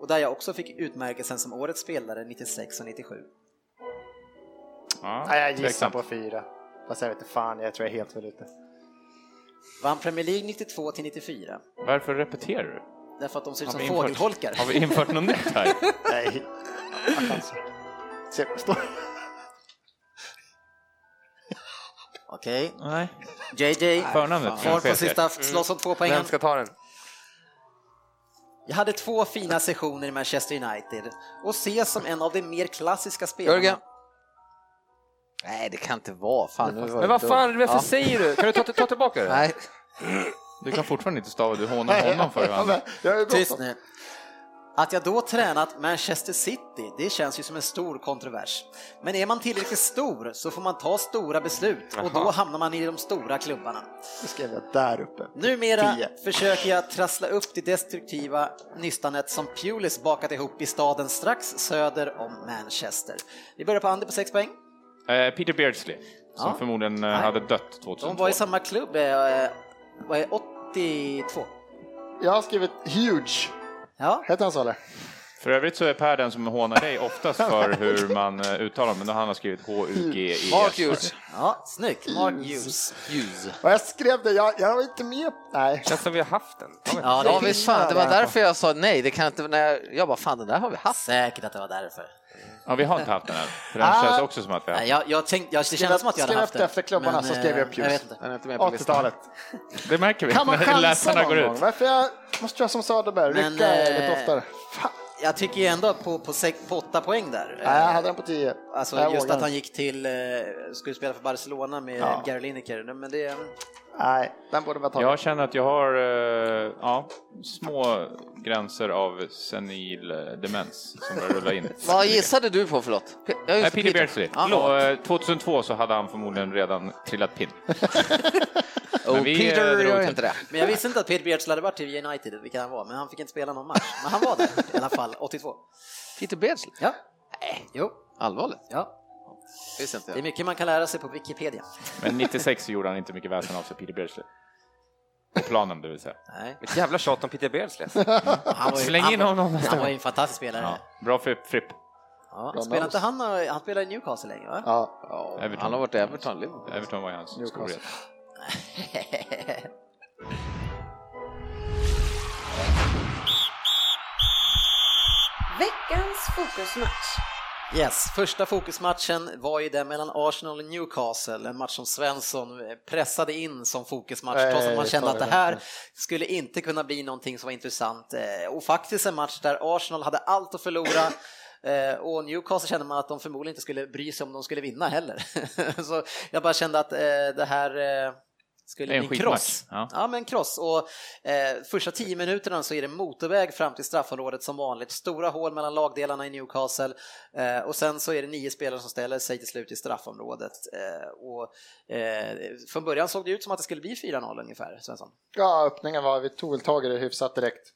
Speaker 1: och där jag också fick utmärkelsen som årets spelare 96 och 97.
Speaker 2: Ja,
Speaker 5: Nej, jag gissar
Speaker 2: tveksamt.
Speaker 5: på fyra. Fast jag vet inte fan, jag tror jag är helt fel ute.
Speaker 1: Vann Premier League 92 till 94
Speaker 2: Varför repeterar du?
Speaker 1: därför att de ser ut
Speaker 2: Har
Speaker 1: som
Speaker 2: vi infört-
Speaker 1: fågelholkar.
Speaker 2: Har vi infört något nytt här?
Speaker 5: Nej. Jag kan inte. Se, stå.
Speaker 1: Okej,
Speaker 2: Nej.
Speaker 1: JJ,
Speaker 2: Förnamnet
Speaker 1: kvar
Speaker 2: kanske
Speaker 1: på sista,
Speaker 2: är
Speaker 1: slåss om två poängen.
Speaker 3: Vem ska ta den?
Speaker 1: Jag hade två fina sessioner i Manchester United och ses som en av de mer klassiska spelarna.
Speaker 4: Jörgen. Nej, det kan inte vara. Fan, nu var
Speaker 3: Men
Speaker 4: jag
Speaker 3: vad
Speaker 4: dum.
Speaker 3: fan, varför
Speaker 4: Ja.
Speaker 3: säger du? Kan du ta, ta tillbaka det?
Speaker 4: Nej,
Speaker 2: Du kan fortfarande inte stava, du hånar honom för
Speaker 5: Ja,
Speaker 2: han.
Speaker 5: men Jag har ju
Speaker 1: Tyst
Speaker 5: bråttom.
Speaker 1: nu. Att jag då tränat Manchester City, det känns ju som en stor kontrovers. Men är man tillräckligt stor så får man ta stora beslut och då hamnar man i de stora klubbarna.
Speaker 5: Nu skrev jag där uppe.
Speaker 1: Numera
Speaker 5: Tio.
Speaker 1: försöker jag trassla upp det destruktiva nystanet som Pulis bakat ihop i staden strax söder om Manchester. Vi börjar på Andy på 6 poäng.
Speaker 2: Eh, Peter Beardsley, som
Speaker 1: Ja.
Speaker 2: förmodligen eh,
Speaker 1: Nej.
Speaker 2: hade dött
Speaker 1: De
Speaker 2: 2002.
Speaker 1: var i samma klubb, eh, vad är 82?
Speaker 5: Jag har skrivit huge.
Speaker 1: Ja,
Speaker 5: Hette han så eller?
Speaker 2: För övrigt så är Per den som hånar dig oftast för hur man eh, uttalar men då har han har skrivit H-U-G-E-S.
Speaker 4: Mark Hughes.
Speaker 1: ja snyggt. Mark Hughes.
Speaker 4: Hughes.
Speaker 5: Och jag skrev det, jag, jag var inte med. Nej.
Speaker 3: Känns som vi har haft den.
Speaker 1: Ja, det
Speaker 4: Ja,
Speaker 1: är
Speaker 4: visst fan, det var därför jag sa nej. Det kan inte, när jag, jag bara, fan den där har vi haft.
Speaker 1: säkert att det var därför.
Speaker 2: Ja, vi har inte haft den än. För den
Speaker 5: Ah.
Speaker 2: känns också som att vi har
Speaker 1: Nej,
Speaker 2: haft.
Speaker 1: jag, jag tänkte, jag, det kändes som att jag hade
Speaker 5: Skrev
Speaker 1: haft
Speaker 5: efter-
Speaker 1: det.
Speaker 5: efter klubbarna
Speaker 1: men,
Speaker 5: så skrev jag
Speaker 1: eh,
Speaker 5: Hughes.
Speaker 1: Jag vet inte.
Speaker 4: Den är inte med på listan.
Speaker 5: 80-talet.
Speaker 2: Det märker vi
Speaker 5: Kan man
Speaker 2: när
Speaker 5: chansa
Speaker 2: läsarna
Speaker 5: någon
Speaker 2: går
Speaker 5: gång?
Speaker 2: ut.
Speaker 5: Varför jag, måste jag som Söderberg
Speaker 1: Men,
Speaker 5: rycka
Speaker 1: eh,
Speaker 5: lite oftare? Fan.
Speaker 1: jag tycker ju ändå på, på, sex, på åtta poäng där. eh,
Speaker 5: Nej, jag hade den på 10.
Speaker 1: Alltså
Speaker 5: jag
Speaker 1: just
Speaker 5: vågar
Speaker 1: att han
Speaker 5: inte.
Speaker 1: gick till, eh, skulle spela för Barcelona med
Speaker 5: Ja.
Speaker 1: Gary Lineker. Men det, är-
Speaker 5: Nej, den borde man ta.
Speaker 2: Jag känner att jag har eh, ja, små gränser av senil eh, demens som börjar rulla in.
Speaker 4: Vad gissade du på förlåt? Pe- Ja,
Speaker 2: Nej,
Speaker 4: just
Speaker 2: Peter
Speaker 4: Peter.
Speaker 2: Beardsley.
Speaker 4: Ja.
Speaker 2: Och, eh, 2002 så hade han förmodligen redan trillat pin.
Speaker 4: Oh,
Speaker 2: vi, eh,
Speaker 4: Peter
Speaker 2: drog
Speaker 4: gör
Speaker 2: till.
Speaker 4: inte det.
Speaker 1: men jag visste inte att Peter Beardsley hade varit i United, vilket han var, men han fick inte spela någon match. Men han var där i alla fall, 82.
Speaker 4: Peter Beardsley?
Speaker 1: Ja. Nej. Jo.
Speaker 4: Allvarligt?
Speaker 1: Ja.
Speaker 4: Visste inte
Speaker 1: Det är
Speaker 4: jag.
Speaker 1: mycket man kan lära sig på Wikipedia.
Speaker 2: Men 96 gjorde han inte mycket väsen av sig, Peter Beardsley. På planen, det vill säga.
Speaker 1: Nej.
Speaker 3: Ett jävla tjat om Peter Beardsley.
Speaker 1: Han var ju,
Speaker 2: Släng
Speaker 1: han,
Speaker 2: in
Speaker 1: var-
Speaker 2: honom nästa
Speaker 1: han var
Speaker 2: gång.
Speaker 1: ju en fantastisk spelare.
Speaker 2: Ja.
Speaker 1: Ja.
Speaker 2: Bra fripp, fripp.
Speaker 1: Spelade inte han, eh, han spelade i Newcastle länge va?
Speaker 5: Ja,
Speaker 2: Everton.
Speaker 4: Han har varit i Everton, Liverpool.
Speaker 2: Everton var ju hans
Speaker 5: Newcastle.
Speaker 2: storhet.
Speaker 6: Veckans fokusmatch.
Speaker 1: Yes, första fokusmatchen var ju den mellan Arsenal och Newcastle, en match som Svensson eh, pressade in som fokusmatch,
Speaker 5: Nej,
Speaker 1: trots att man kände
Speaker 5: Eh, ta
Speaker 1: att det
Speaker 5: det
Speaker 1: här
Speaker 5: verkligen.
Speaker 1: skulle inte kunna bli någonting som var intressant. Eh, Och faktiskt en match där Arsenal hade allt att förlora. eh, Och Newcastle kände man att de förmodligen inte skulle bry sig om de skulle vinna heller. Så jag bara kände att eh, det här eh, skulle
Speaker 2: Det är
Speaker 1: bli
Speaker 2: en
Speaker 1: en
Speaker 2: skitmatch,
Speaker 1: kross.
Speaker 2: ja.
Speaker 1: Ja, men kross. Och eh, första tio minuterna så är det motorväg fram till straffområdet som vanligt. Stora hål mellan lagdelarna i Newcastle eh, och sen så är det nio spelare som ställer sig till slut i straffområdet. Eh, och, eh, från början såg det ut som att det skulle bli 4-0 ungefär, Svensson.
Speaker 5: ja öppningen var, vi tog väl tag i det hyfsat direkt.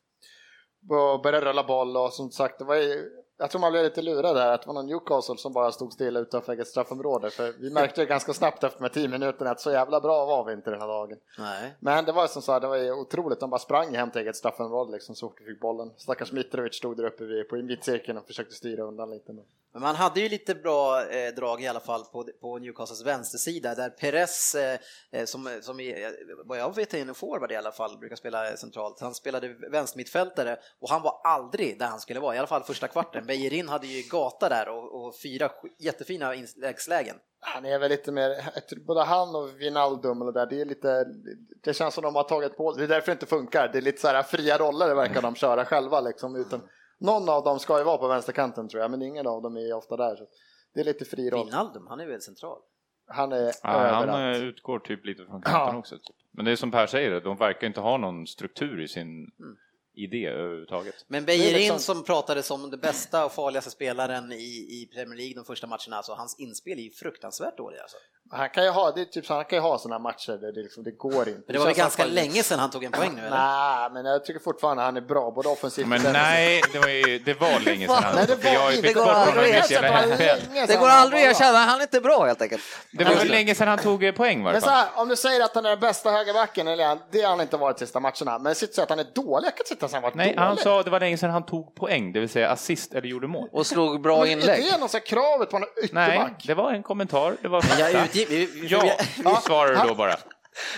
Speaker 5: Och började rulla boll och som sagt, det var ju, jag tror man blev lite lurad där att det var någon Newcastle som bara stod stilla utanför eget straffområde. För vi märkte ju ganska snabbt efter de här 10 minuterna att så jävla bra var vi inte den här dagen.
Speaker 1: Nej.
Speaker 5: Men det var ju som så här, det var ju otroligt, de bara sprang hem till eget straffområde liksom så fort vi fick bollen. Stackars Mitrovic stod där uppe vid, på mittcirkeln och försökte styra undan lite. Men...
Speaker 1: Men man hade ju lite bra eh, drag i alla fall på, på Newcastles vänstersida där Perez, eh, eh, som, som är, eh, vad jag vet är en forward i alla fall, brukar spela centralt. Han spelade vänstermittfältare och han var aldrig där han skulle vara, i alla fall första kvarten. Bejerin hade ju gata där och, och fyra sk- jättefina inläggslägen.
Speaker 5: Han är väl lite mer, jag tror både han och Wijnaldum och det där, det är lite, det känns som de har tagit på det är därför det inte funkar. Det är lite så här fria roller verkar de köra själva liksom. Utan, någon av dem ska ju vara på vänsterkanten tror jag, men ingen av dem är ju ofta där. Så det är lite fri roll.
Speaker 1: Wijnaldum, han är väl central?
Speaker 5: Han är
Speaker 2: Ja,
Speaker 5: överallt.
Speaker 2: han eh, utgår typ lite från kanten
Speaker 5: Ja.
Speaker 2: också. Typ. Men det är som Per säger, de verkar inte ha någon struktur i sin idé överhuvudtaget.
Speaker 1: Men
Speaker 5: Det
Speaker 1: Bejerin
Speaker 5: är liksom-
Speaker 1: som pratade som den bästa och farligaste spelaren i, i Premier League de första matcherna, alltså hans inspel är ju fruktansvärt dåligt alltså.
Speaker 5: Han kan ju ha, det är typ, så- han kan ju ha sådana matcher där det, liksom, det går inte.
Speaker 1: Men det var väl
Speaker 5: känns
Speaker 1: ganska
Speaker 5: som-
Speaker 1: länge sedan han tog en poäng nu eller?
Speaker 5: Nej, men jag tycker fortfarande han är bra, både offensivt och
Speaker 2: Men
Speaker 5: defensivt.
Speaker 2: nej, det var, ju, det var länge sedan han
Speaker 5: Nej, det
Speaker 2: för Jag har ju
Speaker 5: var-
Speaker 2: bytt
Speaker 5: det
Speaker 2: bort
Speaker 5: går
Speaker 2: honom i
Speaker 5: aldrig
Speaker 2: mitt
Speaker 5: att
Speaker 2: jävla
Speaker 5: erkänna.
Speaker 2: huvud.
Speaker 4: Det går aldrig att erkänna, han är inte bra helt enkelt.
Speaker 2: Det var ju länge sedan han tog eh, poäng i varje
Speaker 5: Men så
Speaker 2: fall.
Speaker 5: här, om du säger att han är den bästa högerbacken, eller han- det har han inte varit sista matcherna, men sitt så att han är dålig, jag kan inte sitta och säga att han varit
Speaker 2: Nej,
Speaker 5: dålig.
Speaker 2: han sa att det var länge sedan han tog poäng, det vill säga assist eller gjorde mål.
Speaker 4: Och slog bra
Speaker 5: men
Speaker 4: inlägg.
Speaker 5: Är det något så här kravet på en
Speaker 2: Nej,
Speaker 5: ytterback?
Speaker 2: det var en kommentar. Det var fakta.
Speaker 1: Jag utgick, vi, vi,
Speaker 2: Ja,
Speaker 5: Ja.
Speaker 2: svarar du då bara.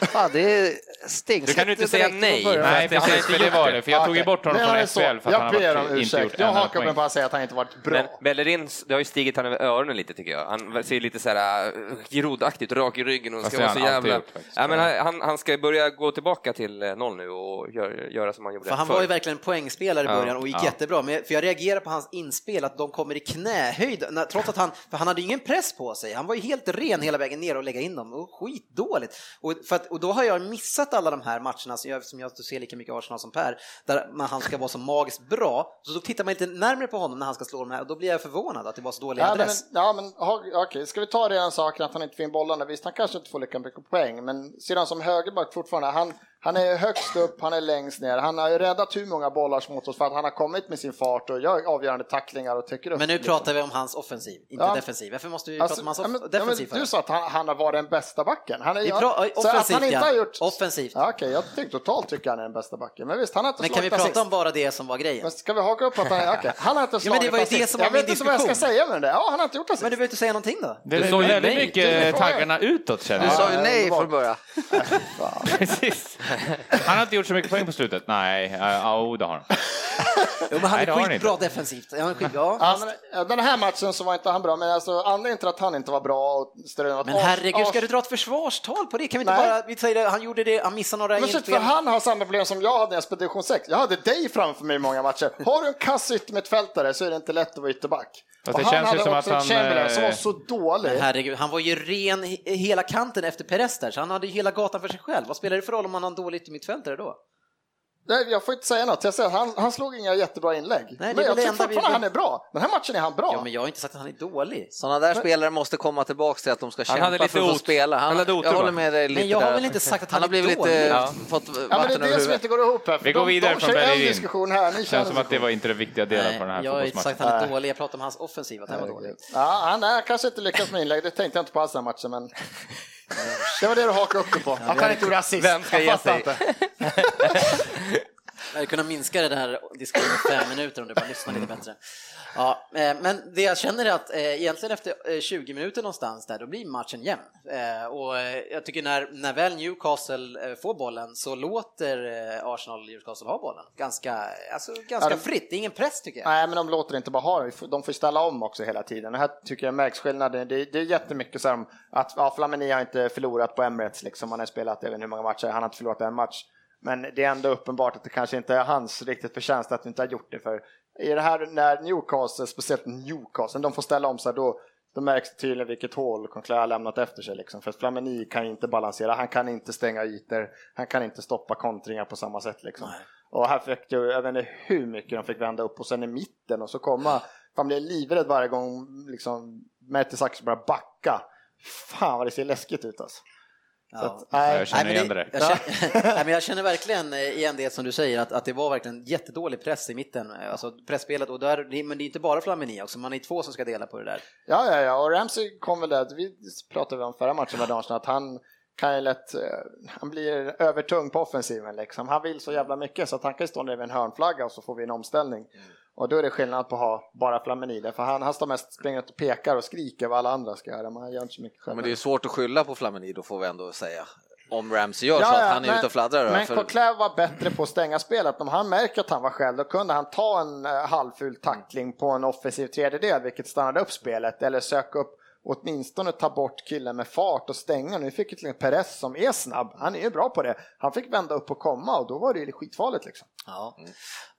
Speaker 4: Fan, det stinks.
Speaker 3: Du kan ju inte
Speaker 4: direkt
Speaker 3: säga
Speaker 4: från
Speaker 3: nej.
Speaker 4: början.
Speaker 2: Nej,
Speaker 3: för att han
Speaker 2: precis,
Speaker 3: inte
Speaker 2: för det
Speaker 3: gjort
Speaker 2: var det. För jag tog ju
Speaker 5: Okej.
Speaker 2: bort honom
Speaker 5: Men
Speaker 2: från
Speaker 5: är så.
Speaker 2: SHL för att
Speaker 5: jag
Speaker 2: han
Speaker 5: ber
Speaker 2: har
Speaker 5: om
Speaker 2: varit- inte gjort
Speaker 5: ursäkt.
Speaker 2: en
Speaker 5: Jag
Speaker 2: enda
Speaker 5: hakar mig
Speaker 2: poäng.
Speaker 5: bara säga att han inte varit bra.
Speaker 3: Men Bellerin, det har ju stigit han över öronen lite tycker jag. Han ser ju lite så här eh, Giroud-aktigt, rak i ryggen och
Speaker 2: Fast
Speaker 3: ska
Speaker 2: det
Speaker 3: vara
Speaker 2: har
Speaker 3: så
Speaker 2: han alltid
Speaker 3: jävla...
Speaker 2: gjort, faktiskt.
Speaker 3: ja, men han- han, han ska börja gå tillbaka till eh, noll nu och gör, göra som han gjorde
Speaker 1: För han
Speaker 3: förr.
Speaker 1: var ju verkligen en poängspelare i
Speaker 3: Ja,
Speaker 1: början och gick
Speaker 2: ja.
Speaker 1: jättebra. Men för jag reagerar på hans inspel att de kommer i knähöjd. när- Trots att han, för han hade ju ingen press på sig. Han var ju helt ren hela vägen ner och lägga in dem. Och skitdåligt. Och, för att, och då har jag missat alla de här matcherna som jag, som jag ser lika mycket Arsenal som Per. Där man, han ska vara så magiskt bra. Så då tittar man lite närmare på honom när han ska slå de här och då blir jag förvånad att det var så dålig
Speaker 5: Ja, men,
Speaker 1: adress.
Speaker 5: ja, men, ha- ja, okej, ska vi ta redan saken att han inte får in bollarna? Visst, han kanske inte får lika mycket poäng, men sedan som högerback fortfarande, han, han är högst upp, han är längst ner, han har ju räddat hur många bollar som återstått för att han har kommit med sin fart och gör avgörande tacklingar och täcker upp.
Speaker 1: Men, nu
Speaker 5: liksom.
Speaker 1: pratar vi om hans offensiv, inte
Speaker 5: Ja.
Speaker 1: defensiv. Varför måste vi
Speaker 5: Alltså,
Speaker 1: prata om hans
Speaker 5: ja,
Speaker 1: off-
Speaker 5: men- ja,
Speaker 1: defensiv?
Speaker 5: men
Speaker 1: för?
Speaker 5: du sa att han, han har varit den bästa backen. Han är,
Speaker 1: Vi
Speaker 5: ja,
Speaker 1: pra-
Speaker 5: så att
Speaker 1: offensivt,
Speaker 5: han inte
Speaker 1: ja.
Speaker 5: har gjort...
Speaker 1: Offensivt.
Speaker 5: Ja, Okej, jag tyckte totalt tycker han är den bästa backen. Men visst, han har inte
Speaker 1: Men kan vi
Speaker 5: slagit
Speaker 1: prata
Speaker 5: assist.
Speaker 1: om bara det som var grejen?
Speaker 5: Men ska vi haka upp att han, okej, han har inte slagit
Speaker 1: men det var ju det
Speaker 5: assist.
Speaker 1: som var
Speaker 5: Jag
Speaker 1: min
Speaker 5: vet inte vad jag ska
Speaker 1: diskussion.
Speaker 5: säga med det. Ja, han har inte gjort assist.
Speaker 1: Men du behöver inte säga någonting då.
Speaker 2: Det
Speaker 3: Du
Speaker 2: är
Speaker 3: sa ju
Speaker 2: väldigt
Speaker 3: nej.
Speaker 2: mycket
Speaker 5: Du-
Speaker 2: taggarna utåt känner
Speaker 4: Du
Speaker 2: jag.
Speaker 4: sa ju nej
Speaker 5: underbart.
Speaker 4: från början.
Speaker 2: Precis. Han har inte gjort så mycket poäng på slutet. Nej, eh, ja, jo, det har han.
Speaker 1: Jo, men han
Speaker 2: Nej, det har
Speaker 1: är
Speaker 2: han
Speaker 1: skitbra defensivt. Ja, Han är skitbra.
Speaker 5: Ja, men, eh, den här matchen så var inte han bra, men alltså, anledningen till att han inte var bra och större än att
Speaker 1: Men
Speaker 5: Ars-
Speaker 1: herregud, ska
Speaker 5: Ars-
Speaker 1: du dra ett försvarstal på det? Kan vi inte
Speaker 5: Nej.
Speaker 1: bara, vi säger det, han gjorde det, han missade några
Speaker 5: Men shit, för
Speaker 1: inspel.
Speaker 5: han har samma problem som jag hade när jag spelade division 6. Jag hade dig framför mig i många matcher. Har du en kass yttermittfältare så är det inte lätt att vara ytterback.
Speaker 2: Fast det
Speaker 5: och han
Speaker 2: känns ju
Speaker 5: hade
Speaker 2: som att
Speaker 5: också en
Speaker 2: han,
Speaker 5: Chamberlain
Speaker 2: eh,
Speaker 5: som var så dålig.
Speaker 1: Men herregud, han var ju ren he- hela kanten efter Perez där, så han hade ju hela gatan för sig själv. Vad spelar det för roll om han har en dålig yttermittfältare då?
Speaker 5: Nej, jag får inte säga något. Jag säger, att han, han slog inga jättebra inlägg.
Speaker 1: det är
Speaker 5: men
Speaker 1: väl
Speaker 5: jag
Speaker 1: det
Speaker 5: tycker
Speaker 1: enda vi-
Speaker 5: fortfarande han är bra. Den här matchen är han bra.
Speaker 1: Ja, men jag har inte sagt att han är dålig.
Speaker 4: Sådana där spelare måste komma tillbaka till att de ska kämpa
Speaker 3: hade lite
Speaker 4: för att få
Speaker 3: ot-
Speaker 4: spela.
Speaker 3: han hade otur,
Speaker 4: jag håller
Speaker 3: va?
Speaker 4: med dig lite
Speaker 1: Men jag har
Speaker 4: där.
Speaker 1: väl inte sagt att
Speaker 4: Han
Speaker 1: han
Speaker 4: har
Speaker 1: är
Speaker 4: blivit lite...
Speaker 1: dålig?
Speaker 3: Ja.
Speaker 4: Fått
Speaker 5: Ja, men det
Speaker 4: vatten
Speaker 5: är
Speaker 4: över
Speaker 5: det som
Speaker 4: huvudet.
Speaker 5: inte går ihop här. För
Speaker 2: Vi går
Speaker 5: de,
Speaker 2: vidare
Speaker 5: de
Speaker 2: från
Speaker 5: kör ju en
Speaker 2: Berlin.
Speaker 5: diskussion här, ni
Speaker 2: Det
Speaker 5: kör en
Speaker 2: känns som att det var inte den viktiga delen på den här
Speaker 1: Nej, jag har inte
Speaker 2: fotbollsmatchen.
Speaker 1: sagt att han är
Speaker 5: Nej.
Speaker 1: dålig, jag pratar om hans offensiva, att han var dålig.
Speaker 5: Ja, han är, kanske inte lyckas med inlägg, det tänkte jag inte på alls den här matchen. Men... Det var det du hakade upp dig på, att han inte gjorde assist.
Speaker 3: Vem ska
Speaker 5: Jag
Speaker 3: ge
Speaker 5: fattar
Speaker 3: sig?
Speaker 5: inte.
Speaker 1: Jag hade kunnat minska det där diskussionen fem minuter om du bara lyssnar lite bättre. Ja, eh, men det jag känner är att eh, egentligen efter eh, 20 minuter någonstans där, då blir matchen jämn. Eh, Och eh, jag tycker när, när väl Newcastle eh, får bollen så låter eh, Arsenal Newcastle ha bollen. Ganska, alltså, ganska
Speaker 5: Ja, de-
Speaker 1: fritt, det är ingen press tycker jag.
Speaker 5: Nej, men de låter inte bara ha det. De får ställa om också hela tiden. Det här tycker jag märks skillnaden. Det, det är jättemycket så här om att ja, Flamini har inte förlorat på Emirates liksom. Han har spelat, jag vet inte hur många matcher, han har inte förlorat en match. Men det är ändå uppenbart att det kanske inte är hans riktigt förtjänst att vi inte har gjort det. För i det här när Newcastle, speciellt Newcastle, de får ställa om sig då då märks det tydligen vilket hål Conclair har lämnat efter sig. Liksom. För att Flamini kan ju inte balansera, han kan inte stänga ytor, han kan inte stoppa kontringar på samma sätt. Liksom. Och här fick ju, jag vet inte hur mycket de fick vända upp och sen i mitten och så komma. Fan blev livrädd varje gång liksom Mertesacker började backa. Fan vad det ser läskigt ut alltså. Så
Speaker 1: Ja.
Speaker 5: att, nej,
Speaker 2: Jag känner igen det
Speaker 1: men
Speaker 2: direkt.
Speaker 1: jag, känner, nej, men jag känner verkligen eh, igen det som du säger, att, att det var verkligen jättedålig press i mitten, alltså pressspelet. Och där, det- men det är inte bara Flamini också, man är två som ska dela på det där.
Speaker 5: Ja, ja, ja, och Ramsey kom väl där, vi pratade om förra matchen med Danielsson, att han kan ju lätt, eh, han blir övertung på offensiven liksom. Han vill så jävla mycket så att han kan ju stå nere vid en hörnflagga och så får vi en omställning. Och då är det skillnad på att ha bara Flamini där, för han, han står mest springer ut och pekar och skriker vad alla andra ska göra, men han gör inte så mycket själv.
Speaker 4: Men det är ju svårt att skylla på Flamini, då får vi ändå säga. Om Ramsey gör
Speaker 5: Ja,
Speaker 4: så
Speaker 5: ja,
Speaker 4: att han är ute och fladdrar. då,
Speaker 5: Men
Speaker 4: för-
Speaker 5: Coquelin var bättre på att stänga spelet. Om han märker att han var själv, då kunde han ta en eh, halvful tackling på en offensiv tredjedel, vilket stannade upp spelet. Eller söka upp, åtminstone ta bort killen med fart och stänga. Nu fick ju till exempel Perez som är snabb, han är ju bra på det. Han fick vända upp och komma och då var det ju skitfarligt liksom.
Speaker 1: Ja.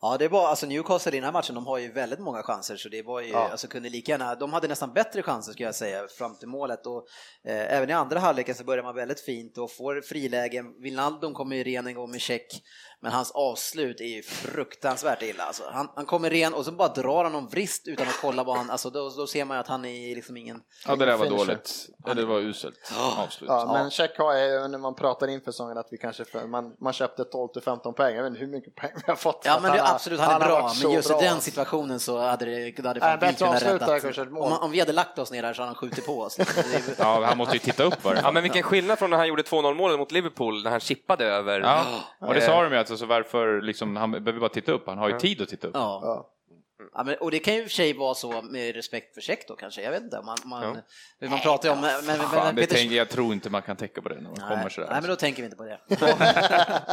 Speaker 1: ja, det var alltså Newcastle i den här matchen, de har ju väldigt många chanser så det var ju,
Speaker 5: Ja.
Speaker 1: alltså kunde lika gärna, de hade nästan bättre chanser skulle jag säga fram till målet och eh, även i andra halvleken så börjar man väldigt fint och får frilägen, Wijnaldum kommer ju ren en gång med check men hans avslut är ju fruktansvärt illa alltså. han, han kommer ren och så bara drar han någon vrist utan att kolla vad han, alltså då, då ser man ju att han är liksom ingen,
Speaker 2: Ja, det där var
Speaker 5: Finisher.
Speaker 2: dåligt. Ja, Det var uselt avslut.
Speaker 5: Ja, men check har jag ju när man pratar inför säsongen att vi kanske, för- man, man köpte 12-15 poäng, jag vet inte hur mycket poäng vi har fått.
Speaker 1: ja
Speaker 5: Att
Speaker 1: men det,
Speaker 5: har-
Speaker 1: absolut han är
Speaker 5: har
Speaker 1: bra
Speaker 5: varit så
Speaker 1: men just
Speaker 5: bra.
Speaker 1: i den situationen så hade det, då hade
Speaker 5: Nej,
Speaker 1: fan vi
Speaker 5: bättre
Speaker 1: kunnat
Speaker 5: avslut där,
Speaker 1: räddat,
Speaker 5: kanske ett mål.
Speaker 1: om, man- om vi hade lagt oss ner där så hade han skjutit på oss.
Speaker 2: Ja, han måste ju titta upp var det.
Speaker 3: Ja, men vilken skillnad från när han gjorde 2-0 målet mot Liverpool när han chippade över.
Speaker 2: Ja, och det sa de ju alltså, så varför liksom, han behöver bara titta upp, han har ju tid att titta upp.
Speaker 1: Ja.
Speaker 5: Ja.
Speaker 1: Ja, men, och det kan ju i och för sig vara så med respekt för check då kanske, jag vet inte. Man, man,
Speaker 3: Ja.
Speaker 1: man pratar ju om... Men, men,
Speaker 2: Fan,
Speaker 1: men,
Speaker 2: det
Speaker 1: Peter-
Speaker 2: tänker, jag tror inte man kan tänka på det när man
Speaker 1: nej,
Speaker 2: kommer sådär.
Speaker 1: nej, men då tänker vi inte på det.
Speaker 2: han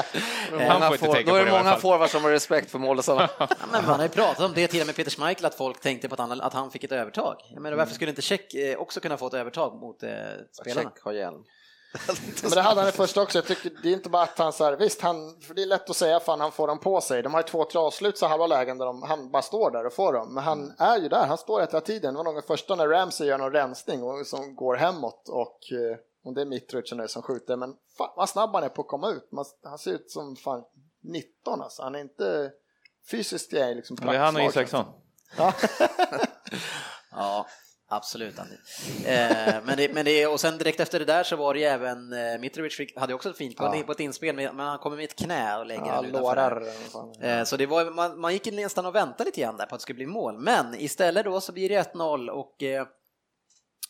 Speaker 4: Många
Speaker 2: får inte
Speaker 4: for-
Speaker 2: tänka
Speaker 4: Då
Speaker 2: på
Speaker 4: är
Speaker 2: det
Speaker 4: det
Speaker 2: i alla
Speaker 4: många
Speaker 2: fall.
Speaker 4: forwards som har respekt för mål och sådana.
Speaker 1: Ja, men man har ju pratat om det till och med Peter Schmeichel, att folk tänkte på att han, att han fick ett övertag. Jag menar,
Speaker 5: Mm.
Speaker 1: varför skulle inte check eh, också kunna få ett övertag mot eh, spelarna?
Speaker 4: Check, ha hjälm.
Speaker 5: Men det hade han i första också. Jag tycker, det är inte bara att han så här, visst, han, för det är lätt att säga fan han får dem på sig. De har ju två, tre avslut så halva lägen där de, han bara står där och får dem. Men han är ju där, han står rätt hela tiden. Det var någon första när Ramsey gör någon rensning och, som går hemåt och eh, om det är Mitrovic nu som skjuter. Men fan vad snabb han är på att komma ut. Man, han ser ut som fan 19 alltså. Han är inte fysiskt är liksom
Speaker 2: Det är han och
Speaker 5: praktsvag.
Speaker 2: Isaksson.
Speaker 5: Ja.
Speaker 1: Ja, absolut Andy. Eh, men det, men det, och sen direkt efter det där så var det ju även eh, Mitrovic fick, hade ju också ett fint på,
Speaker 5: Ja.
Speaker 1: på ett inspel, men men han kommer med ett knä och lägger
Speaker 5: Ja,
Speaker 1: den utanför där.
Speaker 5: lårar. Fan.
Speaker 1: Eh, Så det var, man, man gick in nästan och väntade lite grann där på att det skulle bli mål, men istället då så blir det 1-0 och eh,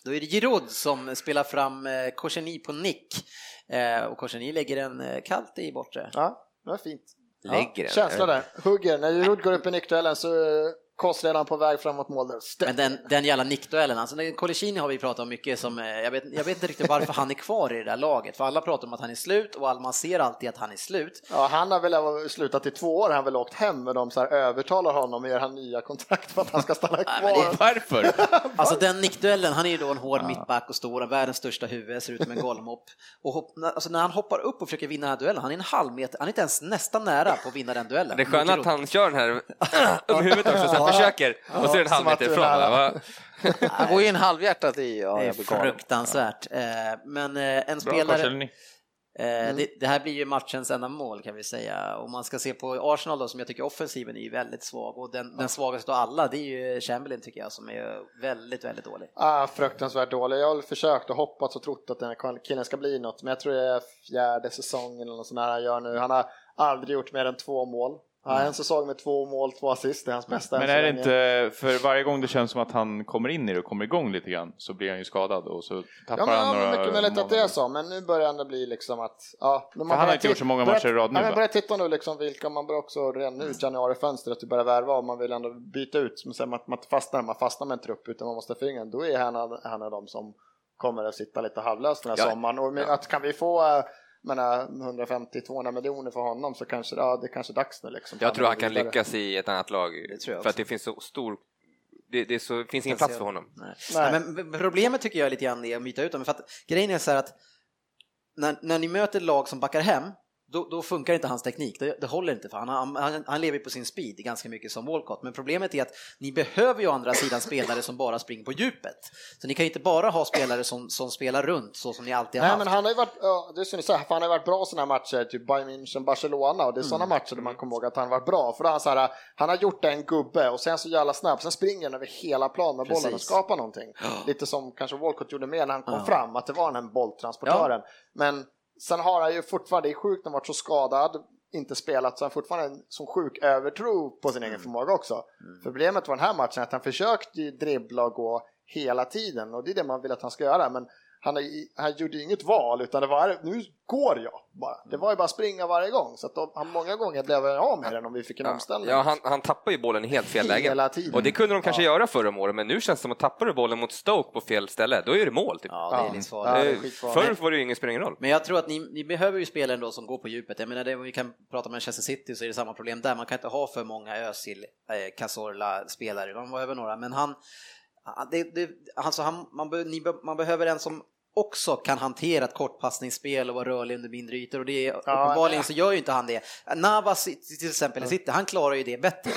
Speaker 1: då är det Giroud som spelar fram eh, Korseni på nick Eh, och Korseni lägger en eh, kallt i bortre.
Speaker 5: Ja, det var fint.
Speaker 3: Lägger den.
Speaker 5: Känsla där, hugger. När Giroud går upp i nickduellen så eh, Koss redan på väg framåt mål där. Ställ.
Speaker 1: Men den, den jävla nickduellen, alltså den- Colicini har vi pratat om mycket som, eh, jag vet, jag vet inte riktigt varför han är kvar i det där laget, för alla pratar om att han är slut och all- man ser alltid att han är slut.
Speaker 5: Ja, han har väl slutat i två år, han har väl åkt hem men de så här övertalar honom och ger han nya kontrakt för att han ska stanna kvar.
Speaker 2: Varför?
Speaker 1: Alltså den nickduellen, han är ju då en hård mittback och stor, världens största huvud, ser ut som en golvmopp. Och hopp, när- alltså när han hoppar upp och försöker vinna den här duellen, han är en halv meter, han är inte ens nästan nära på att vinna den duellen.
Speaker 3: Det är skönt
Speaker 1: Mot
Speaker 3: att han kör den här om huvudet också, så han försöker. Och så är det en halv
Speaker 5: som att
Speaker 3: meter
Speaker 5: du är
Speaker 3: ifrån.
Speaker 5: nära.
Speaker 3: va?
Speaker 4: Han går ju in halvhjärtat i. Ja,
Speaker 1: Det är
Speaker 4: jag blir galen.
Speaker 1: fruktansvärt. Eh, Men eh, en
Speaker 2: Bra
Speaker 1: spelare...
Speaker 2: korselning.
Speaker 1: Eh,
Speaker 5: Mm.
Speaker 1: det, det här blir ju matchens enda mål kan vi säga. Om man ska se på Arsenal då, som jag tycker offensiven är ju väldigt svag och den, den svagaste av alla det är ju Chamberlain tycker jag som är väldigt, väldigt dålig.
Speaker 5: Ah, fruktansvärt dålig. Jag har försökt och hoppats och trott att den här killen ska bli något, men jag tror det är fjärde säsongen eller något sånt här han gör nu. Han har aldrig gjort mer än två mål. Ja, en säsong med två mål, två assist, det är hans bästa än
Speaker 2: Men
Speaker 5: så
Speaker 2: är det
Speaker 5: länge.
Speaker 2: inte, för varje gång det känns som att han kommer in i det och kommer igång lite grann så blir han ju skadad och så tappar
Speaker 5: Ja, men,
Speaker 2: han
Speaker 5: ja,
Speaker 2: några
Speaker 5: men mycket möjligt att det är
Speaker 2: månader.
Speaker 5: så, men nu börjar det bli liksom att... Ja, när man
Speaker 2: han har
Speaker 5: börjar
Speaker 2: inte gjort så
Speaker 5: tit-
Speaker 2: många
Speaker 5: börjar-
Speaker 2: matcher i rad nu,
Speaker 5: Ja,
Speaker 2: va?
Speaker 5: men börjar titta nu liksom vilka man börjar också redan nu, januarifönstret, du börjar värva och man vill ändå byta ut. Men sen att man inte fastnar, man fastnar med en trupp utan man måste ha fingren. Då är han en av dem som kommer att sitta lite halvlös den här
Speaker 3: Ja.
Speaker 5: sommaren. Och med, att kan vi få... eh, jag menar 150-200 miljoner för honom så kanske ja, det är kanske är dags nu liksom.
Speaker 3: Jag tror han
Speaker 5: är
Speaker 3: kan
Speaker 5: vidare.
Speaker 3: lyckas i ett annat lag.
Speaker 1: tror jag
Speaker 3: För att
Speaker 1: också.
Speaker 3: det finns så stor... Det, det är så, finns ingen plats för honom.
Speaker 1: Nej.
Speaker 5: Nej.
Speaker 1: Nej, men problemet tycker jag lite grann är att byta ut dem, för att grejen är så här att när, när ni möter lag som backar hem då, då funkar inte hans teknik, det, det håller inte för han, han, han, han lever ju på sin speed ganska mycket som Walcott. Men problemet är att ni behöver ju å andra sidan spelare som bara springer på djupet. Så ni kan ju inte bara ha spelare som, som spelar runt så som ni alltid har
Speaker 5: Nej
Speaker 1: haft.
Speaker 5: men han har ju varit, ja, det är som ni säger, för han har ju varit bra i sådana här matcher, typ Bayern München, Barcelona och det är sådana
Speaker 1: Mm.
Speaker 5: matcher där man kommer ihåg att han har varit bra. För då har han så här, han har gjort en gubbe och sen så jävla snabb, sen springer han över hela planen med bollen och
Speaker 1: Precis.
Speaker 5: skapar någonting. Lite som kanske Walcott gjorde med när han kom fram, att det var den här bolltransportören. Men sen har han ju fortfarande, det är sjukt när han varit så skadad, inte spelat, så han har fortfarande en som sjuk övertro på sin
Speaker 3: Mm.
Speaker 5: egen förmåga också. Problemet var den här matchen att han försökte ju dribbla och gå hela tiden och det är det man vill att han ska göra. Men han, har- han gjorde ju inget val utan det var nu går jag bara.
Speaker 3: Mm.
Speaker 5: Det var ju bara springa varje gång så att de, han många gånger blev jag av med den om vi fick en
Speaker 3: Ja,
Speaker 5: omställning.
Speaker 3: Ja, han, han tappar ju bollen i helt fel läge.
Speaker 5: Hela tiden.
Speaker 3: Och det kunde de kanske göra förra om åren, men nu känns det som att tappar du bollen mot Stoke på fel ställe, då är det mål. Typ.
Speaker 1: Ja, det är
Speaker 5: Ja.
Speaker 1: livsfarligt.
Speaker 5: Ja, det är
Speaker 3: Eh,
Speaker 5: skitfarligt.
Speaker 3: Förr var det ju ingen spelar ingen roll.
Speaker 1: Men jag tror att ni, ni behöver ju spelare ändå som går på djupet. Jag menar, det, om vi kan prata om Manchester City så är det samma problem där. Man kan inte ha för många Özil, eh, Cazorla spelare. De behöver några, men han, han- det, det, alltså han man, be, ni, be- man behöver en som också kan hantera ett kortpassningsspel och vara rörlig under mindre ytor och det är, uppenbarligen så gör ju inte han det. Navas i- till exempel i City, han klarar ju det bättre.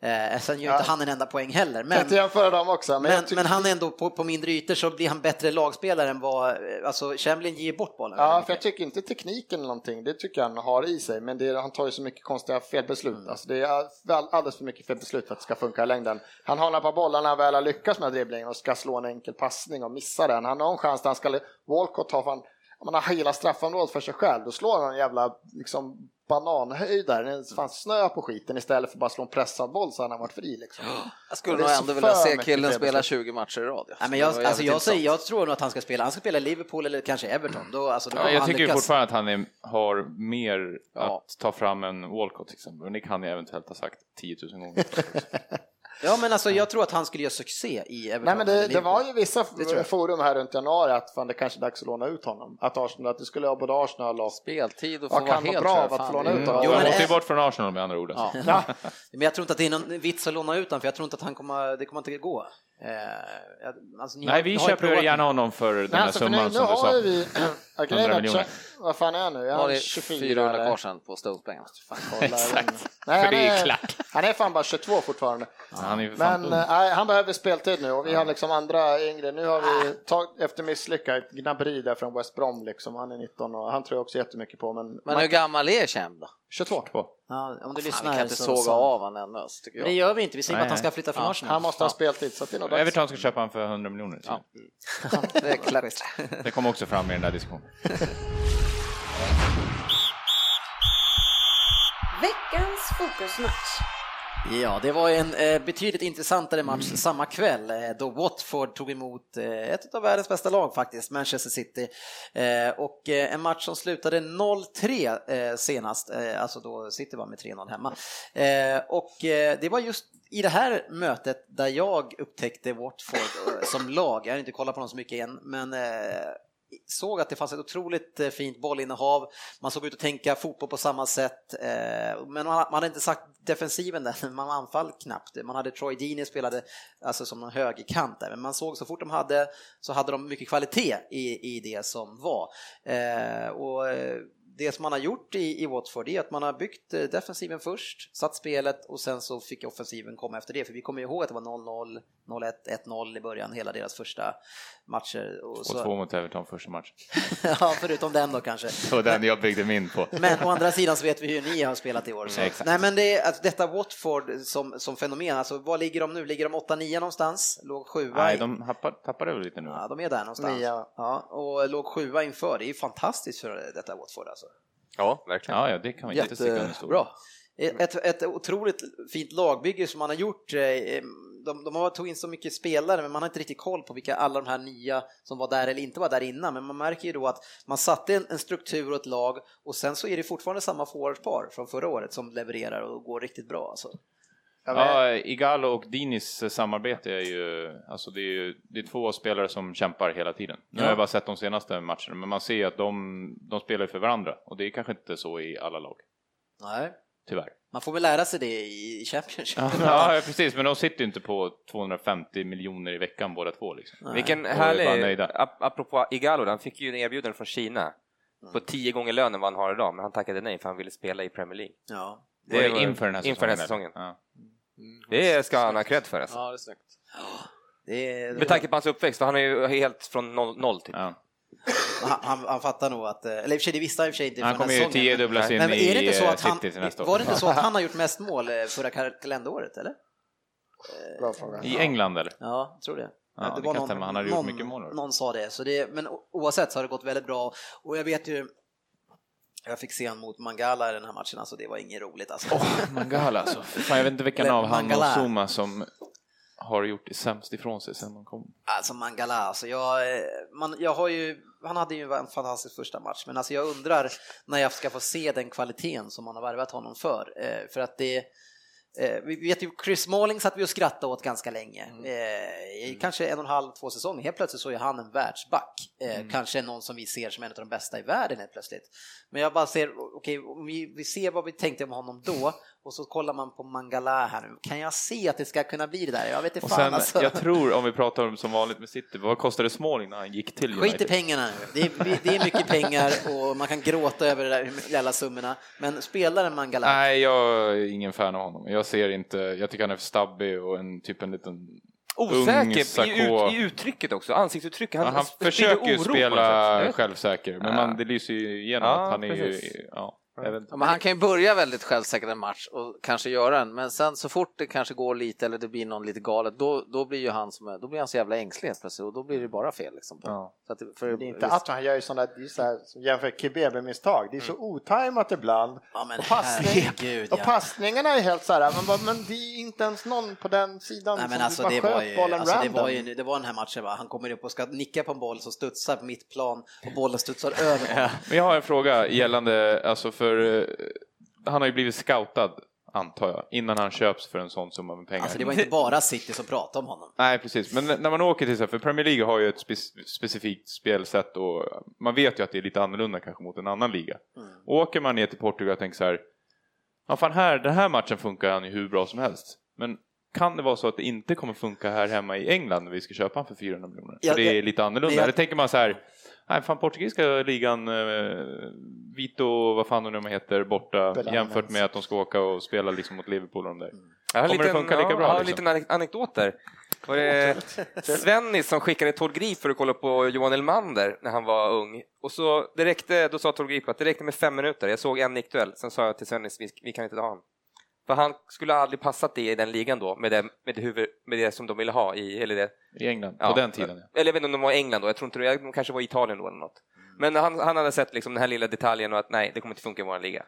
Speaker 1: Eh, sen gör ju
Speaker 5: Mm. Ja.
Speaker 1: inte han en enda poäng heller.
Speaker 5: Kan
Speaker 1: Men,
Speaker 5: inte jämföra dem också. Men,
Speaker 1: men,
Speaker 5: jag tycker-
Speaker 1: men han är ändå på, på mindre ytor så blir han bättre lagspelare än vad, eh, alltså Chamberlain ger bort bollen.
Speaker 5: Ja,
Speaker 1: väldigt
Speaker 5: för jag
Speaker 1: mycket.
Speaker 5: tycker inte tekniken eller någonting, det tycker jag han har i sig, men det är, han tar ju så mycket konstiga felbeslut. Alltså det är väl, alldeles för mycket felbeslut för att det ska funka i längden. Han har på bollarna väl har lyckats med dribblingen och ska slå en enkel passning och missa den. Han har en chans där han ska, Walcott tar fan, om han har hela straffområdet för sig själv, då slår han en jävla liksom, bananhöjd där, det fanns snö på skiten istället för att bara slå en pressad boll så han har varit fri liksom.
Speaker 4: Jag skulle
Speaker 5: Det är
Speaker 4: nog
Speaker 5: så
Speaker 4: ändå vilja
Speaker 5: för
Speaker 4: se
Speaker 5: mycket
Speaker 4: killen
Speaker 5: trevligt.
Speaker 4: spela 20 matcher i rad. ja.
Speaker 1: Nej, men
Speaker 4: Det
Speaker 1: jag,
Speaker 4: var jävligt
Speaker 1: alltså jag, säger,
Speaker 4: intressant.
Speaker 1: jag tror nog att han ska spela. Han ska spela Liverpool eller kanske Everton. Då, alltså, då
Speaker 2: Ja,
Speaker 1: kommer
Speaker 2: jag
Speaker 1: han
Speaker 2: tycker ju
Speaker 1: lyckas.
Speaker 2: fortfarande att han är, har mer
Speaker 4: Ja.
Speaker 2: att ta fram än Walcott till exempel. Men det kan jag eventuellt ha sagt 10 000 gånger.
Speaker 1: Ja, men alltså, jag tror att han skulle göra succé i Everton.
Speaker 5: Nej men det,
Speaker 1: eller
Speaker 5: det
Speaker 1: Liverpool.
Speaker 5: var ju vissa
Speaker 1: tror jag.
Speaker 5: forum här runt januari att fan, det kanske är dags att låna ut honom. Att, Arsenal, att det skulle ha både Arsenal och
Speaker 4: Speltid och få
Speaker 5: Ja,
Speaker 4: vara
Speaker 5: kan vara
Speaker 4: helt
Speaker 5: bra
Speaker 4: tror jag,
Speaker 5: av att
Speaker 4: fan, Mm.
Speaker 5: låna
Speaker 4: det är
Speaker 5: ut
Speaker 4: bra.
Speaker 5: honom.
Speaker 1: Jo,
Speaker 2: Han
Speaker 1: men
Speaker 2: måste
Speaker 1: det-
Speaker 2: ju bort från Arsenal med andra ord. Alltså.
Speaker 1: Men jag tror inte att det är någon vits att låna ut honom, för jag tror inte att han kommer, det kommer inte gå. Eh, jag- alltså, ni
Speaker 2: Nej,
Speaker 1: har-
Speaker 2: vi
Speaker 1: ni har ju
Speaker 2: köper
Speaker 1: provat-
Speaker 2: gärna honom för den
Speaker 5: Nej,
Speaker 2: här
Speaker 5: alltså, för
Speaker 2: summan
Speaker 5: nu,
Speaker 2: som
Speaker 5: nu
Speaker 2: du sa.
Speaker 5: har ju vi... Ja, grejen är att-
Speaker 2: miljoner.
Speaker 5: Vad fan är han nu? Är
Speaker 4: Har
Speaker 5: han
Speaker 4: ni
Speaker 5: 24
Speaker 4: 400
Speaker 5: eller?
Speaker 4: kvar sen på Stones-pengarna?
Speaker 5: Kolla igen. Nej,
Speaker 2: För
Speaker 5: han,
Speaker 2: det är ju
Speaker 5: är,
Speaker 2: klart.
Speaker 5: han är fan bara 22 fortfarande.
Speaker 2: Han är ju för fan
Speaker 5: Men
Speaker 2: ung.
Speaker 5: eh, nej, han behöver speltid nu och vi har liksom andra yngre. Nu har vi tag, efter misslyckat Gnabry där från West Brom liksom. Han är 19 och han tror jag också jättemycket på. Men,
Speaker 4: Men hur gammal är Chem då?
Speaker 5: 22.
Speaker 1: Ja, om du
Speaker 4: Fan,
Speaker 1: lyssnar
Speaker 4: vi kan inte
Speaker 1: så-
Speaker 4: såga
Speaker 1: så-
Speaker 4: av honom ännu alltså, tycker
Speaker 1: Men det
Speaker 4: jag.
Speaker 1: gör vi inte, vi säger bara att
Speaker 2: Nej,
Speaker 1: han ska flytta från Arsenal.
Speaker 5: Han måste ha speltid så att det är nog dags.
Speaker 2: Everton ska köpa honom för 100 miljoner. tror jag.
Speaker 4: Det är klart.
Speaker 2: Det kom också fram i den där diskussionen.
Speaker 6: Veckans fokusmatch.
Speaker 1: Ja, det var en eh, betydligt intressantare match samma kväll eh, då Watford tog emot eh, ett av världens bästa lag faktiskt, Manchester City. Eh, och eh, en match som slutade 0-3 eh, senast, eh, alltså då City var med 3-0 hemma. Eh, och eh, det var just i det här mötet där jag upptäckte Watford eh, som lag, jag har inte kollat på dem så mycket än, men eh, såg att det fanns ett otroligt eh, fint bollinnehav, man såg ut att tänka fotboll på samma sätt, eh, men man, man hade inte sagt defensiven där, man anfall knappt. Man hade Troy Deeney spelade alltså som en högerkant där, men man såg så fort de hade så hade de mycket kvalitet i, i det som var. Eh, och, eh, det som man har gjort i, i Watford är att man har byggt eh, defensiven först, satt spelet och sen så fick offensiven komma efter det. För vi kommer ju ihåg att det var 0-0, 0-1, 1-0 i början, hela deras första matcher. Och
Speaker 2: Och
Speaker 1: så-
Speaker 2: två mot Everton första matchen.
Speaker 1: Ja, förutom den då kanske.
Speaker 2: Det var den jag byggde min på.
Speaker 1: Men å andra sidan så vet vi hur ni har spelat i år. Så.
Speaker 2: Mm, exakt.
Speaker 1: Nej, men det är, alltså, detta Watford som, som fenomen, alltså, var ligger de nu? Ligger de 8-9 någonstans? Låg sjua?
Speaker 2: Nej,
Speaker 1: i-
Speaker 2: de happar, tappade väl lite nu.
Speaker 1: Ja, de är där någonstans.
Speaker 5: Nia.
Speaker 1: Ja, och låg sjua inför, det är ju fantastiskt för detta Watford alltså.
Speaker 3: Ja, verkligen.
Speaker 2: Ja, ja, det kan man inte sticka under stol.
Speaker 1: Jättebra.
Speaker 2: Mm.
Speaker 1: Ett, ett otroligt fint lagbygge som man har gjort. eh, De, de har tog in så mycket spelare men man har inte riktigt koll på vilka alla de här nya som var där eller inte var där innan. Men man märker ju då att man satte en, en struktur och ett lag och sen så är det fortfarande samma forwardspar från förra året som levererar och går riktigt bra. Alltså.
Speaker 5: Ja, men-
Speaker 2: Ja, Igalo och Dinis eh, samarbete är ju, alltså det är ju det är två spelare som kämpar hela tiden. Nu har jag bara sett de senaste matcherna, men man ser ju att de, de spelar ju för varandra och det är kanske inte så i alla lag,
Speaker 1: Nej.
Speaker 2: tyvärr.
Speaker 1: Man får väl lära sig det i Championship.
Speaker 2: Ja, ja, precis, men de sitter ju inte på 250 miljoner i veckan båda två liksom.
Speaker 1: Nej.
Speaker 3: Vilken
Speaker 2: Och bara
Speaker 3: härlig,
Speaker 2: nöjda.
Speaker 3: ap- apropå Igalo, han fick ju en erbjudande från Kina
Speaker 2: Mm.
Speaker 3: på tio gånger lönen vad han har idag, men han tackade nej för han ville spela i Premier League.
Speaker 1: Ja.
Speaker 2: Det var
Speaker 3: var-
Speaker 2: det inför den här säsongen.
Speaker 3: inför den
Speaker 2: eller?
Speaker 3: här säsongen.
Speaker 2: Ja.
Speaker 3: Det ska han ha cred för alltså.
Speaker 4: Ja, det är snyggt.
Speaker 1: Det är,
Speaker 3: Med tanke på hans uppväxt, för han är ju helt från noll, noll typ.
Speaker 2: Ja.
Speaker 1: han, han, han fattar nog att, eh, eller i och för sig det visste han i och för sig inte
Speaker 2: Han
Speaker 1: från den
Speaker 2: kommer ju
Speaker 1: säsongen, men-
Speaker 2: tiodubblas in
Speaker 1: Nej, men är det
Speaker 2: i
Speaker 1: inte så
Speaker 2: eh,
Speaker 1: att han,
Speaker 2: City till nästa
Speaker 1: var
Speaker 2: år.
Speaker 1: det inte så att han har gjort mest mål eh, förra kal- kalenderåret eller?
Speaker 5: Bra fråga.
Speaker 2: I England eller?
Speaker 1: Ja, jag tror det.
Speaker 2: Ja, det kan stämma. Han har gjort mycket mål då.
Speaker 1: Någon sa det, så det, men o- oavsett så har det gått väldigt bra och jag vet ju jag fick se han mot Mangala i den här matchen, alltså det var inget roligt alltså.
Speaker 2: Mangala alltså. Fan, jag vet inte vilken
Speaker 1: Eller
Speaker 2: av han och
Speaker 1: Mangala.
Speaker 2: Zuma som har gjort det sämst ifrån sig sen man kom.
Speaker 1: Alltså Mangala, alltså jag, eh, man, jag har ju, han hade ju en fantastisk första match, men alltså jag undrar när jag ska få se den kvaliteten som man har värvat honom för. Eh, för att det, eh, vi vet ju, Chris Smalling satt vi och skrattade åt ganska länge,
Speaker 2: Mm.
Speaker 1: eh, i kanske en och en halv, två säsonger. Helt plötsligt så är han en världsback, eh,
Speaker 2: Mm.
Speaker 1: kanske någon som vi ser som en av de bästa i världen helt plötsligt. Men jag bara ser, okej, om vi, vi ser vad vi tänkte om honom då, och så kollar man på Mangala här nu. Kan jag se att det ska kunna bli det där? Jag vet inte
Speaker 2: Och
Speaker 1: fan
Speaker 2: sen,
Speaker 1: alltså.
Speaker 2: jag tror, om vi pratar om som vanligt med City, vad kostade Smalling när han gick till United?
Speaker 1: Skit i pengarna nu. Det är, det är mycket pengar och man kan gråta över det där, hur jävla summorna. Men spelaren Mangala,
Speaker 2: Nej, jag är ingen fan av honom. Jag ser inte, jag tycker han är för stabbig och en typ en liten... Ung
Speaker 3: Osäker i,
Speaker 2: Sarko.
Speaker 3: ut, i uttrycket också, ansiktsuttrycket.
Speaker 2: Han,
Speaker 3: Han,
Speaker 2: han
Speaker 3: sprider
Speaker 2: försöker ju
Speaker 3: oro på något sätt. Jag
Speaker 2: spela
Speaker 3: vet
Speaker 2: självsäker, men man, det lyser ju igenom
Speaker 3: Ja,
Speaker 2: att han är
Speaker 3: precis.
Speaker 2: ju... Ja, jag vet inte.
Speaker 4: Ja, men han kan ju börja väldigt självsäkert en match och kanske göra en, men sen så fort det kanske går lite eller det blir någon lite galet, då, då blir ju han som, då blir han så jävla ängslig helt plötsligt och då blir det bara fel liksom.
Speaker 2: Ja.
Speaker 4: Så att, det- för,
Speaker 5: Det är inte att han gör ju sådana, det är så här, som jämför Kebebe-misstag, det är så
Speaker 2: Mm.
Speaker 5: otajmat ibland.
Speaker 1: ja men
Speaker 5: och passning.
Speaker 1: herregud
Speaker 5: Och
Speaker 1: ja.
Speaker 5: passningarna är helt så här, man bara, men det är inte ens någon på den sidan
Speaker 1: Nej, men
Speaker 5: som
Speaker 1: alltså,
Speaker 5: bara
Speaker 1: det,
Speaker 5: sköt
Speaker 1: var ju,
Speaker 5: bollen
Speaker 1: alltså, det
Speaker 5: random.
Speaker 1: var ju det var den här matchen va, han kommer upp och ska nicka på en boll som studsar på mitt plan och bollen studsar över honom.
Speaker 2: Men jag har en fråga gällande, alltså för... eh, Han har ju blivit scoutad, antar jag, innan han köps för en sån summa med pengar.
Speaker 1: Alltså det var inte bara City som pratade om honom.
Speaker 2: Nej, precis. Men när man åker till, så här, för Premier League har ju ett spec- specifikt spelsätt och man vet ju att det är lite annorlunda kanske mot en annan liga.
Speaker 1: Mm.
Speaker 2: Åker man ner till Portugal och tänker så här, ja fan här, den här matchen funkar han ju hur bra som helst. Men kan det vara så att det inte kommer funka här hemma i England när vi ska köpa han för 400 miljoner?
Speaker 1: Ja,
Speaker 2: för det
Speaker 1: ja.
Speaker 2: är lite annorlunda.
Speaker 1: Ja.
Speaker 2: Eller tänker man så här, nej fan portugisiska ligan, eh, Vito, vad fan hon nu heter, borta
Speaker 5: Belanens.
Speaker 2: jämfört med att de ska åka och spela liksom mot Liverpool och de
Speaker 1: Mm.
Speaker 2: där.
Speaker 3: Jag har en
Speaker 2: Kommer det
Speaker 3: liten-
Speaker 2: funka lika
Speaker 3: ja,
Speaker 2: bra,
Speaker 3: Jag har en
Speaker 2: liksom?
Speaker 3: liten anek- anekdot där. Och det är Svennis som skickade Tord Grip för att kolla på Johan Elmander när han var ung. Och så det räckte, då sa Tord Grip att det räckte med fem minuter. Jag såg en nickduell, sen sa jag till Svennis vi, vi kan inte ha honom. För han skulle aldrig passat det i den ligan då, med det, med det, huvud, med det som de ville ha i, eller det
Speaker 2: I England,
Speaker 3: Ja.
Speaker 2: på den tiden. Ja.
Speaker 3: Eller jag vet inte om de var i England då, jag tror inte det, de kanske var i Italien då eller något. Men han, han hade sett liksom den här lilla detaljen och att nej, det kommer inte funka i vår liga.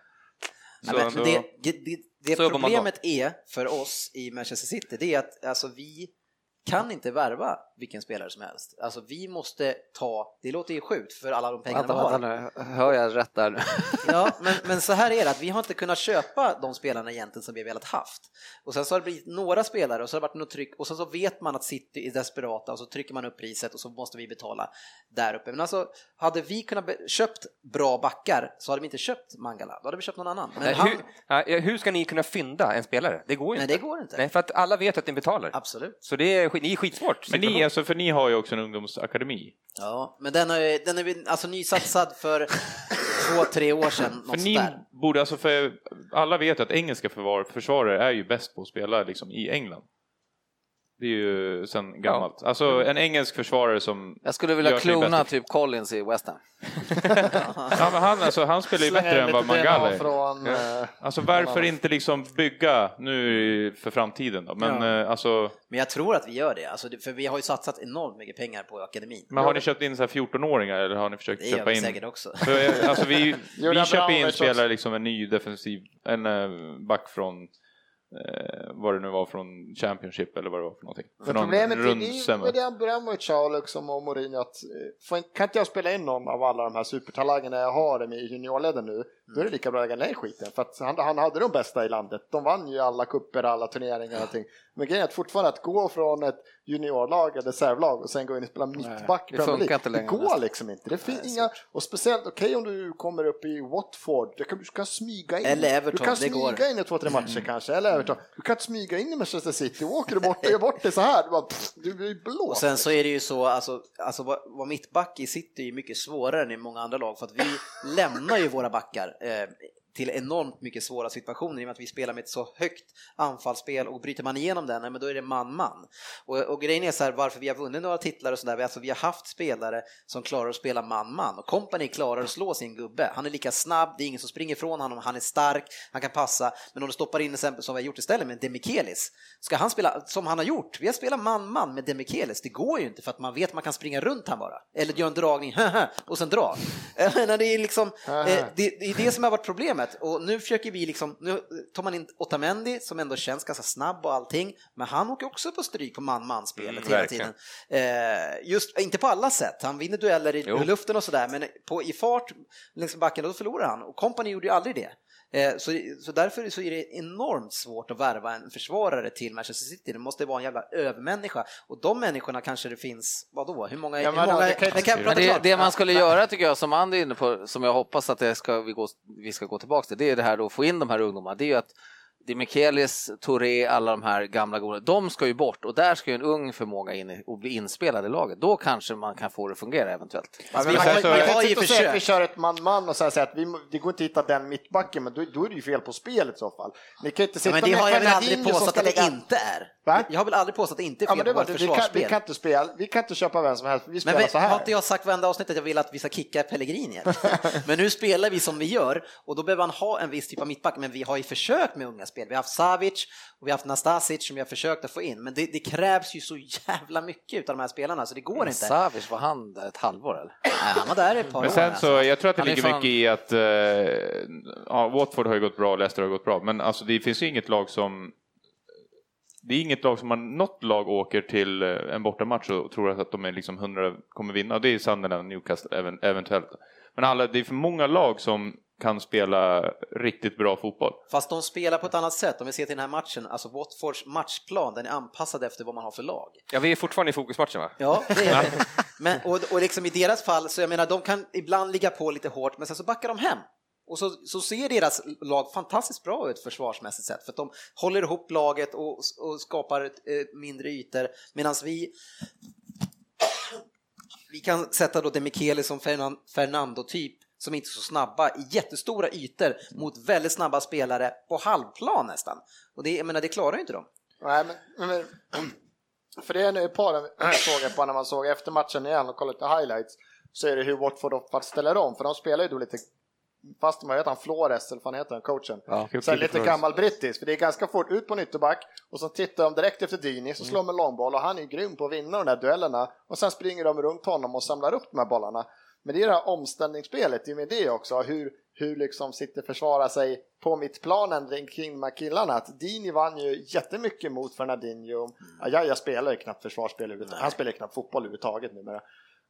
Speaker 1: Ja,
Speaker 2: Så
Speaker 1: men
Speaker 2: ändå-
Speaker 1: det det, det
Speaker 3: så jobbar man då.
Speaker 1: problemet är för oss i Manchester City, det är att alltså, vi kan inte värva vilken spelare som helst. Alltså vi måste ta, det låter ju sjukt för alla de pengarna
Speaker 4: Vänta,
Speaker 1: vi har.
Speaker 4: vänta nu, hör jag rätt där nu?
Speaker 1: Ja, men, men så här är det att vi har inte kunnat köpa de spelarna egentligen som vi velat haft. Och sen så har det blivit några spelare och så har det varit något tryck och sen så vet man att City är desperata och så trycker man upp priset och så måste vi betala där uppe. Men alltså, hade vi kunnat be- köpt bra backar så hade vi inte köpt Mangala, då hade vi köpt någon annan. Men
Speaker 3: Nej,
Speaker 1: han,
Speaker 3: hur, nej, eh, hur ska ni kunna fynda en spelare? Det går ju
Speaker 1: nej,
Speaker 3: inte.
Speaker 1: det går inte.
Speaker 3: Nej, för att alla vet att ni betalar.
Speaker 1: Absolut.
Speaker 3: Så det är, skit- ni är skitsvårt.
Speaker 2: Men ni, alltså, för ni har ju också en ungdomsakademi.
Speaker 1: Ja, men den, har, ju- den är väl- alltså nysatsad för två, tre år sedan.
Speaker 2: För
Speaker 1: Något
Speaker 2: ni
Speaker 1: där.
Speaker 2: borde, alltså, för alla vet att engelska förvar, försvarare är ju bäst på att spela liksom, i England. Det är ju sen gammalt.
Speaker 1: Mm.
Speaker 2: Alltså en engelsk försvarare som...
Speaker 4: Jag skulle vilja
Speaker 2: Gör sig
Speaker 4: klona
Speaker 2: bättre.
Speaker 4: typ Collins i West Ham.
Speaker 2: Ja, men han, alltså, han spelar ju bättre än vad Mangala är.
Speaker 5: från,
Speaker 2: Ja.
Speaker 5: eh,
Speaker 2: Alltså varför inte liksom bygga nu för framtiden då? Men
Speaker 1: Ja.
Speaker 2: eh, alltså,
Speaker 1: Men jag tror att vi gör det, alltså, det- för vi har ju satsat enormt mycket pengar på akademin.
Speaker 2: men har ni köpt in så här 14-åringar eller har ni försökt
Speaker 1: Det gör
Speaker 2: köpa
Speaker 1: vi
Speaker 2: in?
Speaker 1: säkert också.
Speaker 2: För, eh, alltså, vi vi
Speaker 5: Julian
Speaker 2: köper in
Speaker 5: Bramovic
Speaker 2: spelare,
Speaker 5: också.
Speaker 2: liksom en ny defensiv, en eh, back från eh, vad det nu var från Championship eller vad det var för någonting. För
Speaker 5: Men
Speaker 2: någon
Speaker 5: problemet är
Speaker 2: rund
Speaker 5: ju
Speaker 2: sämre.
Speaker 5: med det Abramovic och liksom och Mourinho att eh, får, kan inte jag spela in någon av alla de här supertalangerna jag har i juniorleden nu, då är det lika bra att lägga ner skiten. För att han, han hade de bästa i landet. De vann ju alla kupper, alla turneringar och allting. Men grejen är att fortfarande att gå från ett juniorlag eller reservlag och sen gå in och spela mittback i
Speaker 4: det
Speaker 5: Premier
Speaker 4: funkar
Speaker 5: League.
Speaker 4: inte längre
Speaker 5: Det går
Speaker 4: nästan.
Speaker 5: liksom inte. Det finns inga, och speciellt okej om du kommer upp i Watford, du kan, du kan smyga in.
Speaker 1: Eller Everton,
Speaker 5: du kan
Speaker 1: det
Speaker 5: smyga
Speaker 1: går.
Speaker 5: in i två, tre matcher
Speaker 1: Mm.
Speaker 5: kanske, eller Everton. Du kan inte smyga in i Manchester City, och åker du bort, och gör bort det så här, du, bara, pff, du blir
Speaker 1: Och
Speaker 5: blåst.
Speaker 1: sen så är det ju så, alltså, alltså vad vad mittback i City är ju mycket svårare än i många andra lag för att vi lämnar ju våra backar eh, till enormt mycket svåra situationer i och med att vi spelar med ett så högt anfallsspel och bryter man igenom den, nej, men då är det man-man. Och, och grejen är så här, varför vi har vunnit några titlar och sådär, vi- alltså vi har haft spelare som klarar att spela man-man och kompani klarar att slå sin gubbe. Han är lika snabb, det är ingen som springer ifrån honom, han är stark, han kan passa, men om du stoppar in till exempel som vi har gjort istället med Demikelis, ska han spela som han har gjort? Vi har spelat man-man med Demikelis, det går ju inte för att man vet att man kan springa runt han bara, eller göra en dragning och sen dra. Jag menar, det är liksom, eh, det, det är det som har varit problemet och nu försöker vi liksom, nu tar man in Otamendi som ändå känns ganska snabb och allting, men han åker också på stryk på man-man-spelet
Speaker 3: Mm,
Speaker 1: hela
Speaker 3: verkligen.
Speaker 1: tiden. Eh, just, inte på alla sätt, han vinner dueller i
Speaker 3: Jo.
Speaker 1: luften och sådär, men på, i fart längs med backen då förlorar han och kompani gjorde ju aldrig det. Eh, Så, så därför så är det enormt svårt att värva en försvarare till Manchester City. Det måste vara en jävla övermänniska och de människorna kanske det finns, vadå, hur många?
Speaker 5: Ja, men
Speaker 1: hur många
Speaker 5: det kan ju-
Speaker 1: men kan jag
Speaker 4: Men
Speaker 1: prata
Speaker 4: det,
Speaker 1: klart?
Speaker 4: det man skulle
Speaker 1: Ja.
Speaker 4: göra tycker jag, som Andy är inne på, som jag hoppas att det ska, vi, gå, vi ska gå tillbaka till, det är det här då att få in de här ungdomarna. Det är ju att det är Mikelis, Touré, alla de här gamla goda, de ska ju bort och där ska ju en ung förmåga in i- och bli inspelad i laget. Då kanske man kan få det att fungera eventuellt. Alltså,
Speaker 1: Fast vi
Speaker 5: man,
Speaker 1: har,
Speaker 5: kan, man
Speaker 1: vi har
Speaker 5: kan
Speaker 1: ju
Speaker 5: inte säga att vi
Speaker 1: försökt.
Speaker 5: kör ett man-man och så här säga att vi, må- det går inte att hitta den mittbacken, men då, då är det ju fel på spelet i så fall. Ni kan ju inte
Speaker 1: Ja,
Speaker 5: sitta
Speaker 1: men det
Speaker 5: med
Speaker 1: har jag väl
Speaker 5: Fernandinho
Speaker 1: aldrig
Speaker 5: som
Speaker 1: påstått
Speaker 5: ska
Speaker 1: att det
Speaker 5: lägga-
Speaker 1: inte är.
Speaker 5: Va?
Speaker 1: Jag har väl aldrig påstått att det inte är fel
Speaker 5: Ja, men
Speaker 1: på
Speaker 5: det var,
Speaker 1: vårt
Speaker 5: det. vi, kan, vi,
Speaker 1: försvarsspel.
Speaker 5: kan inte spela, vi kan inte köpa vem som helst, vi
Speaker 1: Men
Speaker 5: spelar
Speaker 1: vi,
Speaker 5: så
Speaker 1: har
Speaker 5: här.
Speaker 1: inte jag sagt varenda avsnitt att jag vill att vi ska kicka Pellegrini? egentligen? men nu spelar vi som vi gör och då behöver han ha en viss typ av mittback. Men vi har ju försökt med unga spel. Vi har haft Savic och vi har haft Nastasic som vi har försökt att få in. Men det, det krävs ju så jävla mycket av de här spelarna så det går inte. Nej,
Speaker 4: Savic, var han där ett halvår eller?
Speaker 1: han var där ett par
Speaker 2: Men
Speaker 1: år.
Speaker 2: sen så,
Speaker 1: alltså.
Speaker 2: jag tror att det
Speaker 4: Han är
Speaker 2: ligger
Speaker 4: fan-
Speaker 2: mycket i att eh, ja, Watford har ju gått bra, Leicester har gått bra, men alltså det finns ju inget lag som det är inget lag som man, något lag åker till eh, en bortamatch och tror att de är liksom 100 kommer vinna. Och Det är Sunderland, Newcastle även, eventuellt. Men alla, det är för många lag som kan spela riktigt bra fotboll.
Speaker 1: Fast de spelar på ett annat sätt. Om vi ser till den här matchen, alltså Watfords matchplan, den är anpassad efter vad man har för lag.
Speaker 3: Ja, vi är fortfarande i fokusmatchen va?
Speaker 1: Ja, det är det. Men, och, och liksom i deras fall, så jag menar, de kan ibland ligga på lite hårt, men sen så backar de hem. Och så, så ser deras lag fantastiskt bra ut försvarsmässigt sett, för att de håller ihop laget och, och skapar eh, mindre ytor, medan vi vi kan sätta då Demichele som Fernan- Fernando-typ som inte är så snabba i jättestora ytor mot väldigt snabba spelare på halvplan nästan. Och det, jag menar, det klarar ju inte de.
Speaker 5: Nej, men, men, för det är nu ett par jag såg på när man såg efter matchen igen och kollade lite highlights så är det hur Watford ofta ställer om för de spelar ju då lite fast man vet han Flores eller vad han heter den coachen.
Speaker 4: Ja.
Speaker 5: Så här lite gammal brittisk för det är ganska fort ut på en ytterback och så tittar de direkt efter Dini så slår de en långboll och han är ju grym på att vinna de där duellerna och sen springer de runt honom och samlar upp de här bollarna. Men det är det här omställningsspelet, det är med det också, hur, hur liksom City försvarar sig på mittplanen kring de här killarna. Att Dini vann ju jättemycket mot Fernandinho. Ajaja spelar ju knappt försvarsspel, överhuvudtaget. han spelar ju knappt fotboll överhuvudtaget numera.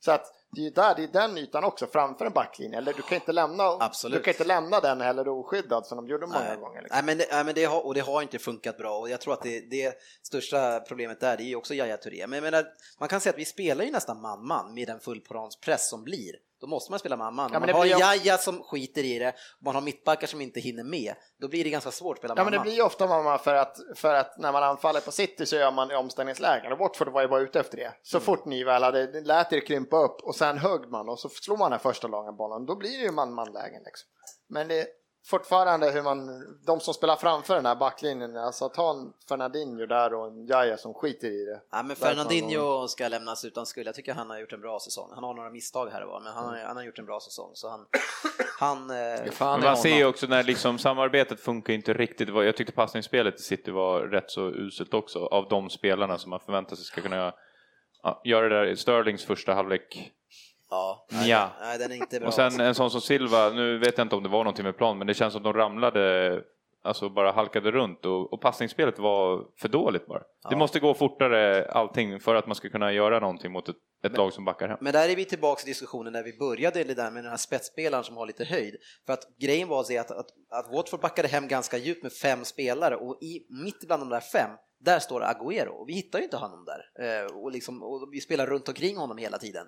Speaker 5: Så att det är ju där, det är den ytan också, framför en backlinje. Eller du kan inte lämna,
Speaker 1: Absolut.
Speaker 5: Du kan inte lämna den heller oskyddad som de gjorde många
Speaker 1: Nej.
Speaker 5: gånger. Liksom.
Speaker 1: Nej, men, det, nej, men det, har, och det har inte funkat bra och jag tror att det, det största problemet där det är ju också Yahya Touré. Men jag menar, man kan säga att vi spelar ju nästan man-man med den fullplanspress som blir. Då måste man spela man-man.
Speaker 5: Ja,
Speaker 1: Om
Speaker 5: men
Speaker 1: man
Speaker 5: det
Speaker 1: har
Speaker 5: blir ju-
Speaker 1: Yahya som skiter i det och man har mittbackar som inte hinner med, då blir det ganska svårt att spela
Speaker 5: Ja, men
Speaker 1: man-man.
Speaker 5: det blir ju ofta mamma för att, för att när man anfaller på City så gör man i omställningslägen och Watford var ju bara ute efter det. Så fort ni väl hade ni lät er krympa upp och sen högg man och så slog man den första långa bollen, då blir det ju man-man-lägen. Liksom. Men det är fortfarande hur man, de som spelar framför den här backlinjen, alltså att ha en Fernandinho där och en Jaya som skiter i det.
Speaker 1: Ja, men Fernandinho ska lämnas utan skuld. Jag tycker han har gjort en bra säsong. Han har några misstag här och var, men han
Speaker 5: Mm.
Speaker 1: har, han har gjort en bra säsong. Så han, han, eh,
Speaker 2: Men man ser ju också när liksom samarbetet funkar inte riktigt. Det var- Jag tyckte passningsspelet i City var rätt så uselt också av de spelarna som man förväntar sig ska kunna ja, göra det där. Sterlings första halvlek.
Speaker 1: ja,
Speaker 2: Ja.
Speaker 1: nej, den är inte bra.
Speaker 2: Och sen en sån som Silva, nu vet jag inte om det var någonting med plan, men det känns som de ramlade, alltså bara halkade runt och, och passningsspelet var för dåligt bara. Det måste gå fortare allting för att man ska kunna göra någonting mot ett, ett lag som backar hem.
Speaker 1: Men där är vi tillbaka i diskussionen när vi började det där med den här spetsspelaren som har lite höjd. För att grejen var så att, att, att Watford backade hem ganska djupt med fem spelare och i, mitt bland de där fem, där står Agüero och vi hittar ju inte honom där. Eh, och, liksom, och vi spelar runt omkring honom hela tiden.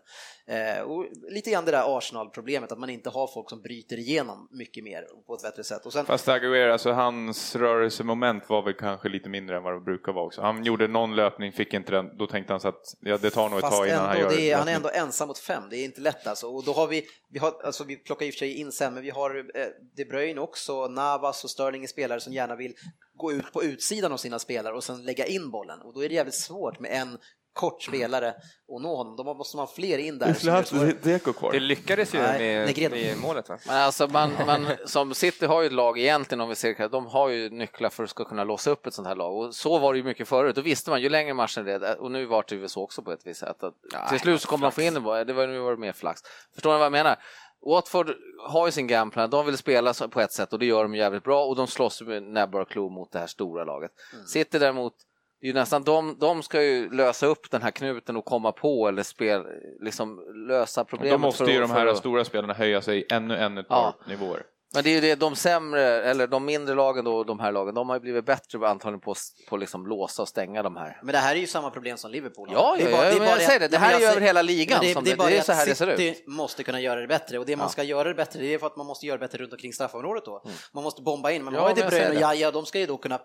Speaker 1: Eh, och lite grann det där Arsenal-problemet, att man inte har folk som bryter igenom mycket mer på ett bättre sätt. Och sen,
Speaker 2: Fast Aguero, alltså hans rörelsemoment var väl kanske lite mindre än vad det brukar vara också. Han gjorde någon löpning, fick inte den, då tänkte han så att ja, det tar nog ett
Speaker 1: Fast
Speaker 2: tag innan han
Speaker 1: ändå,
Speaker 2: gör
Speaker 1: det är, han är
Speaker 2: löpning.
Speaker 1: ändå ensam mot fem, det är inte lätt alltså. Och då har vi, vi, har, alltså, vi plockar i och för sig in sen, men vi har eh, De Bruyne också, Navas och Sterling är spelare som gärna vill gå ut på utsidan av sina spelare och sen lägga in bollen. Och då är det jävligt svårt med en kort spelare och nå honom. Då måste man ha fler in där. som gör svårare.
Speaker 2: Deco kvar.
Speaker 3: Det lyckades ju
Speaker 1: Nej,
Speaker 3: med,
Speaker 1: Negredo.
Speaker 3: med målet va?
Speaker 4: Men alltså man, man, som City har ju ett lag egentligen om vi ser de har ju nycklar för att ska kunna låsa upp ett sånt här lag och så var det ju mycket förut, då visste man ju längre matchen red och nu var det ju så också på ett visst sätt att till slut så kommer man få in det bara, det var nu var det mer flax. Förstår ni vad jag menar? Watford har ju sin gameplan, de vill spela så- på ett sätt och det gör de jävligt bra och de slåss med näbbar och klor mot det här stora laget.
Speaker 2: Mm.
Speaker 4: City däremot, det är ju nästan de, de ska ju lösa upp den här knuten och komma på eller spel, liksom lösa
Speaker 2: Och
Speaker 4: problemet.
Speaker 2: Då måste
Speaker 4: för
Speaker 2: ju
Speaker 4: att-
Speaker 2: de
Speaker 4: för
Speaker 2: här
Speaker 4: att-
Speaker 2: stora spelarna höja sig ännu, ännu ett
Speaker 4: Ja.
Speaker 2: par nivåer.
Speaker 4: men det är ju det, de sämre, eller de mindre lagen då, de här lagen, de har ju blivit bättre antagligen på att liksom låsa och stänga de här.
Speaker 1: Men det här är ju samma problem som Liverpool har.
Speaker 4: Ja, ja, ja, men jag säger det,
Speaker 1: Nej,
Speaker 4: det
Speaker 1: men
Speaker 4: här är
Speaker 1: jag
Speaker 4: ju
Speaker 1: säger-
Speaker 4: över hela ligan
Speaker 1: men
Speaker 4: som
Speaker 1: är
Speaker 4: det-
Speaker 1: bara
Speaker 4: det är
Speaker 1: att
Speaker 4: så här det ser
Speaker 1: City måste kunna göra det bättre och det man ska göra det bättre det är för att man måste göra det bättre runt omkring straffområdet då. Man måste bomba in, men
Speaker 4: Mm. Ja,
Speaker 1: man har ju
Speaker 4: men
Speaker 1: De
Speaker 4: jag
Speaker 1: Bruyne och
Speaker 4: säger
Speaker 1: Jaja, de ska ju då kunna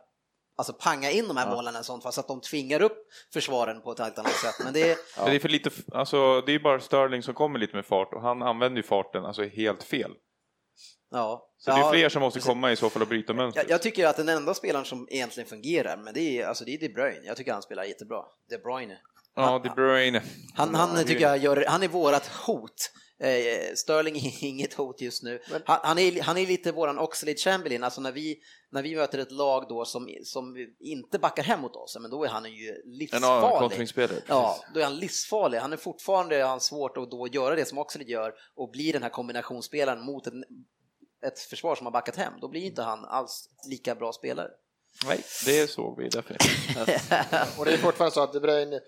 Speaker 1: Alltså panga in de här bollarna och sånt fast att de tvingar upp försvaren på ett helt annat sätt. Men det är,
Speaker 2: Men Det är för lite, f- alltså, det är ju bara Sterling som kommer lite med fart och han använder ju farten alltså helt fel.
Speaker 1: ja.
Speaker 2: Så det är
Speaker 1: Ja,
Speaker 2: fler som måste
Speaker 1: precis.
Speaker 2: komma i så fall och bryta mönstret.
Speaker 1: Jag, jag tycker att den enda spelaren som egentligen fungerar, men det är, alltså det är De Bruyne. Jag tycker han spelar jättebra. De Bruyne.
Speaker 2: Ja, De Bruyne.
Speaker 1: Han, han tycker jag gör, han är vårat hot. Eh, Sterling är inget hot just nu. Han, han, är, han är lite våran Oxlade Chamberlain, alltså när vi, när vi möter ett lag då som, som inte backar hem mot oss, men då är han ju
Speaker 2: En av
Speaker 1: livsfarlig.
Speaker 2: kontringsspelare.
Speaker 1: Ja, då är han livsfarlig. Han är fortfarande han svårt att då göra det som Oxlade gör och bli den här kombinationsspelaren mot ett, ett försvar som har backat hem. Då blir ju inte han alls lika bra spelare.
Speaker 2: Nej, det såg vi definitivt.
Speaker 5: Och det är fortfarande så att De Bruyne,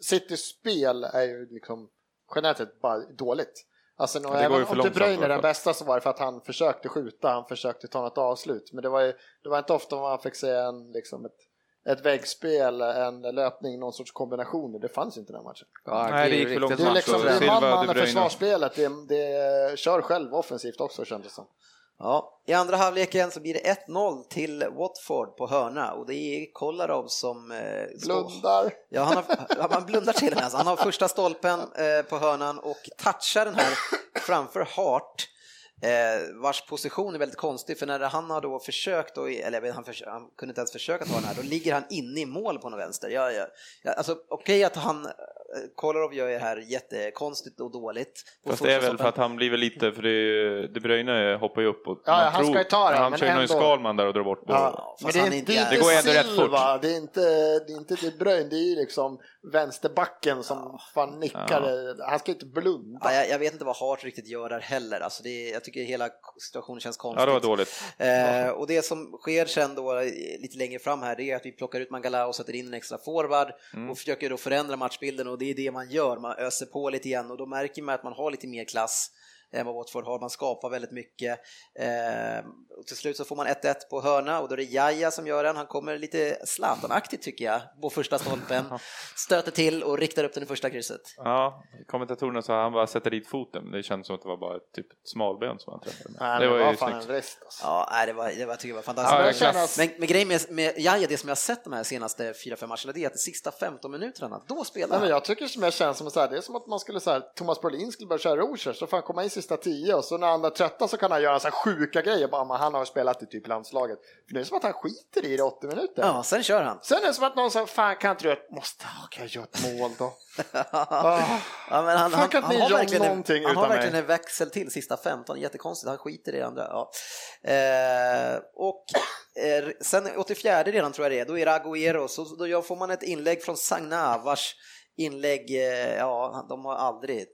Speaker 5: Citys spel är ju liksom generellt sett bara dåligt. Alltså,
Speaker 2: det
Speaker 5: ja,
Speaker 2: går ju
Speaker 5: även
Speaker 2: för
Speaker 5: om De
Speaker 2: långsamt i
Speaker 5: Bruyne är
Speaker 2: alla
Speaker 5: den
Speaker 2: fall.
Speaker 5: bästa så var det för att han försökte skjuta, han försökte ta något avslut. Men det var, ju, det var inte ofta man fick se en, liksom ett, ett väggspel, en löpning, någon sorts kombinationer. Det fanns inte den här matchen.
Speaker 4: Ja,
Speaker 2: Nej, det gick
Speaker 4: ju
Speaker 2: för långt.
Speaker 4: riktigt
Speaker 5: Det är
Speaker 2: Match
Speaker 5: liksom
Speaker 2: och
Speaker 5: det är
Speaker 2: Silva,
Speaker 5: man-man
Speaker 2: De
Speaker 5: och
Speaker 2: Bruyne.
Speaker 5: försvarsspelet, det, det kör själv offensivt också kändes det som.
Speaker 1: Ja, I andra halvleken så blir det 1-0 till Watford på hörna och det är Kolarov som... eh, står-
Speaker 5: Blundar.
Speaker 1: Ja, han, har, han blundar till den alltså. Han har första stolpen eh, på hörnan och touchar den här framför Hart. Eh, vars position är väldigt konstig för när han har då försökt, och, eller jag vet, han, förs- han kunde inte ens försöka ta den här, då ligger han inne i mål på någon vänster. Jag, jag, jag, alltså, Okej att han Kolarov gör ju det här jättekonstigt och dåligt. Och
Speaker 2: Fast det är väl
Speaker 1: Fotbollshoppen-
Speaker 2: för att han blir väl lite, för det är ju, De Bruyne hoppar ju upp och
Speaker 5: Ja,
Speaker 2: man
Speaker 5: ja, han ska ju ta den,
Speaker 2: Han
Speaker 5: men
Speaker 2: kör ju någon
Speaker 5: ändå.
Speaker 2: Skalman där och drar bort bollen.
Speaker 5: Ja,
Speaker 1: fast
Speaker 5: men det
Speaker 1: han
Speaker 5: är
Speaker 1: är inte
Speaker 5: inte, det är
Speaker 1: jävla-
Speaker 5: inte
Speaker 2: Det går ändå rätt
Speaker 5: Silva, det är inte, det är inte De Bruyne, det är ju liksom vänsterbacken som fan nickar. Han ska inte blunda.
Speaker 1: Ja, jag, jag vet inte vad Hart riktigt gör där heller. Alltså det, är- jag tycker hela situationen känns
Speaker 2: Ja,
Speaker 1: konstig.
Speaker 2: det var dåligt.
Speaker 1: Eh, och det som sker sen då eh, lite längre fram här det är att vi plockar ut Mangala och sätter in en extra forward
Speaker 2: Mm.
Speaker 1: och försöker då förändra matchbilden och det är det man gör, man öser på lite igen och då märker man att man har lite mer klass än vad Watford har, man skapar väldigt mycket. Eh, och till slut så får man 1-1 på hörna och då är det Jaja som gör den, han kommer lite Zlatan-aktigt tycker jag på första stolpen, stöter till och riktar upp den i första krysset.
Speaker 2: Ja, kommentatorerna sa att han bara sätter dit foten, men det kändes som att det var bara ett, typ ett smalben som han träffade.
Speaker 5: Nej, men
Speaker 2: det var ju
Speaker 5: fan en
Speaker 2: snyggt.
Speaker 5: vrist alltså.
Speaker 1: Ja, nej, det var, det var, jag tycker jag var
Speaker 2: Ja,
Speaker 5: Det
Speaker 2: det
Speaker 5: börjar
Speaker 2: är
Speaker 1: fantastiskt.
Speaker 2: klass.
Speaker 5: kännas-
Speaker 1: men, men grejen med, med Jaja, det som jag har sett de här senaste 4-5 matcherna, det är att de sista 15 minuterna, då spelar
Speaker 5: Nej, men
Speaker 1: han.
Speaker 5: jag tycker som jag känner som så här, det är som att man skulle så här, Thomas Brolin skulle börja köra Rogers, så får han komma in sista tio och så när han är trötta så kan han göra så här sjuka grejer, bara men han har spelat i typ landslaget. För det är som att han skiter i det 80 minuter.
Speaker 1: Ja, sen kör han.
Speaker 5: Sen är det som att någon sa, fan kan inte du, måste, kan jag göra ett mål då? Ah.
Speaker 1: Ja, men han,
Speaker 5: Fuck
Speaker 1: han,
Speaker 5: att
Speaker 1: han,
Speaker 5: ni
Speaker 1: har
Speaker 5: gör
Speaker 1: verkligen,
Speaker 5: någonting
Speaker 1: en, han har
Speaker 5: utan mig.
Speaker 1: verkligen en växel till sista 15, jättekonstigt, han skiter i det andra. Ja. Eh, och eh, sen 84 redan tror jag det är, då är det Agüero, så då gör- får man ett inlägg från Sagna vars inlägg, eh, ja de har aldrig eh,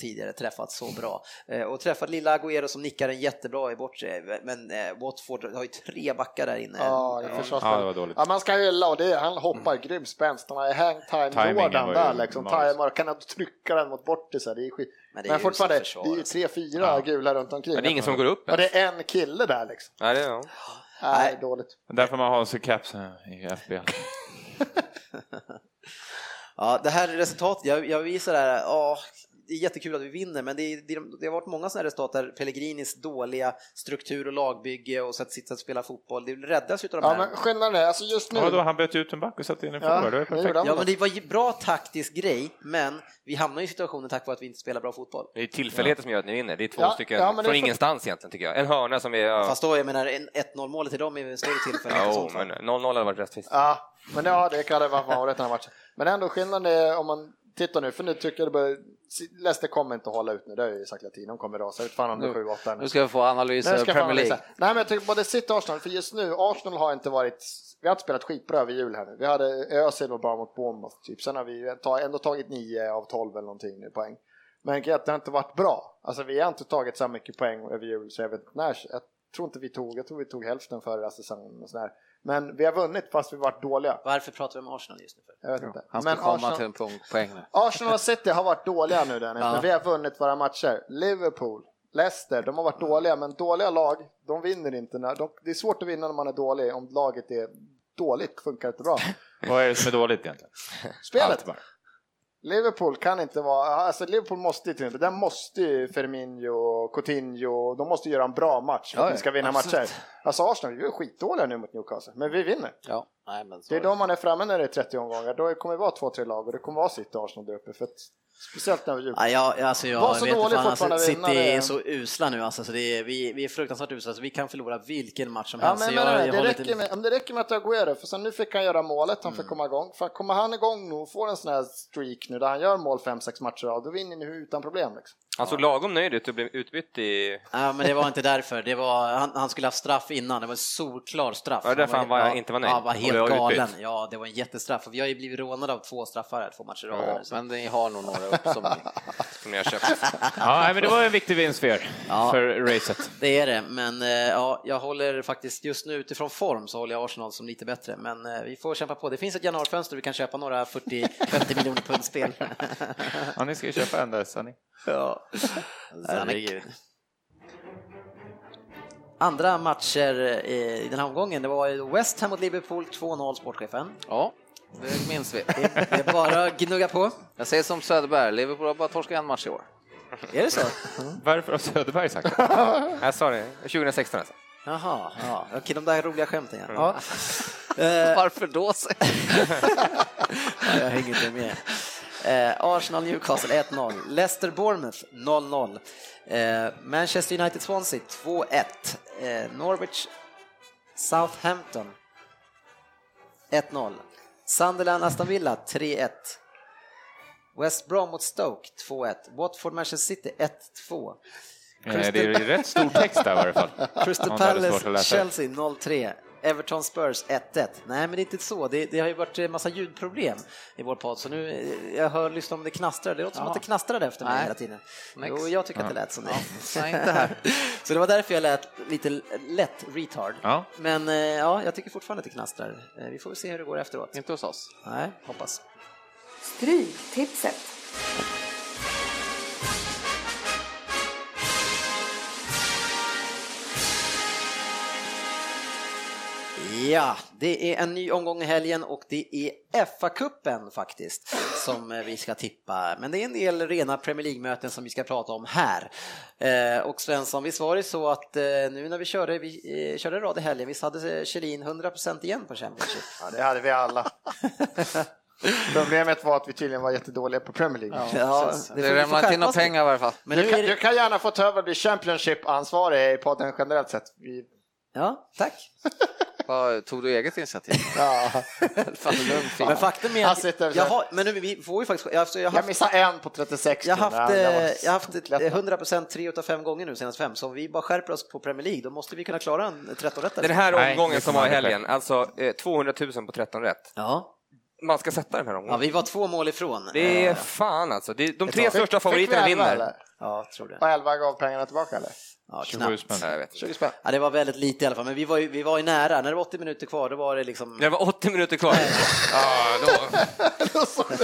Speaker 1: tidigare träffat så bra. Eh, och träffat lilla Agüero som nickar en jättebra i bort sig, men eh, Watford har ju tre backar där inne.
Speaker 5: Ja, det är
Speaker 2: Ja, det
Speaker 5: försvarsspel.
Speaker 2: var dåligt.
Speaker 5: Ja, man ska hylla och det, är- han hoppar grym spänst. Han har ju
Speaker 2: Mm. Timingen
Speaker 5: hangtime-lådan
Speaker 2: var ju
Speaker 5: där liksom.
Speaker 2: magisk.
Speaker 5: Tajmar, kan han trycka den mot bortisar? Det är skit.
Speaker 1: Men
Speaker 5: Men,
Speaker 1: det är ju
Speaker 5: fortfarande,
Speaker 1: som försvar,
Speaker 5: det är ju
Speaker 1: alltså.
Speaker 5: tre, fyra gula runt omkring.
Speaker 3: Men det är ingen som går upp
Speaker 5: och
Speaker 3: ens.
Speaker 5: det är en kille där liksom.
Speaker 3: Nej, det är, ja.
Speaker 5: Nej, dåligt.
Speaker 2: Därför man har sin caps här i FBL.
Speaker 1: Ja, det här resultatet, jag, jag visar det här, ja, det är jättekul att vi vinner, men det, är- det, är- det har varit många sådana här resultat där Pellegrinis dåliga struktur och lagbygge och sätt sitta och spela fotboll, det räddas utav de
Speaker 5: Ja,
Speaker 1: här.
Speaker 5: men skillnaden är, alltså just nu.
Speaker 2: Ja, då han bytte ut en back och satte in en
Speaker 5: Ja,
Speaker 2: forward, det var
Speaker 5: det
Speaker 2: perfekt.
Speaker 5: gjorde han.
Speaker 1: Ja, men det var ju bra taktisk grej, men vi hamnar i situationen tack vare att vi inte spelar bra fotboll.
Speaker 3: det är tillfälligheter som gör att ni vinner. Det är två
Speaker 5: Ja,
Speaker 3: stycken
Speaker 5: ja, men det är
Speaker 3: från
Speaker 5: för-
Speaker 3: ingenstans egentligen, tycker jag. En hörna som är... Ja,
Speaker 1: Fast då, jag menar, en 1-0 målet till dem är väl en större tillfälle. i
Speaker 3: ja,
Speaker 1: sånt fall.
Speaker 3: men 0-0 hade varit rättvist.
Speaker 5: Ja, men ja, det kan det vara varit den här matchen. Men ändå skillnaden är om man tittar nu, för nu tycker jag det börjar, Leicester kommer inte att hålla ut nu, det har jag ju sagt hela tiden, de kommer rasa ut, fan om det är 7-8 nu.
Speaker 4: Nu ska vi få analyser
Speaker 5: Nej,
Speaker 4: av
Speaker 5: jag ska fan
Speaker 4: Premier League.
Speaker 5: visa. Nej, men jag tycker både City och Arsenal, för just nu, Arsenal har inte varit, vi har inte spelat skitbra över jul här nu. Vi hade Özil var bra mot Bournemouth, typ. sen har vi ta- ändå tagit 9 av 12 eller någonting nu poäng. Men grejen är att det har inte varit bra. Alltså vi har inte tagit så här mycket poäng över jul så jag vet inte när, jag tror inte vi tog, jag tror vi tog hälften förra säsongen och sådär. Men vi har vunnit fast vi varit dåliga.
Speaker 1: Varför pratar vi om Arsenal just nu? För?
Speaker 5: Jag vet inte.
Speaker 4: Han ska
Speaker 5: men
Speaker 4: komma
Speaker 5: Arsenal,
Speaker 4: till en punkt, poäng nu.
Speaker 5: Arsenal och City har varit dåliga nu Dennis,
Speaker 4: Ja.
Speaker 5: men vi har vunnit våra matcher. Liverpool, Leicester, de har varit dåliga, men dåliga lag, de vinner inte. När, de, det är svårt att vinna när man är dålig, om laget är dåligt, funkar inte bra.
Speaker 2: Vad är det som är dåligt egentligen?
Speaker 5: Spelet! Liverpool kan inte vara, alltså Liverpool måste ju till exempel, där måste ju Firmino och Coutinho, de måste göra en bra match för
Speaker 4: Ja,
Speaker 5: att vi ska vinna
Speaker 4: absolut.
Speaker 5: matcher. Alltså Arsenal, vi är skitdåliga nu mot Newcastle, men vi vinner.
Speaker 4: Ja, nej, men så
Speaker 5: Det är
Speaker 4: är det.
Speaker 5: då man är framme när det är 30 omgångar, då kommer det vara två, tre lag och det kommer vara City och Arsenal där uppe. För att, speciellt när vi
Speaker 1: Ja, jag, alltså
Speaker 5: Var
Speaker 1: jag
Speaker 5: så
Speaker 1: vet inte
Speaker 5: dålig
Speaker 1: fan, alltså,
Speaker 5: fortfarande
Speaker 1: City
Speaker 5: vinnare.
Speaker 1: är så usla nu alltså, så det är, vi, vi är fruktansvärt usla, så vi kan förlora vilken match som
Speaker 5: Ja,
Speaker 1: helst.
Speaker 5: men,
Speaker 1: så
Speaker 5: men,
Speaker 1: Alltså, jag,
Speaker 5: men,
Speaker 1: jag
Speaker 5: det,
Speaker 1: har lite- Mm.
Speaker 5: räcker med, om det räcker med att Aguero, för sen nu fick han göra målet, han fick komma igång. För kommer han igång nu och får en sån här streak nu där han gör mål 5-6 matcher av, då vinner ni utan problem. Liksom.
Speaker 3: Han såg Alltså, lagom nöjd ut och blev utbytt i...
Speaker 1: Ja, men det var inte därför. Det var, han, han skulle ha straff innan. Det var en solklar straff.
Speaker 3: Ja, det är därför han var- inte var nöjd.
Speaker 1: Ja, han var
Speaker 3: Och det
Speaker 1: helt
Speaker 3: var
Speaker 1: galen.
Speaker 3: utbytt.
Speaker 1: Ja, det var en jättestraff. Och vi har ju blivit rånade av två straffar här, två matcher i rad.
Speaker 4: Ja,
Speaker 1: här, så-
Speaker 4: men ni har nog några upp som ni.
Speaker 3: Som ni har köpt.
Speaker 2: Ja, nej, men det var en viktig vinst för er,
Speaker 1: Ja.
Speaker 2: för racet.
Speaker 1: Det är det, men eh, ja, jag håller faktiskt just nu utifrån form så håller jag Arsenal som lite bättre. Men eh, vi får kämpa på. Det finns ett januarifönster vi kan köpa några 40-50 miljoner pund spel.
Speaker 2: Ja, ni ska ju köpa en där, Sunny.
Speaker 1: ja. Herregud. Andra matcher eh, i den här omgången, det var ju West Ham mot Liverpool 2-0, sportchefen.
Speaker 4: Ja, det minns vi.
Speaker 1: Det är bara att gnugga på.
Speaker 4: Jag säger som Söderberg, Liverpool har bara torskat en match i år.
Speaker 1: Är det så?
Speaker 2: Varför har Söderberg sagt det?
Speaker 3: Jag sa det, 2016 alltså.
Speaker 1: Jaha, ja. okej de där roliga skämten ja. ja. Eh,
Speaker 4: Varför då? säger jag?
Speaker 1: jag hänger inte med. Eh, Arsenal Newcastle 1-0, Leicester Bournemouth 0-0, eh, Manchester United Swansea 2-1, eh, Norwich Southampton 1-0, Sunderland Aston Villa 3-1, West Brom mot Stoke 2-1. Watford Manchester City 1-2.
Speaker 2: Eh, Det är ju rätt stor text där i varje fall.
Speaker 1: Crystal
Speaker 2: Ja, det är svårt att
Speaker 1: Palace,
Speaker 2: läsa.
Speaker 1: Chelsea 0-3. Everton Spurs 1-1. Nej, men det är inte så. Det, det har ju varit en massa ljudproblem i vår podd, så nu eh, jag hör lyssna om det knastrar. Det låter som att det knastrar efter mig
Speaker 4: Nej.
Speaker 1: hela tiden.
Speaker 4: Next.
Speaker 1: Jo, jag tycker att det lät som det.
Speaker 4: nej, inte här.
Speaker 1: så det var därför jag lät lite lätt retard.
Speaker 2: Ja.
Speaker 1: Men eh, ja, jag tycker fortfarande att det knastrar. Eh, Vi får väl se hur det går efteråt.
Speaker 4: Inte hos oss.
Speaker 1: Nej, hoppas.
Speaker 6: Stryktipset.
Speaker 1: Ja, det är en ny omgång i helgen och det är FA-cupen faktiskt som eh, vi ska tippa. Men det är en del rena Premier League-möten som vi ska prata om här. Eh, och Svensson, visst var det så att eh, nu när vi körde, vi eh, körde en rad i helgen, visst hade eh, Kjellin 100% igen på Championship?
Speaker 5: Ja, det hade vi alla. Problemet var att vi tydligen var jättedåliga på Premier League.
Speaker 1: Ja, får-
Speaker 4: Det
Speaker 1: vi får
Speaker 4: ramlar in
Speaker 1: skärpa
Speaker 4: några
Speaker 1: oss.
Speaker 4: pengar i varje fall.
Speaker 1: Men nu
Speaker 5: Du kan,
Speaker 1: är
Speaker 5: du
Speaker 1: det...
Speaker 5: kan gärna få ta över och bli Championship-ansvarig i podden generellt sett. Vi,
Speaker 1: Ja, tack.
Speaker 4: Vad, tog du eget initiativ?
Speaker 5: ja.
Speaker 4: Fan, lugn, Fimpen.
Speaker 1: Men faktum är
Speaker 5: Han
Speaker 1: att...
Speaker 5: sitter så här.
Speaker 1: Jag har, men nu, vi får ju faktiskt... Alltså, jag har
Speaker 5: Jag
Speaker 1: haft
Speaker 5: missade en på 36.
Speaker 1: Jag har haft,
Speaker 5: Ja,
Speaker 1: eh,
Speaker 5: jag var
Speaker 1: jag har haft ett-
Speaker 5: lätt.
Speaker 1: 100% tre utav fem gånger nu senast fem, så om vi bara skärper oss på Premier League då måste vi kunna klara en 13 rättare
Speaker 3: Den här
Speaker 2: Nej,
Speaker 3: omgången
Speaker 2: det
Speaker 3: som
Speaker 2: kommer
Speaker 3: var i
Speaker 2: aldrig
Speaker 3: helgen, alltså eh, 200 000 på 13 rätt.
Speaker 1: ja.
Speaker 3: Man ska sätta den här
Speaker 1: ja,
Speaker 3: omgången.
Speaker 1: vi var två mål ifrån.
Speaker 3: Det är
Speaker 1: Eh,
Speaker 3: fan alltså. Det är de
Speaker 1: Fick-
Speaker 3: tre
Speaker 1: fick
Speaker 3: största
Speaker 5: Fick vi
Speaker 3: favoriterna
Speaker 5: elva,
Speaker 3: vinner.
Speaker 5: eller?
Speaker 1: Ja, jag tror det.
Speaker 5: Och 11 gav pengarna tillbaka eller?
Speaker 1: Ja,
Speaker 2: 27
Speaker 1: knappt.
Speaker 2: spänn.
Speaker 3: Nej, jag vet inte.
Speaker 5: 20 spänn.
Speaker 1: Ja, det var väldigt lite i alla fall, men vi var ju, vi var ju nära. När det var 80 minuter kvar då var det liksom...
Speaker 3: Det var 80 minuter kvar. Ja, då...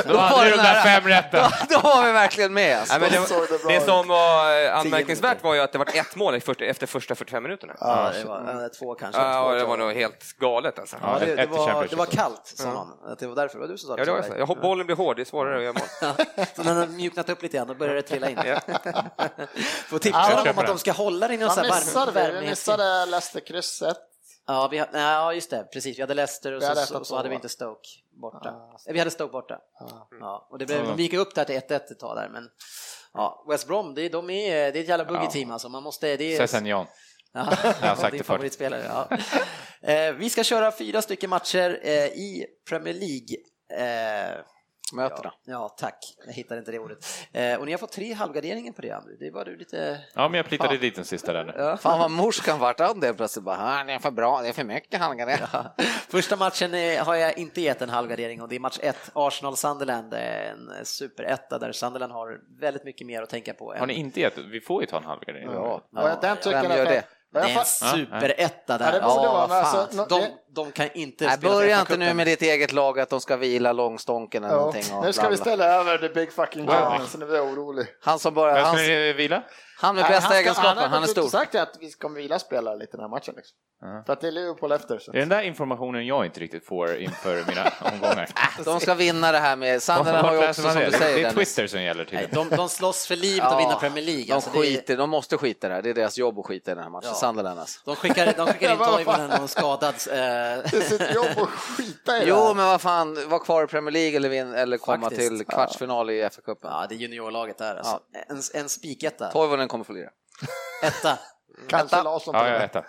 Speaker 2: Då
Speaker 4: var
Speaker 2: hade
Speaker 4: det
Speaker 2: du de där
Speaker 4: nära.
Speaker 2: fem rätten.
Speaker 4: Då var vi verkligen med. Alltså.
Speaker 3: Nej, men
Speaker 5: Då såg det bra
Speaker 3: det, det
Speaker 5: ut.
Speaker 3: som var eh,
Speaker 1: minuter.
Speaker 3: anmärkningsvärt var ju att det var ett mål i första- efter första 45 minuterna.
Speaker 1: Ja, det var, eh, två kanske.
Speaker 3: Ja,
Speaker 1: två,
Speaker 3: det var
Speaker 1: tror jag.
Speaker 3: nog helt galet alltså.
Speaker 1: Ja, det,
Speaker 2: Ett
Speaker 1: det,
Speaker 2: i
Speaker 1: var,
Speaker 2: Championship
Speaker 1: det var
Speaker 2: också.
Speaker 1: kallt, sa någon. Att det var därför. Det var du som sa
Speaker 3: Ja, det var
Speaker 1: så.
Speaker 3: så. Jag hopp, bollen blir hård, det är svårare att göra mål.
Speaker 1: Så den har mjuknat upp lite grann, då börjar det trilla in.
Speaker 3: Ja.
Speaker 1: Får tipsa dem om
Speaker 2: köper
Speaker 1: att de
Speaker 2: den.
Speaker 1: ska hålla det i någon sån
Speaker 5: Han
Speaker 1: här
Speaker 5: missade
Speaker 1: varm
Speaker 5: vi. Vi
Speaker 1: värme.
Speaker 5: missade Leicester-krysset.
Speaker 1: Ja, vi, ha- nej, ja, just det. Precis, vi hade Leicester och
Speaker 5: Vi hade
Speaker 1: så,
Speaker 5: ett
Speaker 1: så,
Speaker 5: och
Speaker 1: så hade
Speaker 5: två,
Speaker 1: vi
Speaker 5: va?
Speaker 1: inte Stoke borta.
Speaker 5: Ah,
Speaker 1: Eh, vi hade Stoke borta.
Speaker 5: Ja.
Speaker 2: Mm.
Speaker 1: Ja, och det blev,
Speaker 2: Ja.
Speaker 1: de gick upp där till 1-1 ett tag där, men ja, West Brom, det, är- de är, det är ett jävla buggigt
Speaker 2: Ja.
Speaker 1: team alltså. Man måste, det är,
Speaker 2: Sesenjan.
Speaker 1: Ja,
Speaker 2: Jag har sagt
Speaker 1: din
Speaker 2: det förut.
Speaker 1: favoritspelare. Ja. Eh, vi ska köra fyra stycken matcher eh, i Premier League. Eh,
Speaker 4: Mötena.
Speaker 1: ja, tack. Jag hittade inte det ordet. Eh, och ni har fått tre halvgarderingar på det, Andy. Det var du lite...
Speaker 2: Ja, men jag plittade dit den sista där nu.
Speaker 1: Ja.
Speaker 4: Fan vad morskan vart av det plötsligt. Bara, "Ah, det är för bra, det är för mycket handgar det.
Speaker 1: Första matchen eh, har jag inte gett en halvgardering och det är match 1, Arsenal-Sunderland. eh, En superetta där Sunderland har väldigt mycket mer att tänka på. än-
Speaker 2: Har ni inte gett? Vi får ju ta en halvgardering.
Speaker 4: Ja.
Speaker 5: Ja, den tycker
Speaker 4: vem
Speaker 5: jag-
Speaker 4: gör det?
Speaker 5: Vad
Speaker 1: Det
Speaker 5: jag
Speaker 1: är en
Speaker 5: fa-
Speaker 1: superetta där.
Speaker 5: Ja, det borde
Speaker 1: Ja,
Speaker 5: vara,
Speaker 1: vad
Speaker 5: men
Speaker 1: fan.
Speaker 5: alltså, nå-
Speaker 1: de,
Speaker 5: det-
Speaker 1: de kan inte
Speaker 4: Nej,
Speaker 1: spela
Speaker 4: börja
Speaker 1: till
Speaker 4: inte nu
Speaker 1: FA-cupen.
Speaker 4: med ditt eget lag att de ska vila långstånken eller
Speaker 5: Ja.
Speaker 4: någonting. och
Speaker 5: Nu ska vi
Speaker 4: bla, bla.
Speaker 5: ställa över the big fucking wow.
Speaker 2: Wow.
Speaker 5: så nu blir jag orolig.
Speaker 4: Han som börjar,
Speaker 2: Vem
Speaker 4: han,
Speaker 2: ska ni vila?
Speaker 4: han med
Speaker 5: Nej,
Speaker 4: bästa
Speaker 5: ska-
Speaker 4: egenskapen, han, är
Speaker 5: har
Speaker 4: stor.
Speaker 5: sagt att vi kommer vila spelare lite den här matchen. Liksom.
Speaker 2: Ja.
Speaker 5: För att det är Liverpool efter. Så.
Speaker 2: Det är den där informationen jag inte riktigt får inför mina omgångar.
Speaker 4: De ska vinna det här med, Sunderland
Speaker 2: Vart
Speaker 4: har ju
Speaker 2: läser
Speaker 4: också
Speaker 2: man
Speaker 4: som
Speaker 2: det?
Speaker 4: du
Speaker 2: det
Speaker 4: säger
Speaker 2: är
Speaker 4: Dennis.
Speaker 2: Twitter som gäller
Speaker 1: Nej,
Speaker 2: tydligen.
Speaker 1: de, de slåss för livet
Speaker 4: Ja,
Speaker 1: att vinna Premier League.
Speaker 4: De
Speaker 1: Alltså, det är-
Speaker 4: skiter, de måste skita i det här, det är deras jobb att skita i den här matchen,
Speaker 1: Ja.
Speaker 4: Sunderland alltså.
Speaker 1: de, skickar, de skickar in Toivonen och skadad. eh,
Speaker 5: Det är sitt jobb att skita i det
Speaker 4: Jo,
Speaker 5: här.
Speaker 4: men vad fan, var kvar i Premier League eller, vin, eller komma
Speaker 1: Faktiskt,
Speaker 4: till kvartsfinal i FA-cupen.
Speaker 1: Ja, det är juniorlaget där. Alltså. En, en spiketta.
Speaker 4: Toivonen kommer få lira.
Speaker 1: Etta.
Speaker 5: Kanske Larsson på
Speaker 2: Ja, jag
Speaker 5: det.
Speaker 2: etta.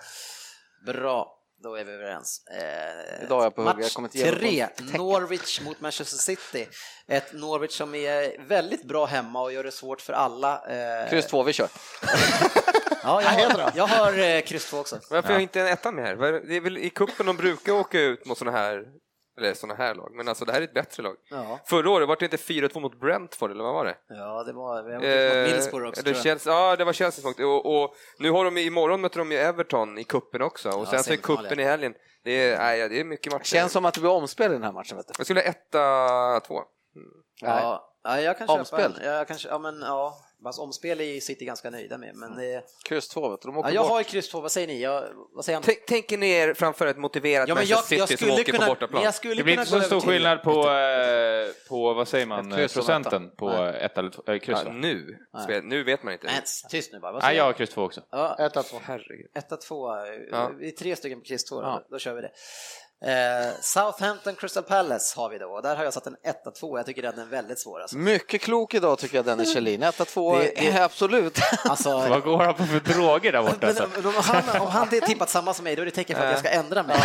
Speaker 1: Bra, då är vi överens. Eh,
Speaker 4: Idag är jag på hugget,
Speaker 1: match
Speaker 4: jag kommer inte ge mig
Speaker 1: tre, Norwich mot Manchester City. Ett Norwich som är väldigt bra hemma och gör det svårt för alla. Eh,
Speaker 4: Kryss två, vi kör.
Speaker 1: Ja, jag, har, jag har eh, kryss två också.
Speaker 3: Varför har inte en etta med här? Vad är det- Det är väl i kuppen de brukar åka ut mot sådana här, eller såna här lag, men alltså det här är ett bättre lag.
Speaker 1: Ja,
Speaker 3: Förra året var det inte 4-2 mot Brentford, eller vad var det?
Speaker 1: ja det var... Vi har
Speaker 3: Eh,
Speaker 1: mot Millsborough också,
Speaker 3: eller
Speaker 1: tror jag.
Speaker 3: Chelsea, ja, det var Chelsea som åkte. Och, och nu har de, imorgon möter de ju Everton i kuppen också, och
Speaker 1: Ja,
Speaker 3: sen så är
Speaker 1: semifinal,
Speaker 3: kuppen
Speaker 1: ja.
Speaker 3: i helgen. Det är, nej, det är mycket matcher.
Speaker 4: Känns som att det blir omspel i den här matchen. Vet du.
Speaker 3: Jag skulle ha etta, två.
Speaker 1: Ja, ja, jag kan köpa
Speaker 4: Omspel.
Speaker 1: en. Jag kan, kö- ja, men ja. Fast omspel är City ganska nöjda med.
Speaker 3: Mm.
Speaker 1: Men, eh,
Speaker 4: Kryss två, vet du. de
Speaker 1: ja,
Speaker 4: åker
Speaker 1: jag
Speaker 4: bort.
Speaker 1: har ju kryss två, vad säger ni? Jag, vad säger han?
Speaker 3: Tänk, tänker ni er framför ett motiverat
Speaker 1: Ja, men jag,
Speaker 3: Manchester
Speaker 1: jag
Speaker 3: City som
Speaker 1: skulle
Speaker 3: åker
Speaker 1: kunna, men
Speaker 3: på bortaplan?
Speaker 1: jag skulle
Speaker 2: Det blir
Speaker 1: kunna
Speaker 2: inte
Speaker 1: gå över
Speaker 2: så stor
Speaker 1: till-
Speaker 2: skillnad på, eh, på vad säger man,
Speaker 4: Ett kryss och en
Speaker 2: procenten
Speaker 4: etta.
Speaker 2: på
Speaker 4: Nej.
Speaker 2: ett eller två- eh, kryss?
Speaker 3: Ja,
Speaker 2: va?
Speaker 3: nu, spel, nu vet man inte.
Speaker 1: Nej, tyst nu bara. Vad
Speaker 2: Nej,
Speaker 1: säger
Speaker 2: jag
Speaker 1: han?
Speaker 2: har kryss två också.
Speaker 1: Ja,
Speaker 5: Ett, ett, två.
Speaker 3: Herregud.
Speaker 1: Etta, tvåa,
Speaker 3: Ja.
Speaker 1: vi är tre stycken på kryss två, då,
Speaker 4: Ja.
Speaker 1: då kör vi det. Eh, Southampton Crystal Palace har vi då och där har jag satt en 1-2. Jag tycker den är väldigt svår. Alltså.
Speaker 4: Mycket klok idag tycker jag Dennis Kjellin. 1-2,
Speaker 1: Det- det-
Speaker 4: eh, absolut.
Speaker 1: Alltså,
Speaker 2: Vad går han på för droger där borta?
Speaker 1: men,
Speaker 2: Så?
Speaker 1: om, han, om han tippat samma som mig då är det tecken för att
Speaker 3: Eh.
Speaker 1: jag ska ändra mig.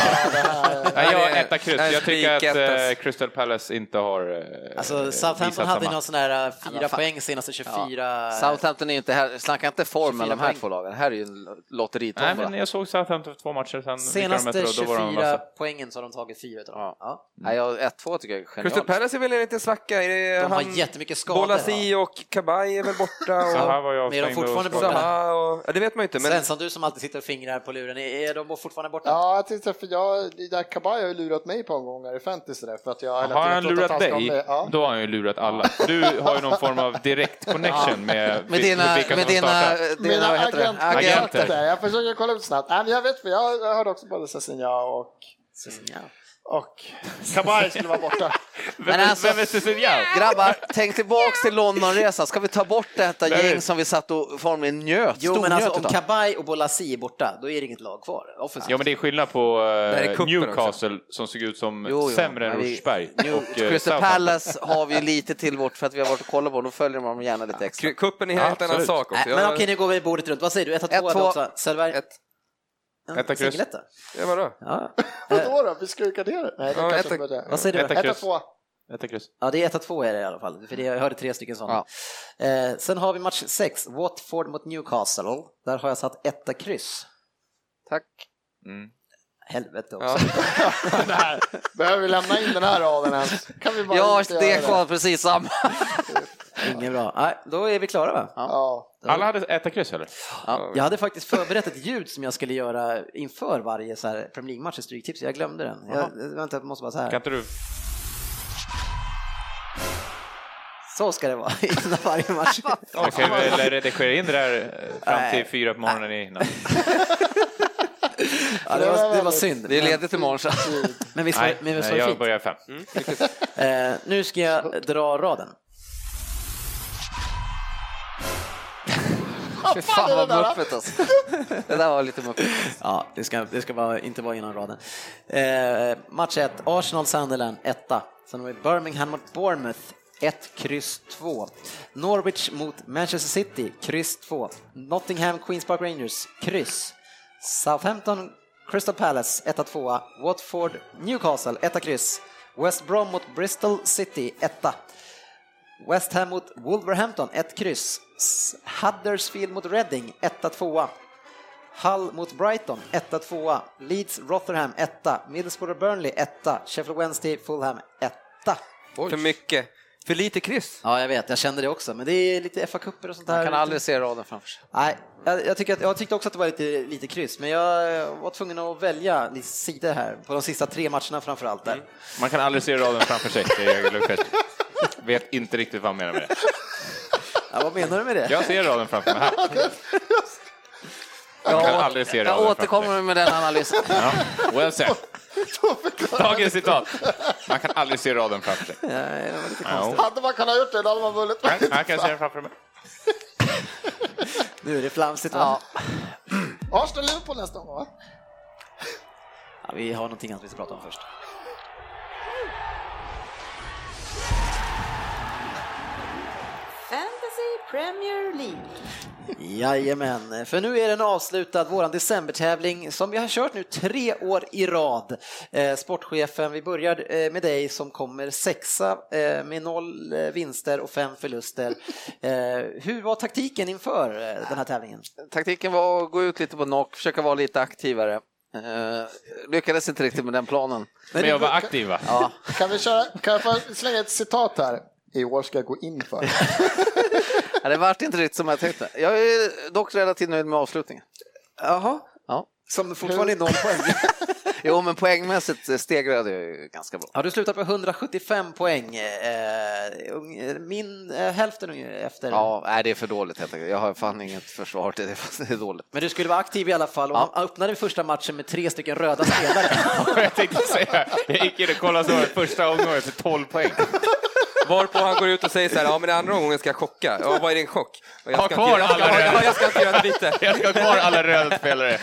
Speaker 2: Nej, jag
Speaker 3: Nej,
Speaker 2: är etta kryss.
Speaker 3: nej,
Speaker 2: Jag tycker att
Speaker 3: spikettas.
Speaker 2: eh, Crystal Palace inte har eh,
Speaker 1: Alltså
Speaker 2: visat
Speaker 1: Southampton hade
Speaker 2: samma.
Speaker 1: någon sån här eh, fyra
Speaker 4: Ja, fan.
Speaker 1: poäng senaste 24.
Speaker 4: Southampton är ju inte här, snacka inte form mellan de
Speaker 1: 24
Speaker 4: här
Speaker 1: poäng.
Speaker 4: två lagen. Här är ju en
Speaker 2: Nej,
Speaker 4: lotteritombola.
Speaker 2: men
Speaker 4: Nej,
Speaker 2: jag såg Southampton för två matcher sen. vilka de
Speaker 1: Senaste
Speaker 2: mötte, och då var de alltså- en massa-
Speaker 1: 24 poängen så har de tagit fyra utav dem. Ja.
Speaker 4: jag, 1-2 tycker jag är
Speaker 3: Crystal
Speaker 4: genialt.
Speaker 3: Palace är väl en liten svacka? Är det
Speaker 1: De har
Speaker 3: Eh, han-
Speaker 1: jättemycket skador.
Speaker 3: Bolasi och Kabaj är väl
Speaker 2: Så
Speaker 3: borta?
Speaker 2: här var jag
Speaker 1: Men är de
Speaker 2: avstängd och
Speaker 1: fortfarande
Speaker 2: skadad.
Speaker 1: borta?
Speaker 3: Zaha och... Ja, det vet man ju inte. Men...
Speaker 1: Svensson, du som alltid sitter och fingrar på luren, är- är de fortfarande borta?
Speaker 5: Ja, jag tyckte, för jag, det där Kabaj har ju lurat mig på en gång här i fantasy där, för att jag hela
Speaker 2: Har
Speaker 5: tiden
Speaker 2: han
Speaker 5: trott att
Speaker 2: lurat
Speaker 5: ska
Speaker 2: dig,
Speaker 5: med- Ja.
Speaker 2: då har han ju lurat alla. Du har ju någon form av direkt connection med,
Speaker 4: Med
Speaker 2: vil-
Speaker 4: dina,
Speaker 2: vilka
Speaker 4: med
Speaker 2: som
Speaker 4: dina,
Speaker 2: startar.
Speaker 4: dina
Speaker 5: Mina
Speaker 4: vad heter det?
Speaker 5: agent,
Speaker 4: agenter.
Speaker 2: Agent.
Speaker 5: agenter. Där. Jag försöker kolla upp snabbt. Nej, men jag vet, för jag, jag hörde också både Cecilia och,
Speaker 2: Mm.
Speaker 1: Ja.
Speaker 5: och Kabaj skulle vara borta.
Speaker 2: Vem, är-
Speaker 4: alltså-
Speaker 2: vem är Cecilia?
Speaker 4: Grabbar, tänk tillbaks till Londonresan. Ska vi ta bort detta
Speaker 2: Nej.
Speaker 4: gäng som vi satt och formligen njöt?
Speaker 1: Jo, men alltså om
Speaker 4: utav?
Speaker 1: Kabaj och Bolasi är borta, då är det inget lag kvar. Offensivt.
Speaker 2: Ja, men det är skillnad på eh,
Speaker 3: här är kuppen
Speaker 2: Newcastle som såg ut som
Speaker 4: Jo, jo,
Speaker 2: sämre än
Speaker 4: men vi-
Speaker 2: Rosersberg.
Speaker 4: New-
Speaker 2: och, eh,
Speaker 4: Crystal
Speaker 2: Southampton.
Speaker 4: Palace har vi ju lite till vårt för att vi har varit och kollat på dem. Då följer man dem gärna lite extra.
Speaker 3: K- Kuppen är en helt annan
Speaker 2: Absolut.
Speaker 3: sak också.
Speaker 1: Nej, men okej, nu går vi bordet runt. Vad säger du? 1
Speaker 4: Ett,
Speaker 1: 2
Speaker 4: två.
Speaker 1: också. Söderberg?
Speaker 3: Ett.
Speaker 1: En
Speaker 2: Etta, kryss.
Speaker 1: Singeletta?
Speaker 3: Ja, vadå?
Speaker 1: Ja.
Speaker 5: Vadå då? Vi skrukar ner det? Nej, det
Speaker 3: Ja,
Speaker 5: kanske
Speaker 3: ett-
Speaker 5: inte var det.
Speaker 1: Vad säger du?
Speaker 2: Etta,
Speaker 5: Etta,
Speaker 2: kryss.
Speaker 5: två.
Speaker 2: Etta, kryss.
Speaker 1: Ja, det är 1 2 är det i alla fall. För det, jag hörde tre stycken sådana. Eh, sen har vi match 6, Watford mot Newcastle. Där har jag satt etta kryss.
Speaker 4: Tack.
Speaker 2: Mm.
Speaker 1: Helvete också.
Speaker 3: Ja.
Speaker 5: Behöver vi lämna in den här raden ens? Kan vi bara
Speaker 4: Jag har
Speaker 5: inte göra
Speaker 4: det kvar precis samma.
Speaker 1: Inget bra. Nej, då är vi klara va?
Speaker 5: Ja.
Speaker 2: Alla hade etta kryss eller?
Speaker 1: Jag hade faktiskt förberett ett ljud som jag skulle göra inför varje så här Premier League-match i Stryktips. Jag glömde den. Jag, vänta, jag måste bara så
Speaker 2: Kan
Speaker 1: här.
Speaker 2: inte du?
Speaker 1: Så ska det vara innan varje match.
Speaker 2: Man kan ju väl redigera in det där eh, fram till
Speaker 1: Nej.
Speaker 2: fyra på morgonen i natt.
Speaker 1: Ja, det, var, det var synd.
Speaker 4: Det är ledigt imorgon. Så.
Speaker 1: Men- Men visst var
Speaker 2: Nej,
Speaker 1: det- men visst
Speaker 2: nej,
Speaker 1: var det
Speaker 2: jag
Speaker 1: fint?
Speaker 2: börjar fem.
Speaker 1: Mm. Eh, nu ska jag dra raden.
Speaker 4: Fy fan vad muppet alltså. Det där var lite muppet.
Speaker 1: Ja, det ska, det ska vara, inte vara innan raden. Eh, match 1, Arsenal-Sunderland, etta. Sen har vi Birmingham mot Bournemouth, 1, kryss 2. Norwich mot Manchester City, kryss 2. Nottingham Queens Park Rangers, kryss. Southampton Crystal Palace, etta, tvåa. Watford Newcastle, etta, kryss. West Brom mot Bristol City, etta. West Ham mot Wolverhampton, ett kryss. S- Huddersfield mot Reading, etta, tvåa. Hull mot Brighton, etta, tvåa. Leeds Rotherham, etta. Middlesbrough Burnley, etta. Sheffield Wednesday Fulham, etta.
Speaker 3: För mycket. För lite kryss.
Speaker 1: Ja, jag vet, jag kände det också, men det är lite fa kupper och sånt där.
Speaker 4: Man kan aldrig se raden framför sig.
Speaker 1: Nej, jag, jag, tycker att, jag tyckte också att det var lite, lite kryss, men jag var tvungen att välja lite sidor här, på de sista tre matcherna framför allt.
Speaker 4: Mm.
Speaker 1: Där.
Speaker 2: Man kan aldrig se raden framför sig, säger jag Lukas. Vet inte riktigt vad han menar med det.
Speaker 1: Ja, vad menar du med det?
Speaker 2: Jag ser raden framför mig här. Jag kan aldrig se raden
Speaker 4: Jag
Speaker 2: framför mig.
Speaker 4: återkommer med den analysen.
Speaker 2: Ja, well said. Dagens citat. Man kan aldrig se raden framför sig.
Speaker 1: Ja, det var lite konstigt.
Speaker 2: Ja,
Speaker 5: Hade man kunnat gjort det, då hade man vunnit.
Speaker 2: jag kan se den framför mig.
Speaker 1: Nu är det flamsigt va?
Speaker 4: Ja.
Speaker 5: Arsenal-Liverpool nästa gång, va?
Speaker 1: Ja, vi har någonting annat vi ska prata om först.
Speaker 6: Fantasy Premier League.
Speaker 1: Jajamän, för nu är den avslutad, våran decembertävling som vi har kört nu tre år i rad. Eh, sportchefen, vi börjar eh, med dig som kommer sexa eh, med noll eh, vinster och fem förluster. Eh, hur var taktiken inför eh, den här tävlingen?
Speaker 4: Taktiken var att gå ut lite på knock, försöka vara lite aktivare. Eh, lyckades inte riktigt med den planen.
Speaker 2: Men jag var aktiv va?
Speaker 5: Kan, vi köra, kan jag få slänga ett citat här? I år ska jag gå in för.
Speaker 4: Ja, det vart inte riktigt som jag tänkte. Jag är dock relativt nöjd med avslutningen.
Speaker 1: Jaha,
Speaker 4: Ja.
Speaker 1: som fortfarande är noll poäng.
Speaker 4: Jo, men poängmässigt stegrade jag ju ganska bra.
Speaker 1: Ja, du slutar på 175 poäng, eh, ung- min eh, hälften ungefär efter.
Speaker 4: Ja, nej, det är för dåligt helt enkelt. Jag har fan inget försvar till det, fast det är dåligt.
Speaker 1: Men du skulle vara aktiv i alla fall och
Speaker 4: Ja.
Speaker 1: ja. öppnade första matchen med tre stycken röda spelare.
Speaker 2: Jag tänkte säga, jag gick in och kollade så var det första omgången för 12 poäng.
Speaker 3: Varpå han går ut och säger så här, ja men den andra omgången ska jag chocka. Ja, vad är din chock? Och jag
Speaker 2: Ha
Speaker 3: ska
Speaker 2: kvar
Speaker 3: inte, jag ska,
Speaker 2: alla
Speaker 3: ja,
Speaker 2: röda.
Speaker 3: jag ska inte göra ett byte.
Speaker 2: Jag ska ha kvar alla röda spelare.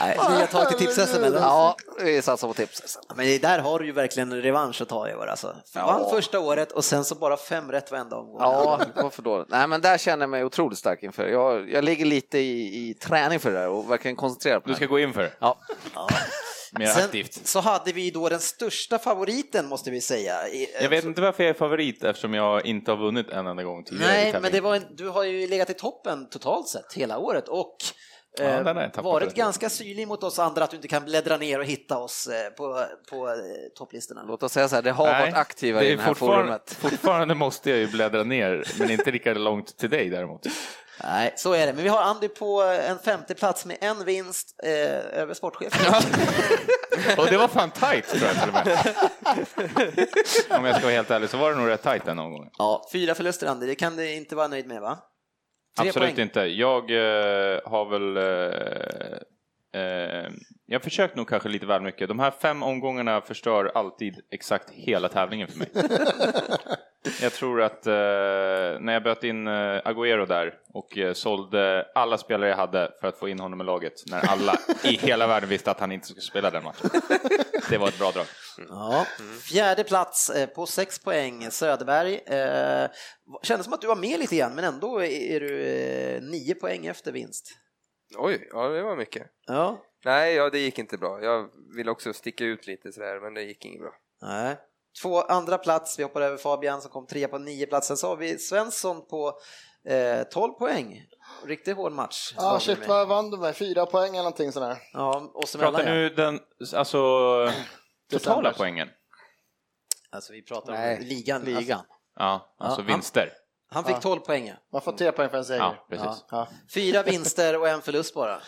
Speaker 1: Nej, ni har tagit till tipsessen eller?
Speaker 4: Ja, vi satsar på tips.
Speaker 1: Men det där har du ju verkligen revansch att ta i år alltså. Vann första året och sen så bara fem rätt varenda omgång.
Speaker 4: Ja, varför då? Nej, men där känner jag mig otroligt stark inför. Jag, jag ligger lite i, i träning för det där och verkligen koncentrerad på
Speaker 2: Du
Speaker 4: det.
Speaker 2: ska
Speaker 4: här.
Speaker 2: gå in för det.
Speaker 4: Ja.
Speaker 2: Mer
Speaker 1: Sen
Speaker 2: aktivt.
Speaker 1: så hade vi då den största favoriten måste vi säga. I-
Speaker 2: Jag vet inte varför jag är favorit eftersom jag inte har vunnit en enda gång tidigare. i
Speaker 1: Nej,
Speaker 2: tävlingen.
Speaker 1: men det var en, du har ju legat i toppen totalt sett hela året och eh,
Speaker 2: Ja, den har jag tappat
Speaker 1: varit
Speaker 2: lite.
Speaker 1: ganska syrlig mot oss andra att du inte kan bläddra ner och hitta oss eh, på, på eh, topplistorna.
Speaker 4: Låt oss säga så här, det har
Speaker 2: Nej,
Speaker 4: varit aktiva
Speaker 2: det
Speaker 4: i
Speaker 2: är
Speaker 4: det här
Speaker 2: fortfarande-
Speaker 4: forumet.
Speaker 2: Fortfarande måste jag ju bläddra ner, men inte lika långt till dig däremot.
Speaker 1: Nej, så är det. Men vi har Andy på eh, en femte plats med en vinst eh, över sportchefen.
Speaker 2: Och det var fan tight tror jag till och med. Om jag ska vara helt ärlig så var det nog rätt tight den omgången.
Speaker 1: Ja, fyra förluster Andy, det kan du inte vara nöjd med va? Tre
Speaker 2: Absolut
Speaker 1: poäng.
Speaker 2: inte. Jag eh, har väl... Eh, eh, jag har försökt nog kanske lite väl mycket. De här fem omgångarna förstör alltid exakt hela tävlingen för mig. jag tror att eh, när jag böt in eh, Agüero där och eh, sålde alla spelare jag hade för att få in honom i laget när alla i hela världen visste att han inte skulle spela den matchen. Det var ett bra drag.
Speaker 1: Ja. Fjärde plats eh, på sex poäng, Söderberg. Eh, kändes som att du var med lite grann, men ändå är du eh, nio poäng efter vinst.
Speaker 3: Oj, ja det var mycket.
Speaker 1: Ja,
Speaker 3: Nej, ja, det gick inte bra. Jag ville också sticka ut lite sådär, men det gick inget bra.
Speaker 1: nej. Två andra plats, vi hoppar över Fabian som kom trea på nio plats. Sen så har vi Svensson på eh, 12 poäng. Riktigt hård match.
Speaker 5: Ja, ah,
Speaker 1: Fabian
Speaker 5: shit
Speaker 1: med.
Speaker 5: vad vann du med? Fyra poäng eller någonting sådär.
Speaker 1: Ja, oss
Speaker 2: Pratar
Speaker 1: emellan ja.
Speaker 2: nu den alltså, totala
Speaker 5: December.
Speaker 2: poängen?
Speaker 1: Alltså vi pratar om
Speaker 4: Nej,
Speaker 1: ligan.
Speaker 4: ligan.
Speaker 1: Alltså,
Speaker 2: Ja, alltså
Speaker 1: Ja, han-
Speaker 2: vinster.
Speaker 1: han fick
Speaker 5: Ja.
Speaker 1: 12 poäng. ja.
Speaker 5: Man får tre poäng för en seger.
Speaker 2: Ja,
Speaker 5: Ja.
Speaker 2: precis.
Speaker 5: Ja.
Speaker 1: Fyra vinster och en förlust bara.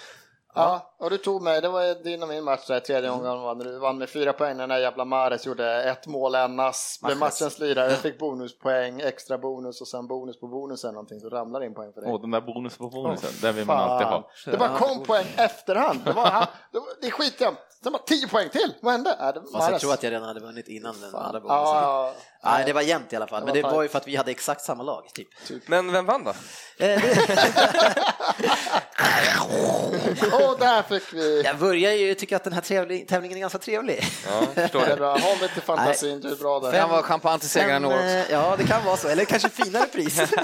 Speaker 5: och du tog mig, det var din och min match där, tredje omgången vann du. vann med fyra poäng när den där jävla Mares gjorde ett mål, en ass, blev
Speaker 1: Mahrez.
Speaker 5: matchens lirare, fick bonuspoäng, extra bonus och sen bonus på bonus eller någonting så ramlar det in poäng för dig.
Speaker 2: Åh, den där bonusen på bonusen,
Speaker 5: Åh,
Speaker 2: den vill man
Speaker 5: fan.
Speaker 2: alltid ha.
Speaker 5: Det bara kom poäng efterhand. Det, var, han, det, var, det är skitjämnt. Sen bara tio poäng till. Vad hände? Äh, det var
Speaker 1: Fast jag
Speaker 5: Mahrez.
Speaker 1: tror att jag redan hade vunnit innan den andra bonusen.
Speaker 5: Ja, ja,
Speaker 1: Nej, det var jämnt i alla fall,
Speaker 5: Det
Speaker 1: men det
Speaker 5: var tajt.
Speaker 1: var ju för att vi hade exakt samma lag. Typ.
Speaker 3: Men vem vann då?
Speaker 1: Eh, det-
Speaker 5: ja. Och där fick vi...
Speaker 1: Jag börjar ju tycka att den här trevlig, tävlingen är ganska trevlig.
Speaker 3: Ja, förstår
Speaker 5: Det är
Speaker 3: det.
Speaker 5: bra. Håll dig till fantasin, du är bra där.
Speaker 4: Det kan vara champagne till segraren i år
Speaker 1: Men,
Speaker 4: också.
Speaker 1: eh, Ja, det kan vara så, eller kanske finare pris.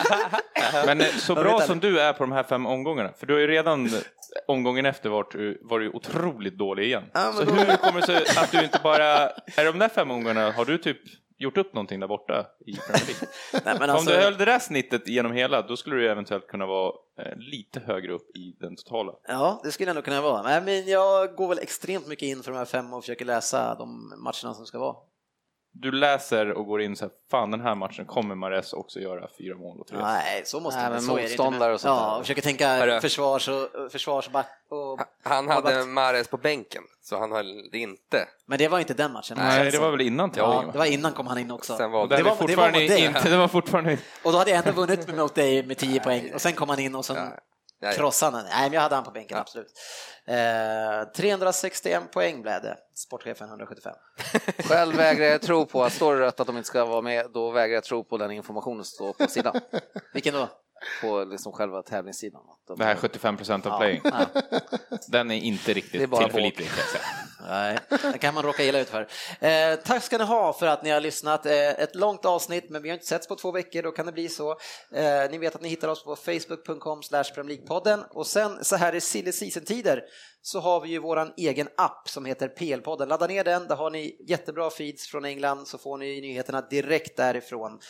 Speaker 2: Men eh, så
Speaker 1: Jag
Speaker 2: bra
Speaker 1: vet
Speaker 2: som du är på de här fem omgångarna, för du har ju redan omgången efter varit, var du ju otroligt dålig igen.
Speaker 1: Ja, men
Speaker 2: så
Speaker 1: då-
Speaker 2: hur kommer det sig att du inte bara, är de där fem omgångarna, har du typ gjort upp någonting där borta i Premier League?
Speaker 1: Nej, men
Speaker 2: Om
Speaker 1: alltså,
Speaker 2: du höll det där snittet genom hela, då skulle du ju eventuellt kunna vara eh, lite högre upp i den totala.
Speaker 1: Ja, det skulle jag nog kunna vara. Nej, men jag går väl extremt mycket in för de här fem och försöker läsa de matcherna som ska vara.
Speaker 2: Du läser och går in så här, fan den här matchen kommer Mares också göra fyra mål och tre.
Speaker 1: Nej, så måste
Speaker 4: Nej,
Speaker 1: man
Speaker 4: men
Speaker 1: så är det inte.
Speaker 4: motståndare och sånt
Speaker 1: Ja,
Speaker 4: där.
Speaker 1: och försöker tänka
Speaker 3: Hörru.
Speaker 1: försvars och försvarsback. Och...
Speaker 3: Han hade
Speaker 1: Målvakt.
Speaker 3: Mares på bänken, så han höll det inte.
Speaker 1: Men det var inte den matchen.
Speaker 2: Nej, det var väl innan tävlingen?
Speaker 1: Ja,
Speaker 2: va?
Speaker 1: det var innan kom han in också.
Speaker 3: Sen var
Speaker 2: det,
Speaker 3: det-
Speaker 2: var
Speaker 1: var- det
Speaker 2: fortfarande
Speaker 1: var mot dig.
Speaker 2: inte, det var fortfarande...
Speaker 1: Och då hade jag ändå vunnit mot dig med 10 poäng och sen kom han in och sen
Speaker 3: Nej.
Speaker 1: krossade han. Nej, men jag hade han på bänken, absolut. Eh, 361 poäng blev det, sportchefen 175.
Speaker 4: Själv vägrar jag tro på att står det rött att de inte ska vara med, då vägrar jag tro på den informationen som står på sidan.
Speaker 1: Vilken då?
Speaker 4: På liksom själva tävlingssidan.
Speaker 2: Det här 75 procent av playing.
Speaker 1: Ja.
Speaker 2: Den är inte
Speaker 4: Det är
Speaker 2: riktigt
Speaker 4: bara
Speaker 2: tillförlitlig. kan jag säga.
Speaker 1: Nej, det kan man råka illa ut för. Eh, tack ska ni ha för att ni har lyssnat. Eh, ett långt avsnitt, men vi har inte setts på två veckor, då kan det bli så. Eh, ni vet att ni hittar oss på facebook.com podden och sen så här i silly season-tider så har vi ju våran egen app som heter PL-podden. Ladda ner den, där har ni jättebra feeds från England så får ni nyheterna direkt därifrån.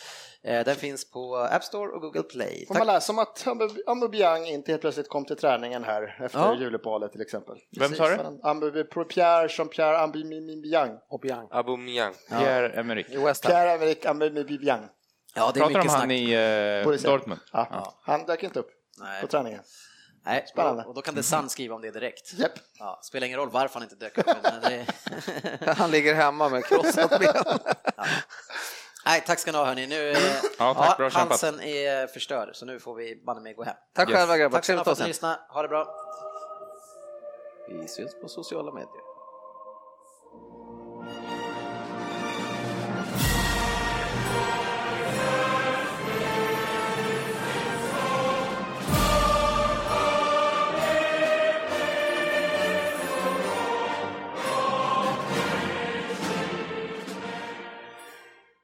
Speaker 1: Eh, den finns på App Store och Google Play.
Speaker 5: Får
Speaker 1: Tack.
Speaker 5: man läsa om att Ambu- Ambubiang inte helt plötsligt kom till träningen här efter
Speaker 1: Ja.
Speaker 5: juluppehållet till exempel?
Speaker 2: Vem sa du?
Speaker 5: Ambu, Pierre Jean-Pierre Ambubiang.
Speaker 4: Hoppjang.
Speaker 3: Aubameyang.
Speaker 2: Pierre Emerick.
Speaker 4: I West Ham.
Speaker 5: Pierre Emerick Ambubiang.
Speaker 1: Ja, det är
Speaker 2: Pratar
Speaker 1: mycket
Speaker 2: om han
Speaker 1: snack.
Speaker 2: i eh,
Speaker 5: Polisen.
Speaker 2: Dortmund?
Speaker 5: Ja. Han dök inte upp
Speaker 1: Nej.
Speaker 5: på träningen.
Speaker 1: Nej,
Speaker 5: Spännande.
Speaker 1: Och då kan The Sun skriva om det direkt.
Speaker 5: Japp.
Speaker 1: Ja, spelar ingen roll varför han inte dök upp. Men eh, det...
Speaker 4: Han ligger hemma med krossat ben.
Speaker 1: Nej, tack ska ni ha hörni. Nu, eh,
Speaker 2: Ja, tack, bra kämpat.
Speaker 1: halsen är förstörd så nu får vi banne mig gå hem.
Speaker 4: Tack
Speaker 2: Yes.
Speaker 4: själva grabbar,
Speaker 1: Tack ska ni ha
Speaker 4: trevligt
Speaker 1: för
Speaker 4: att
Speaker 1: att
Speaker 4: ha
Speaker 1: ni lyssnade.
Speaker 4: oss
Speaker 1: Ha det bra.
Speaker 4: Vi syns på sociala medier.